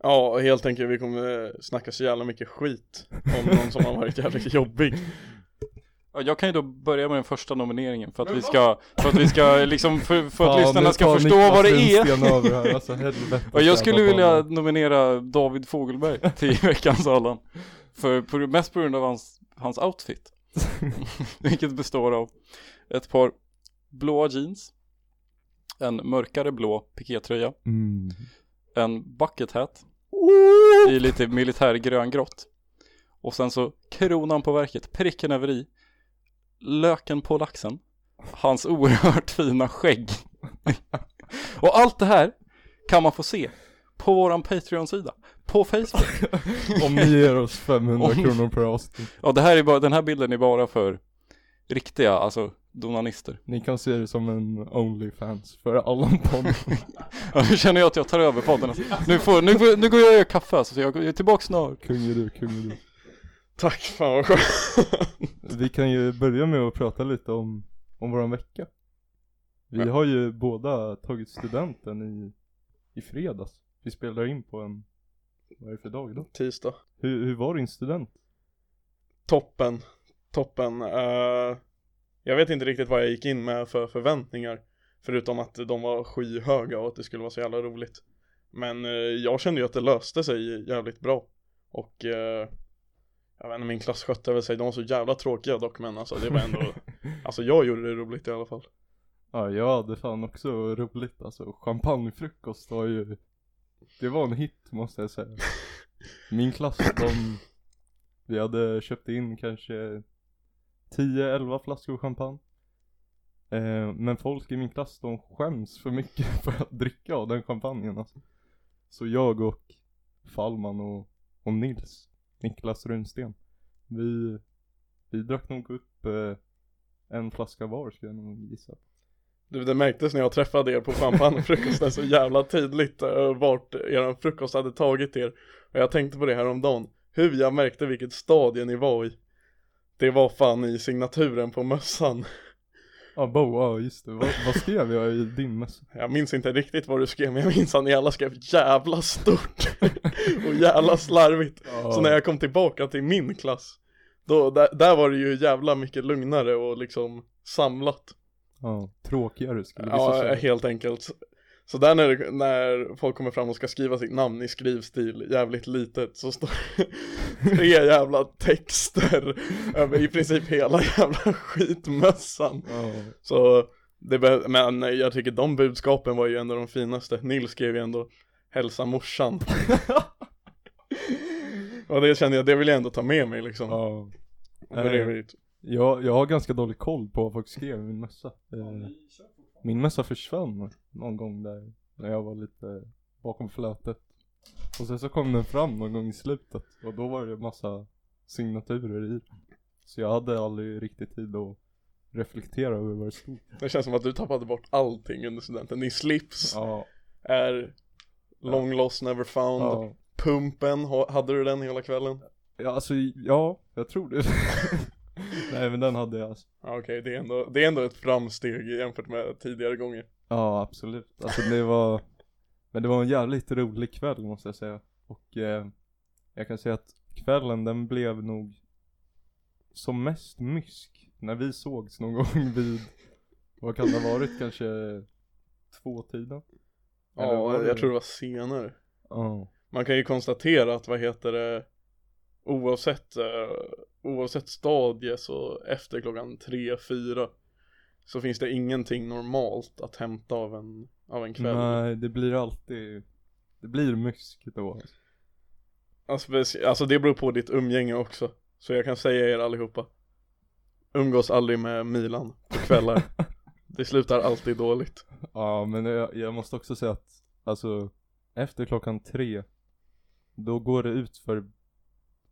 S6: Ja, helt enkelt vi kommer eh, snacka så jävla mycket skit om någon som har varit jävligt jobbig.
S8: Ja, Jag kan ju då börja med den första nomineringen för att vi ska, för att vi ska liksom, för, för
S7: Fan,
S8: att lyssnarna
S7: nu
S8: ska
S7: tar
S8: förstå
S7: Niklas
S8: vad det är.
S7: Lundsten Över här, alltså, helvete,
S8: Och jag skulle
S7: jävla
S8: vilja
S7: Allan.
S8: nominera David Fogelberg till veckans Allan. För på, mest på grund av hans, hans outfit. Vilket består av ett par blåa jeans, en mörkare blå pikétröja,
S7: Mm.
S8: en bucket hat i lite militär gröngrått. Och sen så kronan på verket, pricken över i, löken på laxen, hans oerhört fina skägg. och allt det här kan man få se på våran Patreon-sida, på Facebook.
S7: Om ni ger oss 500
S8: Om-
S7: kronor per avsnitt.
S8: Ja, det här är bara, den här bilden är bara för riktiga, alltså donanister.
S7: Ni kan se det som en Onlyfans för Allan-podden.
S8: Ja, nu känner jag att jag tar över podden. alltså. Nu, får, nu, får- nu går jag och gör kaffe, alltså, så jag är tillbaka snart.
S7: Kung är du, kung är du.
S6: Tack, fan vad skönt.
S7: Vi kan ju börja med att prata lite om, om våran vecka. Vi har ju båda tagit studenten i, i fredags. Vi spelar in på en, vad är det för dag då?
S6: Tisdag.
S7: Hur, hur var din student?
S6: Toppen, toppen. Eh, jag vet inte riktigt vad jag gick in med för förväntningar. Förutom att de var skyhöga och att det skulle vara så jävla roligt. Men eh, jag kände ju att det löste sig jävligt bra. Och eh, jag vet inte, min klass skötte väl sig. De var så jävla tråkiga dock men alltså det var ändå, alltså jag gjorde det roligt i alla fall.
S7: Ja, jag hade fan också roligt alltså. Champagnefrukost var ju, det var en hit måste jag säga. Min klass, de, vi hade köpt in kanske 10-11 flaskor champagne. Eh, men folk i min klass, de skäms för mycket för att dricka av den champagnen alltså. Så jag och Fallman och, och Nils, Niklas Runsten, vi, vi drack nog upp eh, en flaska var skulle jag nog gissa.
S6: Du, det märktes när jag träffade er på champagnefrukosten så jävla tydligt eh, vart er frukost hade tagit er. Och jag tänkte på det här om dagen. Hur jag märkte vilket stadie ni var i. Det var fan i signaturen på mössan.
S7: Ja, boa, just det. Vad, vad skrev jag i din mössa?
S6: Jag minns inte riktigt vad du skrev men jag minns att ni alla skrev jävla stort. och jävla slarvigt. Så när jag kom tillbaka till min klass. Då, där, där var det ju jävla mycket lugnare och liksom samlat.
S7: Ja, tråkigare skulle vissa
S6: Ja,
S7: säga.
S6: helt enkelt. Så där när, när folk kommer fram och ska skriva sitt namn i skrivstil jävligt litet så står tre jävla texter över i princip hela jävla skitmössan.
S7: Ja,
S6: Så det be- men jag tycker de budskapen var ju en av de finaste. Nils skrev ju ändå hälsa morsan. och det kände jag, det vill jag ändå ta med mig liksom. Eh,
S7: ja.
S6: Och bredvid.
S7: Eh, Jag, jag har ganska dålig koll på vad folk skrev i min mössa. Eh, Min mössa försvann någon gång där, när jag var lite bakom flötet. Och sen så kom den fram någon gång i slutet och då var det massa signaturer i. Så jag hade aldrig riktigt tid att reflektera över vad det stod.
S6: Det känns som att du tappade bort allting under studenten. Din slips
S7: Ja,
S6: är Long Lost Never Found.
S7: ja.
S6: Pumpen, ha- hade du den hela kvällen?
S7: Ja, alltså, ja, jag tror det. Nej, men den hade jag alltså.
S6: Ja, Okej, det, är ändå- det är ändå ett framsteg jämfört med tidigare gånger.
S7: Ja, absolut. Alltså det var, men det var en jävligt rolig kväll måste jag säga. Och eh, jag kan säga att kvällen den blev nog som mest mysk när vi sågs någon gång vid, vad kan det ha varit, kanske två tiden? Eller var
S6: Ja,
S7: det-
S6: jag tror det var senare.
S7: Ja.
S6: Man kan ju konstatera att vad heter det, oavsett, eh, oavsett stadie så efter klockan tre fyra så finns det ingenting normalt att hämta av en, av en kväll.
S7: Nej, det blir alltid, det blir mysk då.
S6: Alltså, speci- alltså det beror på ditt umgänge också. Så jag kan säga er allihopa. Umgås aldrig med Milan på kvällar. det slutar alltid dåligt.
S7: Ja men jag, jag måste också säga att alltså efter klockan tre då går det ut för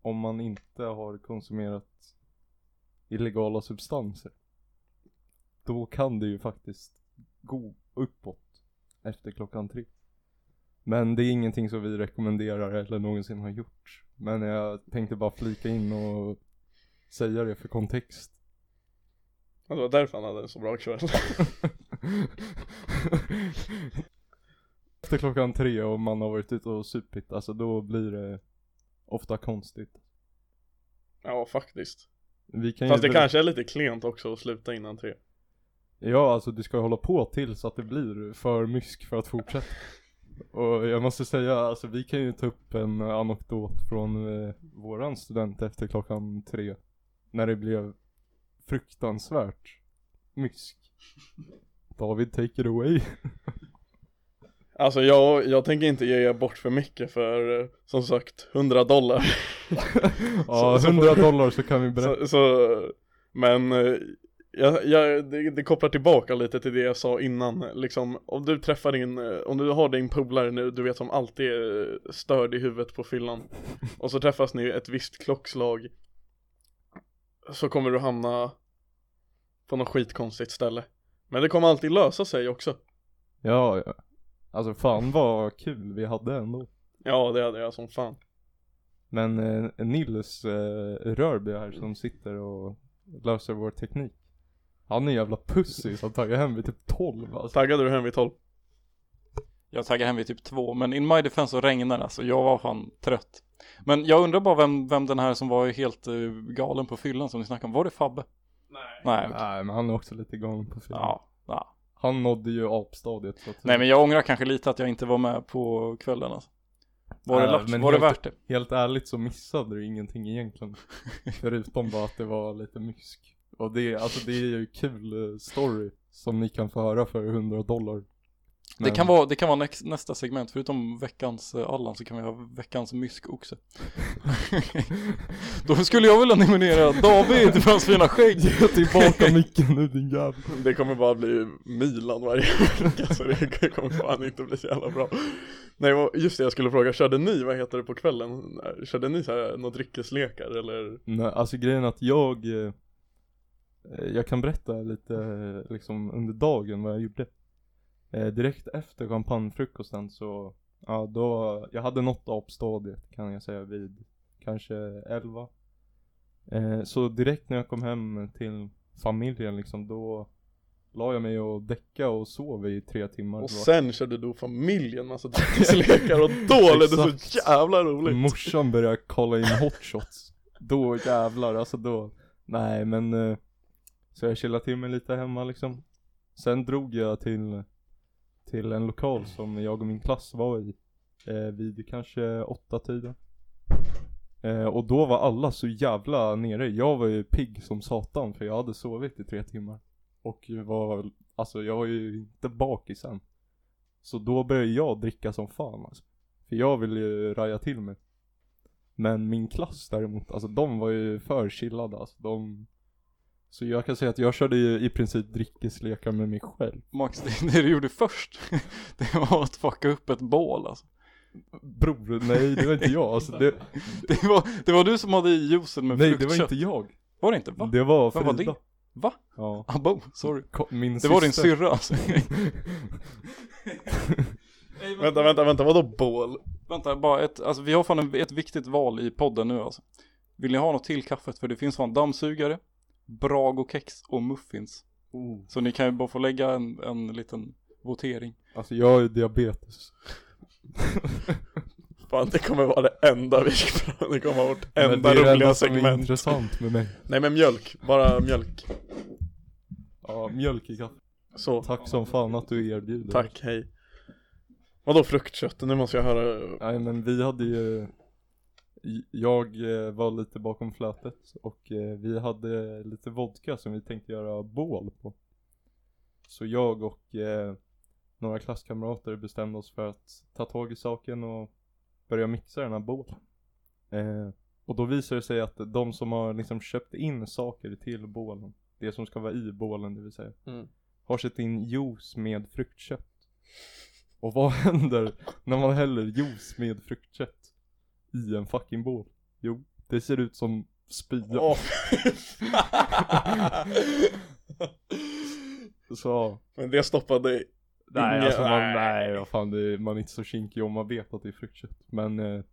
S7: om man inte har konsumerat illegala substanser. Då kan det ju faktiskt gå uppåt efter klockan tre. Men det är ingenting som vi rekommenderar eller någonsin har gjort. Men jag tänkte bara flika in och säga det för kontext.
S6: Alltså, Det var därför han hade en så bra kväll.
S7: Efter klockan tre och man har varit ute och supit, alltså då blir det ofta konstigt.
S6: ja, faktiskt.
S7: Vi kan
S6: Fast
S7: ju
S6: det kanske är lite klent också att sluta innan tre.
S7: Ja, alltså du ska ju hålla på tills att det blir för mysk för att fortsätta. Och jag måste säga, alltså vi kan ju ta upp en anekdot från eh, våran student efter klockan tre. När det blev fruktansvärt mysk. David, take it away.
S6: Alltså jag, jag tänker inte ge er bort för mycket för eh, som sagt 100 dollar.
S7: Ja,
S6: Så- så-
S7: 100 dollar så kan vi berätta.
S6: Så, så, men eh, jag, jag, det, det kopplar tillbaka lite till det jag sa innan. Liksom, om du träffar din, eh, om du har din polare nu, du vet som alltid är störd i huvudet på fyllan. Och så träffas ni ett visst klockslag. Så kommer du hamna på något skitkonstigt ställe. Men det kommer alltid lösa sig också.
S7: Ja, ja. Alltså fan vad kul vi hade ändå.
S6: Ja, det hade jag som fan.
S7: Men eh, Nils eh, Rörby här som sitter och löser vår teknik. Han är jävla pussy som taggar hem vid typ 12 alltså.
S6: Taggade du hem vid 12?
S8: Jag taggade hem vid typ två, men in my defense så regnade det, alltså jag var fan trött. Men jag undrar bara vem, vem den här som var helt eh, galen på fyllan som ni snackade om, var det Fabbe? Nej. Nej, okej.
S7: Nej men han är också lite galen på film.
S8: ja. ja.
S7: Han nådde ju apstadiet så att
S8: Nej men jag ångrar kanske lite att jag inte var med på kvällen alltså. Var det,
S7: Äh,
S8: lax?
S7: men
S8: var det
S7: helt-
S8: värt det?
S7: Helt ärligt så missade du ingenting egentligen. Förutom bara att det var lite mysk. Och det, alltså det är ju kul eh, story som ni kan få höra för 100 dollar.
S8: Det kan vara, det kan vara näx- nästa segment, förutom veckans eh, Allan så kan vi ha veckans myskoxe. Då skulle jag vilja nominera David för hans fina skägg.
S7: Ge tillbaka micken nu din jävel.
S6: Det kommer bara bli Milan varje vecka så det kommer fan inte bli så jävla bra Nej vad- just det jag skulle fråga, körde ni, vad heter det på kvällen? Körde ni så här några dryckeslekar eller?
S7: Nej, alltså grejen är att jag eh, Jag kan berätta lite eh, liksom under dagen vad jag gjorde eh, Direkt efter champagnefrukosten så Ja då, jag hade nått apstadiet kan jag säga vid kanske 11 eh, Så direkt när jag kom hem till familjen liksom då La jag mig och däcka och sov i tre timmar
S6: Och
S7: Det var-
S6: sen körde du och familjen massa dryckeslekar och då blev det så
S7: Exakt.
S6: jävla roligt
S7: Morsan började kolla in hotshots. Då jävlar, alltså då. Nej men. eh, Så jag chillade till mig lite hemma liksom. Sen drog jag till, till en lokal som jag och min klass var i. Eh, vid kanske åtta tiden. Eh, och då var alla så jävla nere. Jag var ju pigg som satan för jag hade sovit i tre timmar. Och var, alltså jag var ju inte bakis än. Så då började jag dricka som fan alltså. För jag ville ju raja till mig. Men min klass däremot, alltså de var ju för chillade alltså. De... Så jag kan säga att jag körde ju i princip dryckeslekar med mig själv.
S8: Max, det, det du gjorde först, det var att fucka upp ett bål alltså.
S7: Bror, nej det var inte jag. Alltså, det...
S8: Det var, det var du som hade i juicen med
S7: Nej det
S8: fruktkött.
S7: var inte jag.
S8: Var det inte? Va?
S7: Det var
S8: Vem
S7: Frida.
S8: var det? Va?
S7: Ja.
S8: Abo, sorry.
S7: Ko- Min
S8: Det var din
S7: syster.
S8: syrra alltså.
S7: Mm.
S6: Vänta, vänta, vänta, vadå bål?
S8: Vänta, bara ett, alltså vi har fan en, ett viktigt val i podden nu alltså. Vill ni ha något till kaffet? För det finns fan dammsugare, Brago-kex och muffins.
S7: Oh.
S8: Så ni kan ju bara få lägga en, en liten votering.
S7: Alltså jag har ju diabetes.
S6: Fan det kommer vara det enda vi det kommer vara vårt
S7: Men det är
S6: enda
S7: det
S6: roliga
S7: enda som är
S6: segment
S7: intressant med mig.
S6: Nej men mjölk, bara mjölk
S7: Ja, mjölk i kaffe.
S6: Så,
S7: Tack som fan att du erbjuder.
S6: tack, hej Vadå fruktkött? Nu måste jag höra
S7: Nej men vi hade ju Jag eh, var lite bakom flötet och eh, vi hade lite vodka som vi tänkte göra bål på Så jag och eh, några klasskamrater bestämde oss för att ta tag i saken och börja mixa den här bålen eh, Och då visade det sig att de som har liksom köpt in saker till bålen Det som ska vara i bålen det vill säga
S6: Mm.
S7: har sett in juice med fruktkött. Och vad händer när man häller juice med fruktkött i en fucking bål? Jo, det ser ut som spya.
S6: Åh,
S7: Så, ja.
S6: Men det stoppade
S7: nej
S6: Inga-
S7: alltså man,
S6: Mm, nej.
S7: nej vad fan det, man är inte så kinkig om man vet att det är fruktkött. Men eh,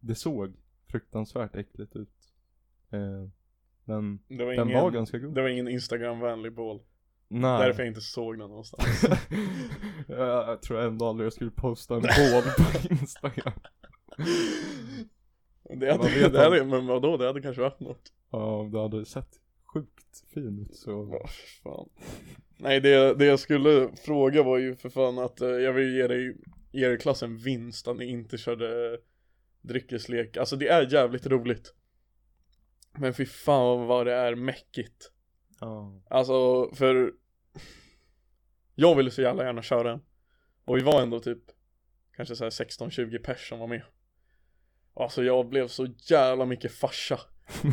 S7: det såg fruktansvärt äckligt ut. Eh, men
S6: Det var
S7: den
S6: ingen,
S7: var ganska god.
S6: det var ingen Instagram-vänlig bål
S7: nej.
S6: Därför jag inte såg den någonstans
S7: jag, jag tror ändå aldrig jag skulle posta en bål på Instagram.
S6: det
S7: Vad
S6: hade,
S7: vet
S6: det
S7: han?
S6: hade, Men vadå, det hade kanske varit något
S7: Ja, om det hade sett sjukt fin ut så.
S6: Åh, fan. Nej det, det jag skulle fråga var ju för fan att eh, jag vill ge dig, ge er klass en vinst att ni inte körde dryckeslek Alltså det är jävligt roligt Men fy fan vad det är mäckigt
S7: Ja.
S6: Alltså för Jag ville så jävla gärna köra en Och vi var ändå typ Kanske såhär 16-20 pers som var med Alltså jag blev så jävla mycket farsa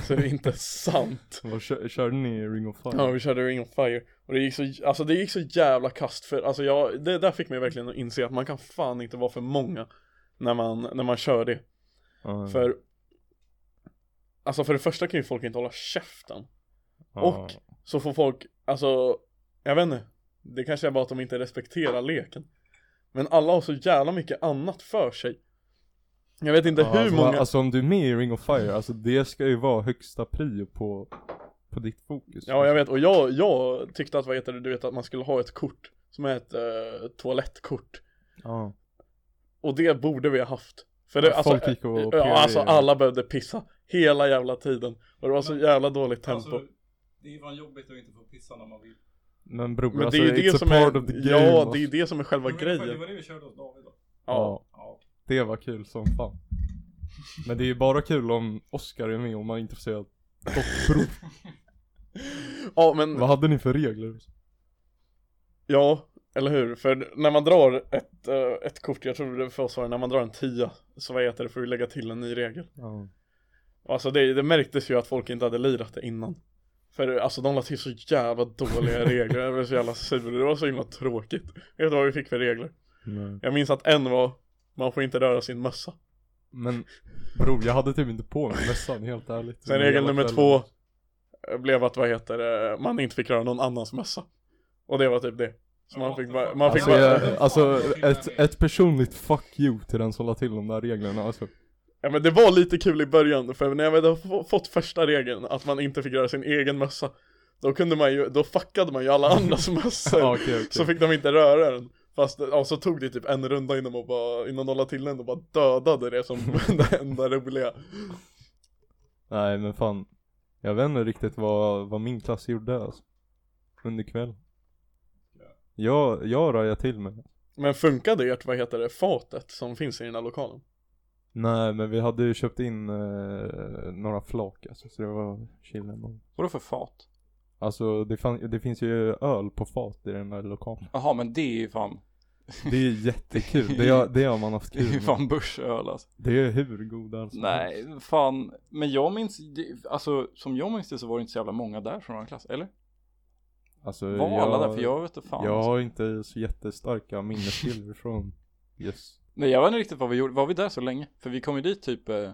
S6: Så det är inte sant
S7: Vad kö- körde ni Ring of Fire?
S6: Ja vi körde Ring of Fire Och det gick så, alltså det gick så jävla kast för Alltså jag, det där fick mig verkligen att inse att man kan fan inte vara för många När man, när man kör det
S7: Ja,
S6: För Alltså för det första kan ju folk inte hålla käften
S7: ja.
S6: och- Så får folk, alltså Jag vet inte Det kanske är bara att de inte respekterar leken Men alla har så jävla mycket annat för sig Jag vet inte
S7: Ja,
S6: hur
S7: alltså,
S6: många
S7: Alltså om du är med i Ring of Fire, alltså det ska ju vara högsta prio på, på ditt fokus.
S6: Ja jag vet, och jag, jag tyckte att vad heter det, du vet att man skulle ha ett kort Som är ett eh, toalettkort
S7: Ja.
S6: Och det borde vi ha haft För det,
S7: Ja,
S6: alltså,
S7: folk gick och
S6: ja,
S7: pirrade i-
S6: alltså alla behövde pissa Hela jävla tiden Och det var så jävla dåligt tempo
S8: alltså, det är ju fan jobbigt att inte få pissa när man vill.
S7: Men bror,
S6: Men
S7: alltså,
S6: det är ju
S7: it's
S6: det
S7: a
S6: som
S7: part
S6: är,
S7: of the game.
S6: ja
S7: alltså.
S6: det är ju det som är själva grejen
S8: det vi körde hos David då.
S6: Ja,
S7: Ja. Det var kul som fan. Men det är ju bara kul om Oscar är med om man är intresserad. Dockprov.
S6: ja men
S7: Vad hade ni för regler?
S6: Ja, eller hur? För när man drar ett, eh, ett kort, jag tror det för oss var det, när man drar en tia Så vad heter det, får vi lägga till en ny regel
S7: Ja.
S6: Alltså det, det märktes ju att folk inte hade lirat det innan För alltså de la till så jävla dåliga regler, jag blev så jävla sur, det var så himla tråkigt Jag vet vad vi fick för regler?
S7: Nej.
S6: Jag minns att en var Man får inte röra sin mössa
S7: Men bror, jag hade typ inte på mig mössan helt ärligt.
S6: Sen
S7: Men
S6: regel
S7: hela
S6: nummer
S7: kvällen.
S6: två eh, Blev att vad heter det, man inte fick röra någon annans mössa Och det var typ det Så man fick bara, man fick
S7: Alltså,
S6: bara
S7: jag, alltså ett, ett personligt fuck you till den som la till de där reglerna alltså.
S6: Ja men det var lite kul i början, för när jag väl hade få- fått första regeln att man inte fick göra sin egen mössa Då kunde man ju, då fuckade man ju alla andras mössor
S7: Ja, okej, okej.
S6: Så fick de inte röra den Fast ja, så tog det typ en runda innan man bara, innan de la till den och bara dödade det som det enda roliga
S7: Nej men fan. Jag vet inte riktigt vad, vad min klass gjorde alltså. Under kväll. Jag, jag rajade till mig.
S6: Men funkade ert, vad heter det, fatet som finns i den här lokalen?
S7: Nej men vi hade ju köpt in eh, några flak alltså, så det var chill ändå.
S8: Vadå för fat?
S7: Alltså det, fan, det finns ju öl på fat i den här lokalen.
S8: Jaha men det är ju fan,
S7: Det är jättekul, det, har- det har man haft
S8: det är ju
S7: kul med.
S8: fan börsöl alltså.
S7: Det är hur goda alltså.
S8: Nej, fan. Men jag minns, det, alltså som jag minns det så var det inte så jävla många där från vår klass, eller?
S7: Alltså,
S6: Eh,
S8: Var alla där? För jag vet inte fan.
S7: Jag
S8: alltså.
S7: har inte så jättestarka minnesbilder från Yes.
S8: Nej jag vet inte riktigt vad vi gjorde, var vi där så länge? För vi kom ju dit typ, eh,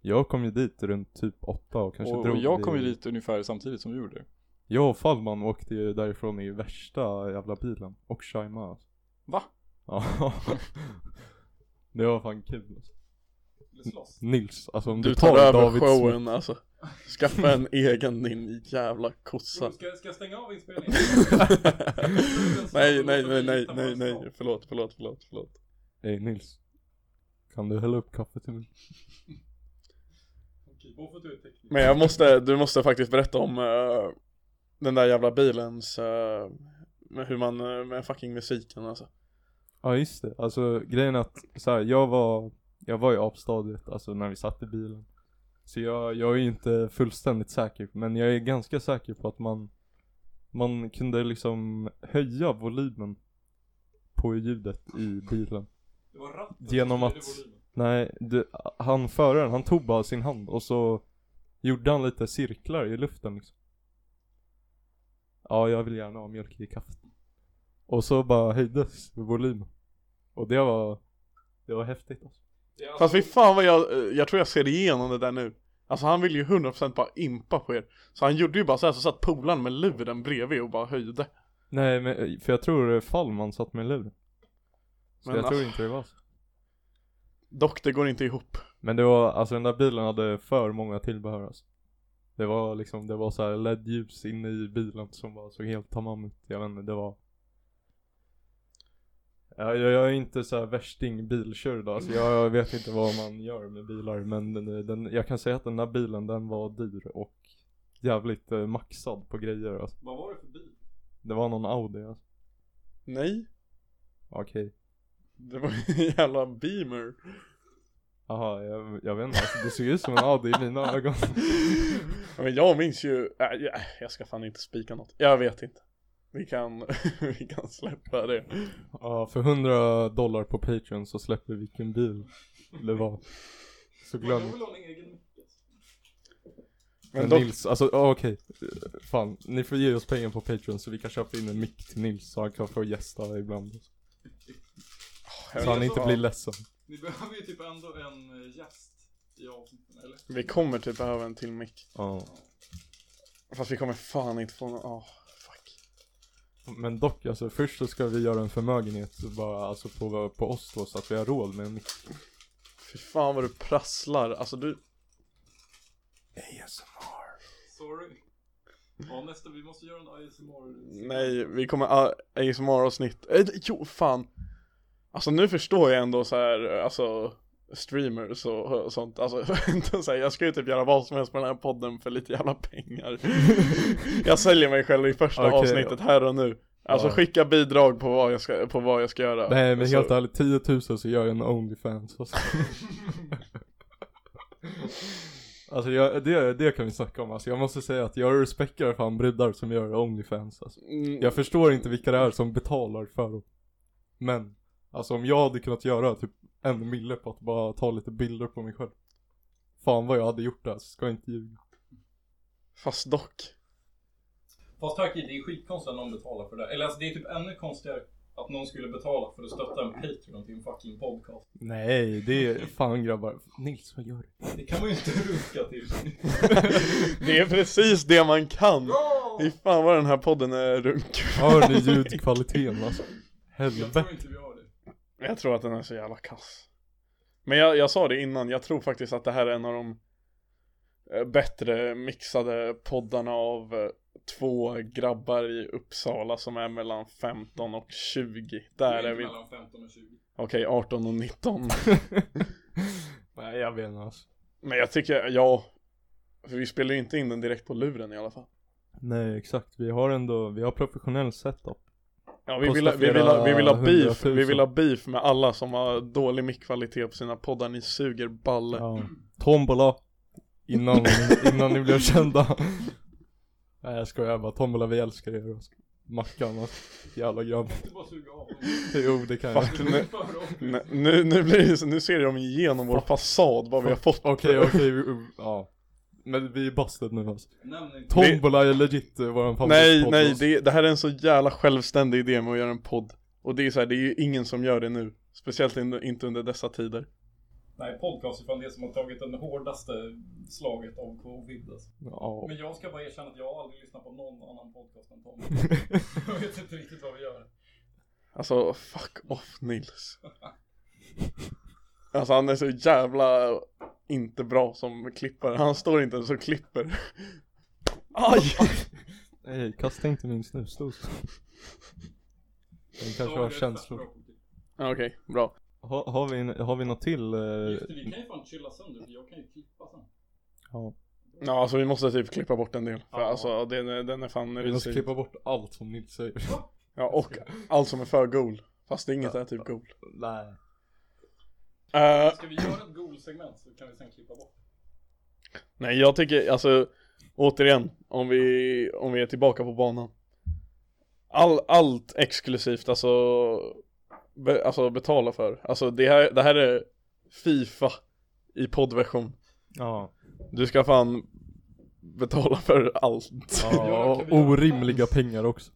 S7: Jag kom ju dit runt typ åtta och kanske
S8: och,
S7: drog
S8: och jag kom
S7: i-
S8: ju dit ungefär samtidigt som vi gjorde.
S7: Jag och Fallman åkte ju därifrån i värsta jävla bilen. Och Shaima alltså.
S8: Va?
S7: Ja. Det var fan kul alltså.
S8: slåss.
S7: Nils, alltså om du,
S6: Du tar över
S7: Davids-
S6: showen alltså Skaffa en egen din jävla kossa
S8: Ska, jag stänga av inspelningen?
S6: Nej, nej, nej, nej, nej, nej, förlåt, förlåt, förlåt, förlåt
S7: Hej Nils. Kan du hälla upp kaffe till mig?
S6: Men jag måste, du måste faktiskt berätta om eh, den där jävla bilens, eh, med hur man, eh, med fucking musiken alltså
S7: Ja just det, alltså grejen är att så här, jag var Jag var i apstadiet, alltså när vi satt i bilen Så jag, jag är ju inte fullständigt säker men jag är ganska säker på att man Man kunde liksom höja volymen På ljudet i bilen Genom att Nej, det, han föraren, han tog bara sin hand och så Gjorde han lite cirklar i luften liksom Ja jag vill gärna ha mjölk i kaffet Och så bara höjdes volym. Och det var, det var häftigt alltså.
S6: Fast fy fan vad jag, eh, jag tror jag ser igenom det där nu Alltså han vill ju 100% bara impa på er Så han gjorde ju bara så här så satt polaren med luren bredvid och bara höjde
S7: Nej men, för jag tror eh, Fallman satt med lur. Så
S6: Men,
S7: jag tror
S6: ah.
S7: inte det var så.
S6: Dock det går inte ihop
S7: Men det var, alltså den där bilen hade för många tillbehör alltså. Det var liksom, det var så här LED-ljus inne i bilen som bara såg helt tamam ut. Jag vet inte, det var... Jag, jag, jag är inte så här värsting bilkörd alltså. jag, jag vet inte vad man gör med bilar. Men den, den, jag kan säga att den där bilen den var dyr och jävligt eh, maxad på grejer alltså.
S8: Vad var det för bil?
S7: Det var någon Audi alltså.
S6: Nej,
S7: Okej.
S6: det var en jävla beamer
S7: Jaha, jag, jag vet inte alltså, det såg ut som en Audi i mina ögon.
S6: Ja, Men jag minns ju, äh, jag- äh, jag ska fan inte spika något Jag vet inte Vi kan, vi kan släppa det
S7: Ja, för 100 dollar på Patreon så släpper vi vilken bil det var. Så glöm
S6: Men
S7: Men
S6: dock,
S7: Nils, alltså ja, okej. Fan, ni får ge oss pengar på Patreon så vi kan köpa in en mick till Nils så han kan få gästa ibland.
S6: jag
S7: Så han
S6: vet
S7: inte
S6: fan.
S7: blir ledsen.
S8: Ni behöver ju typ ändå en gäst i avsnitten eller?
S6: Vi kommer typ behöva en till mick
S7: Ja.
S6: Fast vi kommer fan inte få någon, åh fuck
S7: Men dock, alltså först så ska vi göra en förmögenhet bara alltså på, på oss då så att vi har råd med en mick.
S6: Fy fan vad du prasslar, alltså du
S8: Sorry. Ja nästa, vi måste göra en ASMR.
S6: Nej, vi kommer ah, a- ASMR-avsnitt. Eh, jo, fan. Alltså nu förstår jag ändå så här, alltså streamers och, och sånt. Alltså inte så här, jag ska ju typ göra vad som helst med den här podden för lite jävla pengar. jag säljer mig själv i första
S7: Okej.
S6: avsnittet här och nu. Alltså
S7: Ja.
S6: skicka bidrag på vad jag ska, på vad jag ska göra.
S7: Nej men
S6: Alltså,
S7: helt ärligt, 10 000 så gör jag en Onlyfans. Alltså, alltså jag, det, det kan vi snacka om. Alltså jag måste säga att jag respekterar fan brudar som gör Onlyfans. Alltså.
S6: mm,
S7: Jag förstår inte vilka det är som betalar för dem. Men, alltså om jag hade kunnat göra typ en mille på att bara ta lite bilder på mig själv. Fan vad jag hade gjort där, alltså, ska jag inte ljuga.
S6: Fast dock.
S8: Fast Taki, det är skitkonstigt att någon betalar för det. Eller alltså det är typ ännu konstigare att någon skulle betala för att stötta en Patreon till en fucking podcast.
S7: Nej, det är fan grabbar. Nils, vad gör du?
S8: Det kan man ju inte ruska till.
S6: Det är precis det man kan. Fy fan vad den här podden är runk.
S7: Hör ni ljudkvaliteten alltså?
S8: Jag
S7: Helvete.
S8: tror inte vi har det.
S6: Jag tror att den är så jävla kass. Men jag, jag sa det innan, jag tror faktiskt att det här är en av de eh, bättre mixade poddarna av eh, två grabbar i Uppsala som är mellan 15 och 20.
S8: det
S6: Där
S8: är
S6: är
S8: inte
S6: vi.
S8: mellan 15 och 20.
S6: Okej, 18 och 19.
S7: Nej, jag vet inte alltså.
S6: Men jag tycker, ja. För vi spelar ju inte in den direkt på luren i alla fall.
S7: Nej, exakt. Vi har ändå, vi har professionell setup.
S6: Ja, vi
S7: Kostar
S6: vill, ha- vi, vill, ha-
S7: flera
S6: vi, vill ha beef, vi
S7: hundratusen.
S6: vill ha beef med alla som har dålig mickkvalitet på sina poddar. Ni suger balle.
S7: Ja. Tombola. Innan, innan ni blev kända. Nej jag skojar bara, Tombola vi älskar er alltså. Mackan alltså. Jävla grabb.
S8: Du bara suga av.
S7: Jo det kan jag.
S6: Fuck, nu, nu, nu, nu, blir det, så- nu ser de igenom vår fasad vad vi har fått.
S7: Okej okej, vi- uh, ja. Men vi är busted nu alltså.
S8: Nämn inte.
S7: Tombola är legit eh, våran
S6: Nej,
S7: favoritpodd.
S6: nej,
S7: alltså.
S6: det, det här är en så jävla självständig idé med att göra en podd. Och det är så här, det är ju ingen som gör det nu. Speciellt in, inte under dessa tider.
S8: Nej, podcast är fan det som har tagit den hårdaste slaget av covid alltså.
S7: Ja.
S8: Men jag ska bara erkänna att jag har aldrig lyssnat på någon annan podcast än Tom. jag vet inte riktigt vad vi gör.
S6: Alltså, fuck off Nils. Alltså han är så jävla inte bra som klippare. Han står inte ens och klipper. Aj!
S7: Nej, kasta inte min snusdos. Den kanske
S8: Så
S7: har
S8: det är
S7: känslor.
S8: fett bra.
S6: Okej, bra.
S7: Ha, har, vi, en- har vi något till?
S8: Just det,
S7: Eh,
S8: vi kan ju fan chilla sönder för jag kan ju klippa sen.
S7: ja.
S6: Ja, alltså vi måste typ klippa bort en del. För
S8: Ja.
S6: alltså den, är- den är fan
S7: Vi måste
S6: risig.
S7: klippa bort allt som Nils säger.
S6: Ja, och allt som är för gol. Fast inget är typ gol.
S7: Nej.
S6: Eh,
S8: Ska vi göra ett Google-segment så kan vi sen klippa bort.
S6: Nej jag tycker, alltså återigen, om vi, om vi är tillbaka på banan All, Allt exklusivt, alltså, be, alltså betala för Alltså det här, det här är Fifa i poddversion
S7: Ja.
S6: Du ska fan betala för allt
S7: ja. och Orimliga pengar också.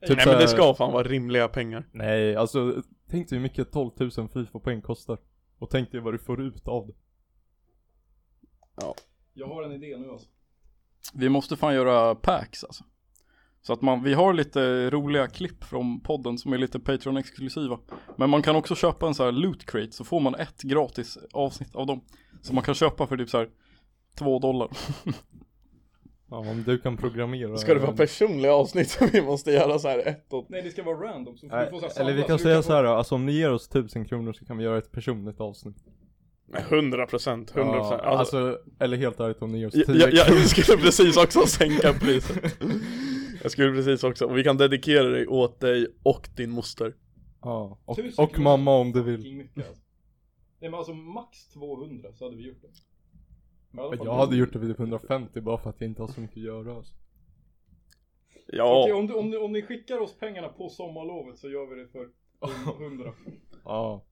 S7: Typ
S6: Nej
S7: så
S6: men det
S7: här-
S6: ska fan vara rimliga pengar.
S7: Nej, alltså tänk dig hur mycket 12 000 Fifa-poäng kostar. Och tänk dig vad du får ut av det.
S2: Jag har en idé nu alltså.
S8: Vi måste fan göra packs alltså. Så att man, vi har lite roliga klipp från podden som är lite Patreon-exklusiva. Men man kan också köpa en så här loot crate så får man ett gratis avsnitt av dem. Så man kan köpa för typ så här två dollar.
S7: Ja, om du kan programmera.
S6: Ska det vara personliga avsnitt som vi måste göra så här ett och...
S2: Nej det ska vara random så
S7: Nej, Eller vi kan säga så här, då, alltså om ni ger oss 1000 kronor så kan vi göra ett personligt avsnitt.
S6: 100 procent, 100
S7: Ja,
S6: procent. Alltså,
S7: alltså, eller helt ärligt om ni ger oss 10
S6: jag, jag,
S7: kronor.
S6: jag skulle precis också sänka priset. Jag skulle precis också, och vi kan dedikera dig åt dig och din moster.
S7: Ja, och,
S2: 1000
S7: och
S2: kronor.
S7: mamma om du vill.
S2: mycket alltså. Nej men alltså max 200 så hade vi gjort det.
S7: Jag hade gjort det vid typ 150 bara för att jag inte har så mycket att göra alltså.
S2: Okej,
S6: Ja,
S2: om, du, om, du, om ni skickar oss pengarna på sommarlovet så gör vi det för 100.
S7: Ja,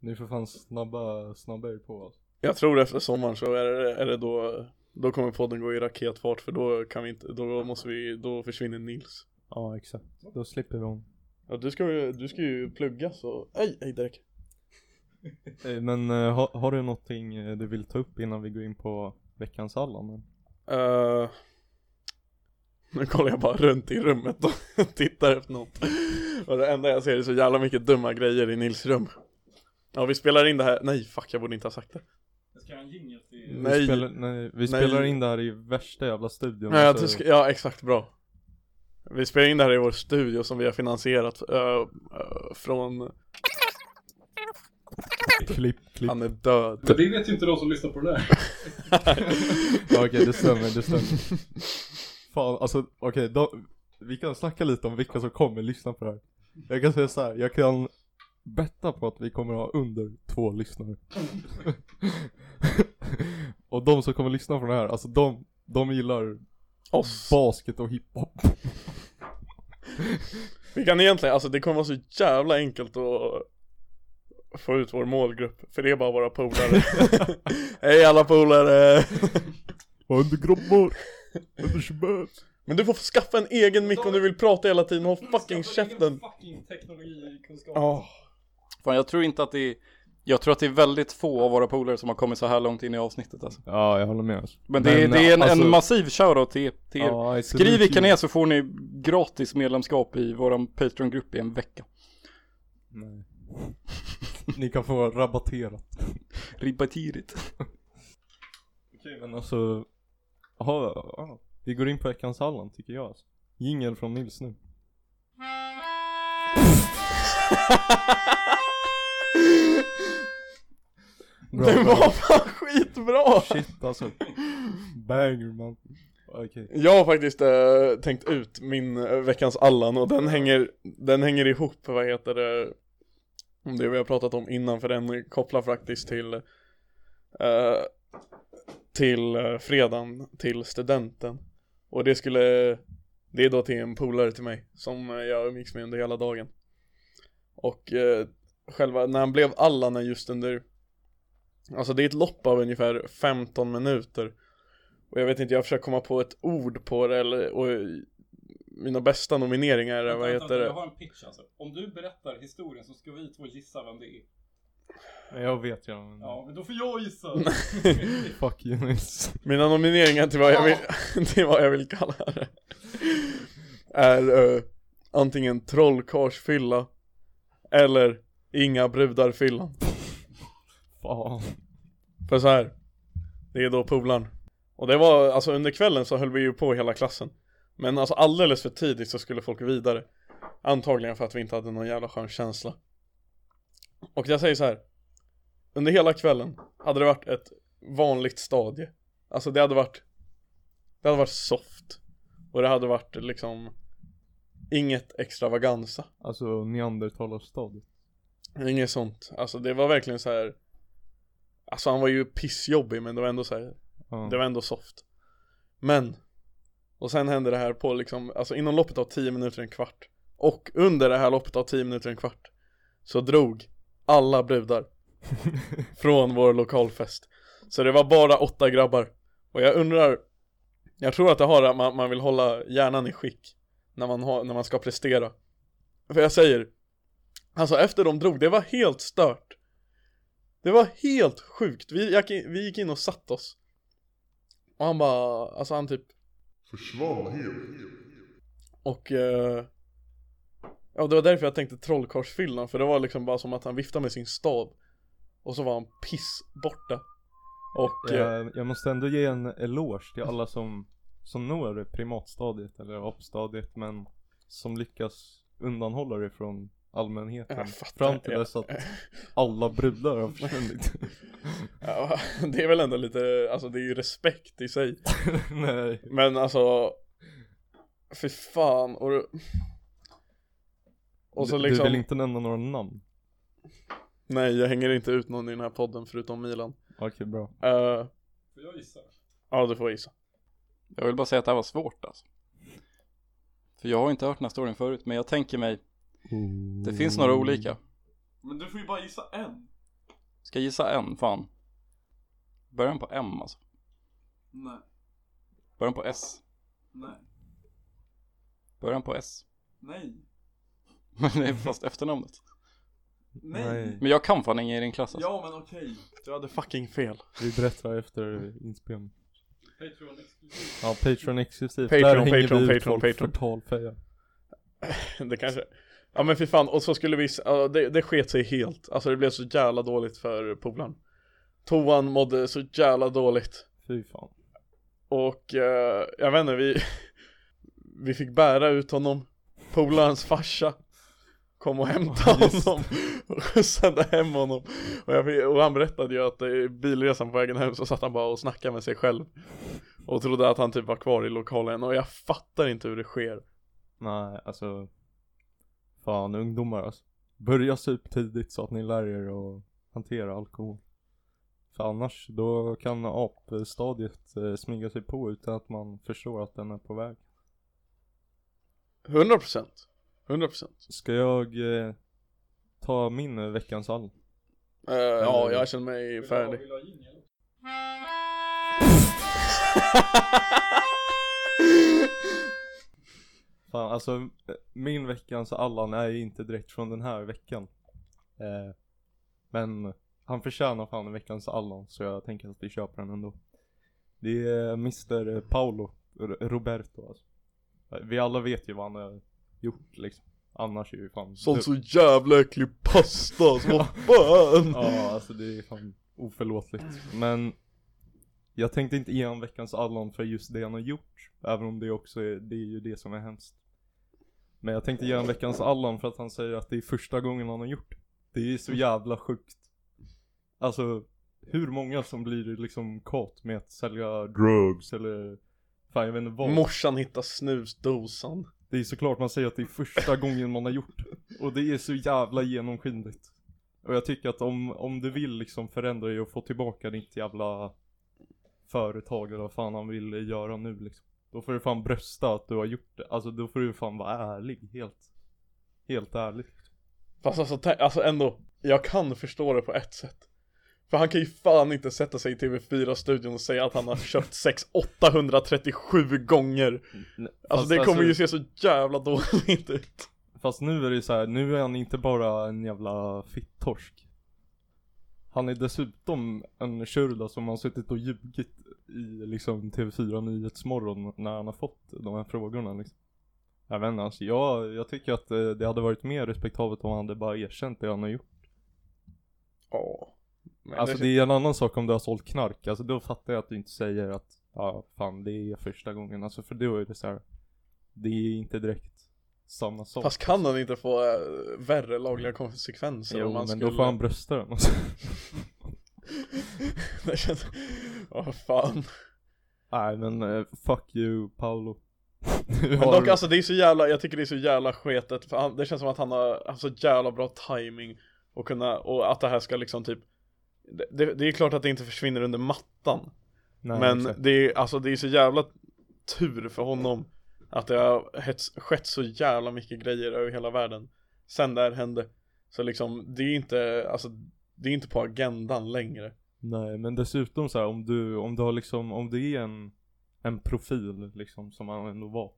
S7: ni får fan snabba, snabba er på alltså.
S6: jag tror efter sommaren så är det, är det då, då kommer podden gå i raketfart för då kan vi inte, då måste vi, då försvinner Nils.
S7: Ja, exakt. Då slipper vi hon.
S6: Ja du ska ju, du ska ju plugga så, nej, nej Derek.
S7: Eh, Men eh, har, har du någonting eh, du vill ta upp innan vi går in på veckans Allan?
S6: Eh, nu kollar jag bara runt i rummet och tittar efter något. Och det enda jag ser är så jävla mycket dumma grejer i Nils rum. Ja vi spelar in det här, nej fuck jag borde inte ha sagt det.
S2: Ska jag ha en jingel till...
S7: Vi
S6: Nej.
S7: Spelar, nej, vi spelar in det här i värsta jävla studion.
S6: Nej, jag
S7: alltså.
S6: tycker, ja exakt bra. Vi spelar in det här i vår studio som vi har finansierat eh, eh, från,
S7: Klipp, klipp.
S6: han är död.
S2: Det vet ju inte de som lyssnar på det där.
S7: Ja, okej, det stämmer, det stämmer. Fan, alltså okej, då, vi kan snacka lite om vilka som kommer lyssna på det här. Jag kan säga så här, jag kan betta på att vi kommer ha under två lyssnare. och de som kommer lyssna på det här, alltså de, de gillar
S6: Oss.
S7: basket och hiphop.
S6: Vi kan egentligen, alltså det kommer vara så jävla enkelt att få ut vår målgrupp, för det är bara våra polare. Hej alla polare!
S7: Under grabbar, under tjugo.
S6: Men du får skaffa en egen mick om du vill prata hela tiden, håll fucking käften!
S2: Fucking teknologikunskap.
S6: Ja,
S8: Fan jag tror inte att det är, jag tror att det är väldigt få av våra polare som har kommit så här långt in i avsnittet alltså.
S7: Ja, jag håller med. alltså.
S8: Men det, är-
S7: Men,
S8: det är en,
S7: alltså-
S8: en massiv shoutout till, till er.
S7: Ja, absolut.
S8: Skriv vilka ni är så får ni gratis medlemskap i våran Patreon-grupp i en vecka.
S7: Nej. ni kan få rabattera.
S8: Ribbatirit.
S7: Okej men alltså, aha, aha. vi går in på veckans Allan tycker jag alltså. Jingel från Nils nu. Bra,
S6: det
S7: bra.
S6: var fan skitbra!
S7: Shit alltså. Banger man. Okej.
S6: Jag har faktiskt eh, tänkt ut min eh, veckans Allan och den hänger, den hänger ihop, vad heter det, om det vi har pratat om innan för den kopplar faktiskt till eh, till eh, fredagen, till studenten. Och det skulle, det är då till en polare till mig som eh, jag umgicks med under hela dagen. Och eh, själva, när han blev Allan är just under, alltså det är ett lopp av ungefär 15 minuter. Och jag vet inte, jag försöker komma på ett ord på det eller, och mina bästa nomineringar är, vad heter det?
S2: Jag har en pitch alltså. Om du berättar historien så ska vi två gissa vem det är.
S7: Men jag vet ju. Men...
S2: Ja, men då får jag gissa.
S7: Fuck you Nils.
S6: Mina nomineringar till vad jag vill, till vad jag vill kalla det Är eh, antingen trollkarlsfylla Eller inga brudar-fyllan
S7: Fan.
S6: För så här Det är då polaren Och det var, alltså under kvällen så höll vi ju på hela klassen Men alltså alldeles för tidigt så skulle folk vidare Antagligen för att vi inte hade någon jävla skön känsla Och jag säger så här Under hela kvällen hade det varit ett vanligt stadie Alltså det hade varit Det hade varit soft Och det hade varit liksom Inget extravaganza
S7: Alltså neandertalarstadiet.
S6: Inget sånt Alltså det var verkligen så här Alltså han var ju pissjobbig men det var ändå så här
S7: Ja.
S6: det var ändå soft. Men. Och sen hände det här på liksom, alltså inom loppet av 10 minuter en kvart. Och under det här loppet av 10 minuter en kvart. Så drog alla brudar. från vår lokalfest. Så det var bara åtta grabbar. Och jag undrar. Jag tror att det har att man, man vill hålla hjärnan i skick. när man, har, när man ska prestera. För jag säger, alltså efter de drog, det var helt stört. Det var helt sjukt, vi, jag, vi gick in och satt oss. Och han bara, alltså han typ och eh, Ja det var därför jag tänkte trollkarlsfyllan för det var liksom bara som att han viftade med sin stav Och så var han piss borta Och eh,
S7: Jag, jag måste ändå ge en eloge till alla som, som når primatstadiet eller apstadiet men som lyckas undanhålla det från allmänheten.
S6: Jag fattar,
S7: Fram till
S6: jag-
S7: dess att alla brudar har försvunnit.
S6: ja, det är väl ändå lite, alltså det är ju respekt i sig
S7: Nej.
S6: Men alltså Fy fan och det- Och så
S7: Du-
S6: liksom
S7: Du vill inte nämna några namn?
S6: Nej jag hänger inte ut någon i den här podden förutom Milan
S7: Okej bra.
S6: Får jag gissa? Ja du får gissa
S8: Jag vill bara säga att det här var svårt alltså. För jag har inte hört den här storyn förut, men jag tänker mig
S6: Oh.
S8: Det finns några olika.
S9: Mm. Men du får ju bara gissa en.
S8: Ska jag gissa en? Fan. Början på M alltså.
S9: Nej,
S8: Början på S.
S9: nej,
S8: Början på S.
S9: nej,
S8: Men det är fast efternamnet.
S9: nej.
S8: Men jag kan fan ingen i din klass alltså.
S9: Ja men okej.
S6: Du hade fucking fel
S7: Vi berättar efter inspelning. Ja, Patreon exklusivt. Där
S6: Patreon,
S7: hänger
S6: Patreon,
S7: vi ut
S6: Patreon,
S7: folk
S6: Patreon.
S7: för talfeja.
S6: Det kanske Ja men fy fan, och så skulle vi, ja, det, det sket sig helt Alltså det blev så jävla dåligt för polaren Toan mådde så jävla dåligt
S7: Fy fan.
S6: Och eh, jag vet inte, vi Vi fick bära ut honom Polarens farsa Kom och hämtade honom Och skjutsade hem honom och, jag fick, och han berättade ju att eh, i bilresan på vägen hem så satt han bara och snackade med sig själv Och trodde att han typ var kvar i lokalen och jag fattar inte hur det sker
S7: Nej, alltså. Fan, ungdomar alltså. Börja sup tidigt så att ni lär er att hantera alkohol. För annars, då kan apstadiet eh, smyga sig på utan att man förstår att den är på väg.
S6: 100% 100%
S7: Ska jag eh, ta min eh, veckans all?
S6: Eh, ja, jag känner mig färdig.
S7: Fan, alltså eh, min veckans Allan är ju inte direkt från den här veckan. Eh, men han förtjänar fan en veckans Allan så jag tänker att vi köper den ändå. Det är Mr Paolo R- Roberto alltså. Eh, Vi alla vet ju vad han har gjort liksom. Annars är ju fan
S6: Sånt så jävla äcklig pasta, alltså vad fan!
S7: Ja, alltså det är fan oförlåtligt. Men jag tänkte inte ge honom veckans Allan för just det han har gjort. Även om det också är, det är ju det som är hemskt. Men jag tänkte ge honom veckans Allan för att han säger att det är första gången han har gjort det. Det är så jävla sjukt. Alltså, hur många som blir liksom kåt med att sälja drugs eller fan jag vet inte vad.
S6: Morsan hittar snusdosan.
S7: Det är såklart man säger att det är första gången man har gjort Och det är så jävla genomskinligt Och jag tycker att om, om du vill liksom förändra dig och få tillbaka ditt jävla företag eller vad fan han vill göra nu liksom Då får du fan brösta att du har gjort det Alltså då får du fan vara ärlig, helt Helt ärlig
S6: Fast alltså, tänk- alltså ändå, jag kan förstå det på ett sätt. För han kan ju fan inte sätta sig i TV4-studion och säga att han har köpt sex 837 gånger. Alltså
S7: Fast
S6: det kommer ju se så jävla dåligt ut.
S7: Fast nu är det så här, nu är han inte bara en jävla fittorsk. Han är dessutom en tjurda som har suttit och ljugit i liksom TV4 Nyhetsmorgon när han har fått de här frågorna liksom. Jag vet inte, alltså jag, jag tycker att eh, det hade varit mer respektabelt om han hade bara erkänt det han har gjort.
S6: Ja. Men
S7: alltså
S6: det
S7: det är en annan sak om du har sålt knark, alltså då fattar jag att du inte säger att ja fan det är första gången, alltså för då är det så här. Det är inte direkt samma sak.
S6: Fast kan han inte få äh, värre lagliga konsekvenser
S7: jo,
S6: om han
S7: men
S6: skulle...
S7: då får han brösta den alltså.
S6: det känns... Ja, fan.
S7: Nej men eh, fuck you Paolo
S6: Men dock alltså det är så jävla, jag tycker det är så jävla sketet för han, det känns som att han har haft så jävla bra timing och kunna, och att det här ska liksom typ det, det, det är klart att det inte försvinner under mattan
S7: Nej,
S6: Men
S7: exakt.
S6: det är, alltså det är så jävla tur för honom Att det har hets, skett så jävla mycket grejer över hela världen Sen det här hände Så liksom, det är inte, alltså Det är inte på agendan längre
S7: Nej men dessutom så här, om du, om du har liksom, om det är en, en profil liksom som han ändå var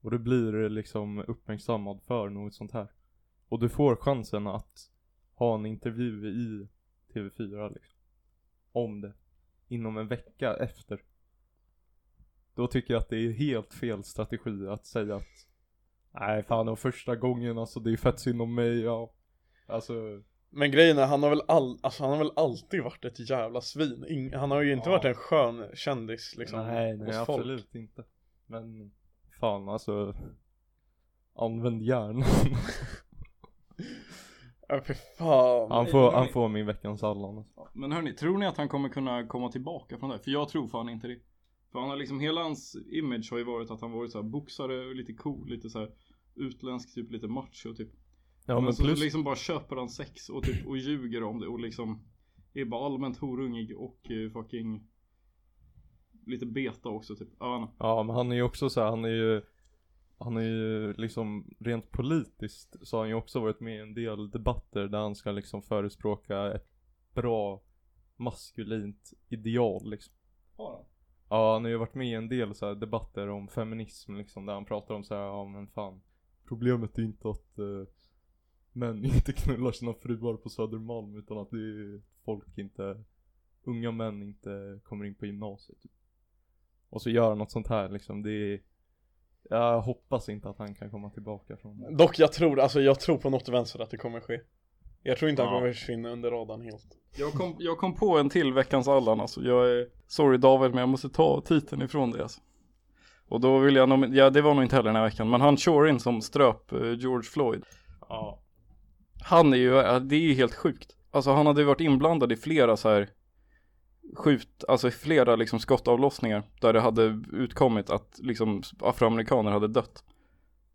S7: Och du blir liksom uppmärksammad för något sånt här. Och du får chansen att ha en intervju i TV4 liksom. Om det. Inom en vecka efter. Då tycker jag att det är helt fel strategi att säga att Nej fan det var första gången alltså det är fett synd om mig ja. Alltså
S6: Men grejen är, han har väl, all, alltså, han har väl alltid varit ett jävla svin. Ing, han har ju inte
S7: Ja.
S6: varit en skön kändis liksom.
S7: nej, nej
S6: hos
S7: absolut inte. Men fan alltså. Använd hjärnan.
S6: Ja, fy fan.
S7: Han får, han får min veckans Allan. alltså.
S8: Men hörni, tror ni att han kommer kunna komma tillbaka från det här? För jag tror fan inte det. För han har liksom, hela hans image har ju varit att han varit så här boxare och lite cool, lite så här utländsk, typ lite macho typ.
S7: Ja
S8: men,
S7: men
S8: så
S7: plus.
S8: liksom bara köper han sex och typ och ljuger om det och liksom är bara allmänt horungig och eh, fucking lite beta också typ. Ja, han-
S7: Ja men han är ju också så här, han är ju. Han är ju liksom rent politiskt så har han ju också varit med i en del debatter där han ska liksom förespråka ett bra maskulint ideal liksom. Ja, han har ju varit med i en del så här debatter om feminism liksom, där han pratar om så här, ja men fan. Problemet är inte att eh, män inte knullar sina fruar på Södermalm utan att det är folk inte, unga män inte kommer in på gymnasiet. Typ. Och så gör han något sånt här liksom, det är, jag hoppas inte att han kan komma tillbaka från det.
S6: Dock jag tror, alltså jag tror på något vänster att det kommer ske. Jag tror inte han
S8: Ja.
S6: kommer försvinna under radarn helt.
S8: Jag kom, jag kom på en till veckans Allan alltså. Jag är, sorry David men jag måste ta titeln ifrån dig alltså. Och då vill jag nom- ja det var nog inte heller den här veckan, men han Chorin som ströp eh, George Floyd.
S7: Ja.
S8: Han är ju, eh, det är ju helt sjukt. Alltså han hade ju varit inblandad i flera så här skjut, alltså i flera liksom skottavlossningar där det hade utkommit att liksom afroamerikaner hade dött.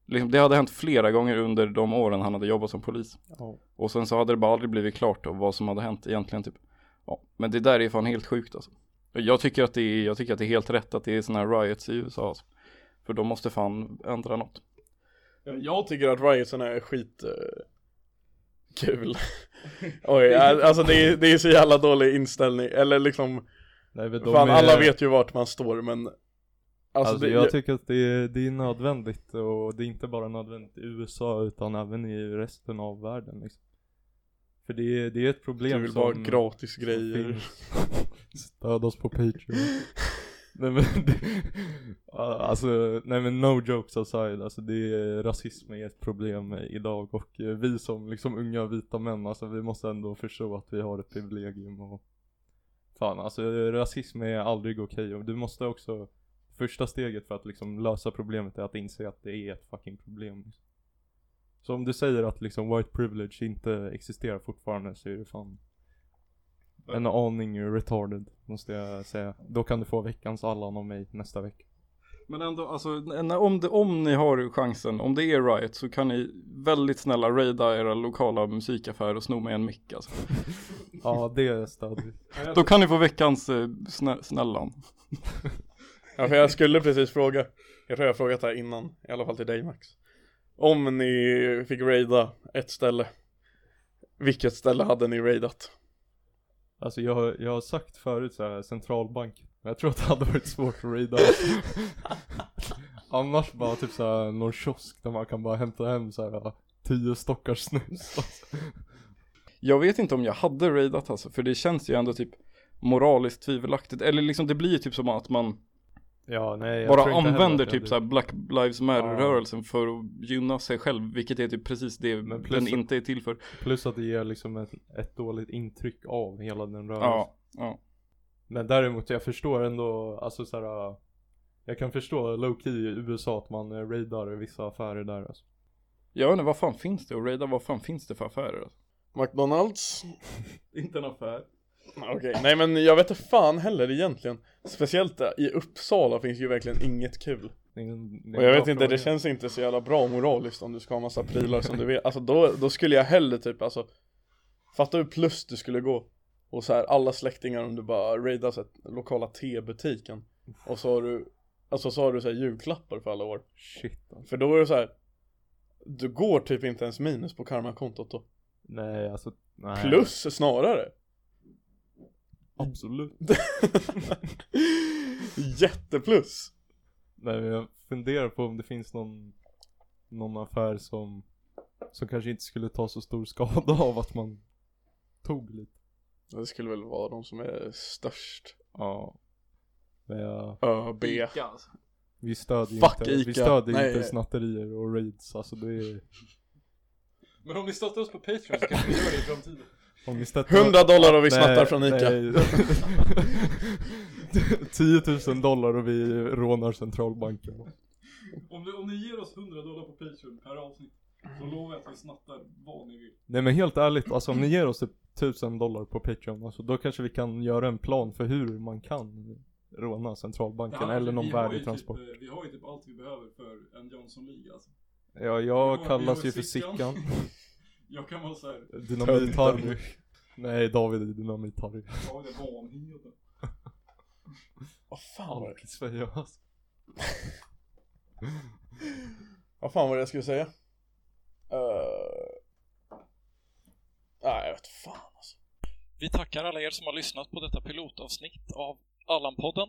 S8: Liksom, det hade hänt flera gånger under de åren han hade jobbat som polis.
S7: Ja.
S8: Och sen så hade det bara aldrig blivit klart då, vad som hade hänt egentligen typ. Ja, men det där är fan helt sjukt alltså. Jag tycker att det är, jag tycker att det är helt rätt att det är sådana här riots i USA alltså. För de måste fan ändra något.
S6: Jag tycker att riotsen är skit eh, kul. Oj, alltså det är, det är så jävla dålig inställning, eller liksom,
S7: Nej, men de
S6: fan
S7: är-
S6: alla vet ju vart man står men Alltså,
S7: Alltså,
S6: det,
S7: jag tycker att det är, det är nödvändigt och det är inte bara nödvändigt i USA utan även i resten av världen liksom. För det är, det är ett problem
S6: du vill
S7: som...
S6: bara ha gratis
S7: som
S6: grejer
S7: finns. Stöd oss på Patreon. nej men det, alltså, nej men no jokes aside, alltså det är, rasism är ett problem idag och eh, vi som liksom unga vita män, alltså vi måste ändå förstå att vi har ett privilegium och fan alltså rasism är aldrig okej och du måste också Första steget för att liksom lösa problemet är att inse att det är ett fucking problem. liksom. Så om du säger att liksom white privilege inte existerar fortfarande så är det fan en aning retarded måste jag säga. Då kan du få veckans Allan av mig nästa vecka.
S8: Men ändå, alltså, n- om, det, om ni har chansen, om det är riot så kan ni väldigt snälla raida era lokala musikaffärer och sno med en mick alltså.
S7: Ja det stödjer vi.
S8: Då kan ni få veckans eh, snä, snällan.
S6: Ja för jag skulle precis fråga Jag tror jag har frågat det här innan, i alla fall till dig Max Om ni fick raida ett ställe Vilket ställe hade ni raidat?
S7: Alltså jag, har- jag har sagt förut så här centralbank. Men jag tror att det hade varit svårt att raida. alltså. Annars bara typ så här någon kiosk där man kan bara hämta hem så här tio stockars snus. Alltså.
S8: Jag vet inte om jag hade raidat alltså, för det känns ju ändå typ moraliskt tvivelaktigt. Eller liksom det blir ju typ som att man
S7: Ja nej jag
S8: bara
S7: tror inte heller
S8: använder
S7: att jag hade-
S8: typ såhär Black Lives Matter-rörelsen för att gynna sig själv, vilket är typ precis det
S7: Men plus-
S8: den inte är till för.
S7: Plus att det ger liksom ett, ett dåligt intryck av hela den rörelsen.
S8: Ja, ja.
S7: Men däremot jag förstår ändå, alltså så här. äh, Jag kan förstå low key i USA att man äh, raidar vissa affärer där alltså.
S8: Jag vet inte, vad fan finns det att raida? Vad fan finns det för affärer? Alltså?
S6: McDonalds?
S8: Inte en affär.
S6: Okej, nej men jag vet inte fan heller egentligen Speciellt där i Uppsala finns ju verkligen inget kul
S7: Det är en- det är en
S6: Och jag
S7: bra
S6: vet inte,
S7: fråga.
S6: det känns inte så jävla bra moraliskt om du ska ha massa prylar som du vet Alltså då, då skulle jag hellre typ alltså Fatta hur plus du skulle gå Och så här alla släktingar om du bara raidar så här, lokala tebutiken Och så har du Alltså så har du så här julklappar för alla år
S7: Shit alltså.
S6: För då är det så här. Du går typ inte ens minus på karmakontot då
S7: Nej alltså, nej.
S6: Plus snarare
S7: Absolut.
S6: Jätteplus
S7: Nej men jag funderar på om det finns någon, någon affär som, som kanske inte skulle ta så stor skada av att man tog lite.
S6: Det skulle väl vara de som är störst.
S7: Ja. Men jag,
S6: ÖB.
S8: Ica alltså.
S7: vi stödjer
S6: Fuck
S7: inte, vi
S6: Ica.
S7: stödjer
S6: Nej.
S7: inte snatterier och raids. Alltså det är,
S8: Men om ni stöttar oss på Patreon så kanske vi gör det i framtiden.
S7: om ni stöttar
S6: 100 dollar och vi snattar från ICA.
S7: Nej. 10 000 dollar och vi rånar centralbanken.
S8: Om ni, om ni ger oss 100 dollar på Patreon per avsnitt
S7: Mm.
S8: så lovar jag att vi snattar vad ni vill.
S7: Nej men helt ärligt, alltså om ni ger oss typ 1000 dollar på Patreon, alltså, då kanske vi kan göra en plan för hur man kan råna centralbanken eller någon
S8: Vi har ju
S7: värdig
S8: typ,
S7: transport.
S8: eh, vi har ju typ allt vi behöver för en Johnson-liga alltså.
S7: Ja,
S8: vi
S7: jag
S8: har- vi
S7: kallas
S8: har
S7: ju för
S8: Sickan.
S7: Sickan.
S8: Jag kan vara såhär,
S7: Dynamit-Harry. Nej, David är Dynamit-Harry.
S8: jag är vanheden.
S6: Vad fan var det?
S7: Alkisfejös.
S6: Vad fan var det jag skulle säga? Eh, Nej, jag vet fan alltså.
S2: Vi tackar alla er som har lyssnat på detta pilotavsnitt av Allan-podden.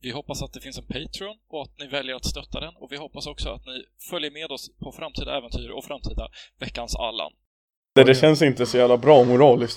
S2: Vi hoppas att det finns en Patreon och att ni väljer att stötta den och vi hoppas också att ni följer med oss på framtida äventyr och framtida Veckans Allan.
S6: Det, det känns inte så jävla bra liksom. moraliskt.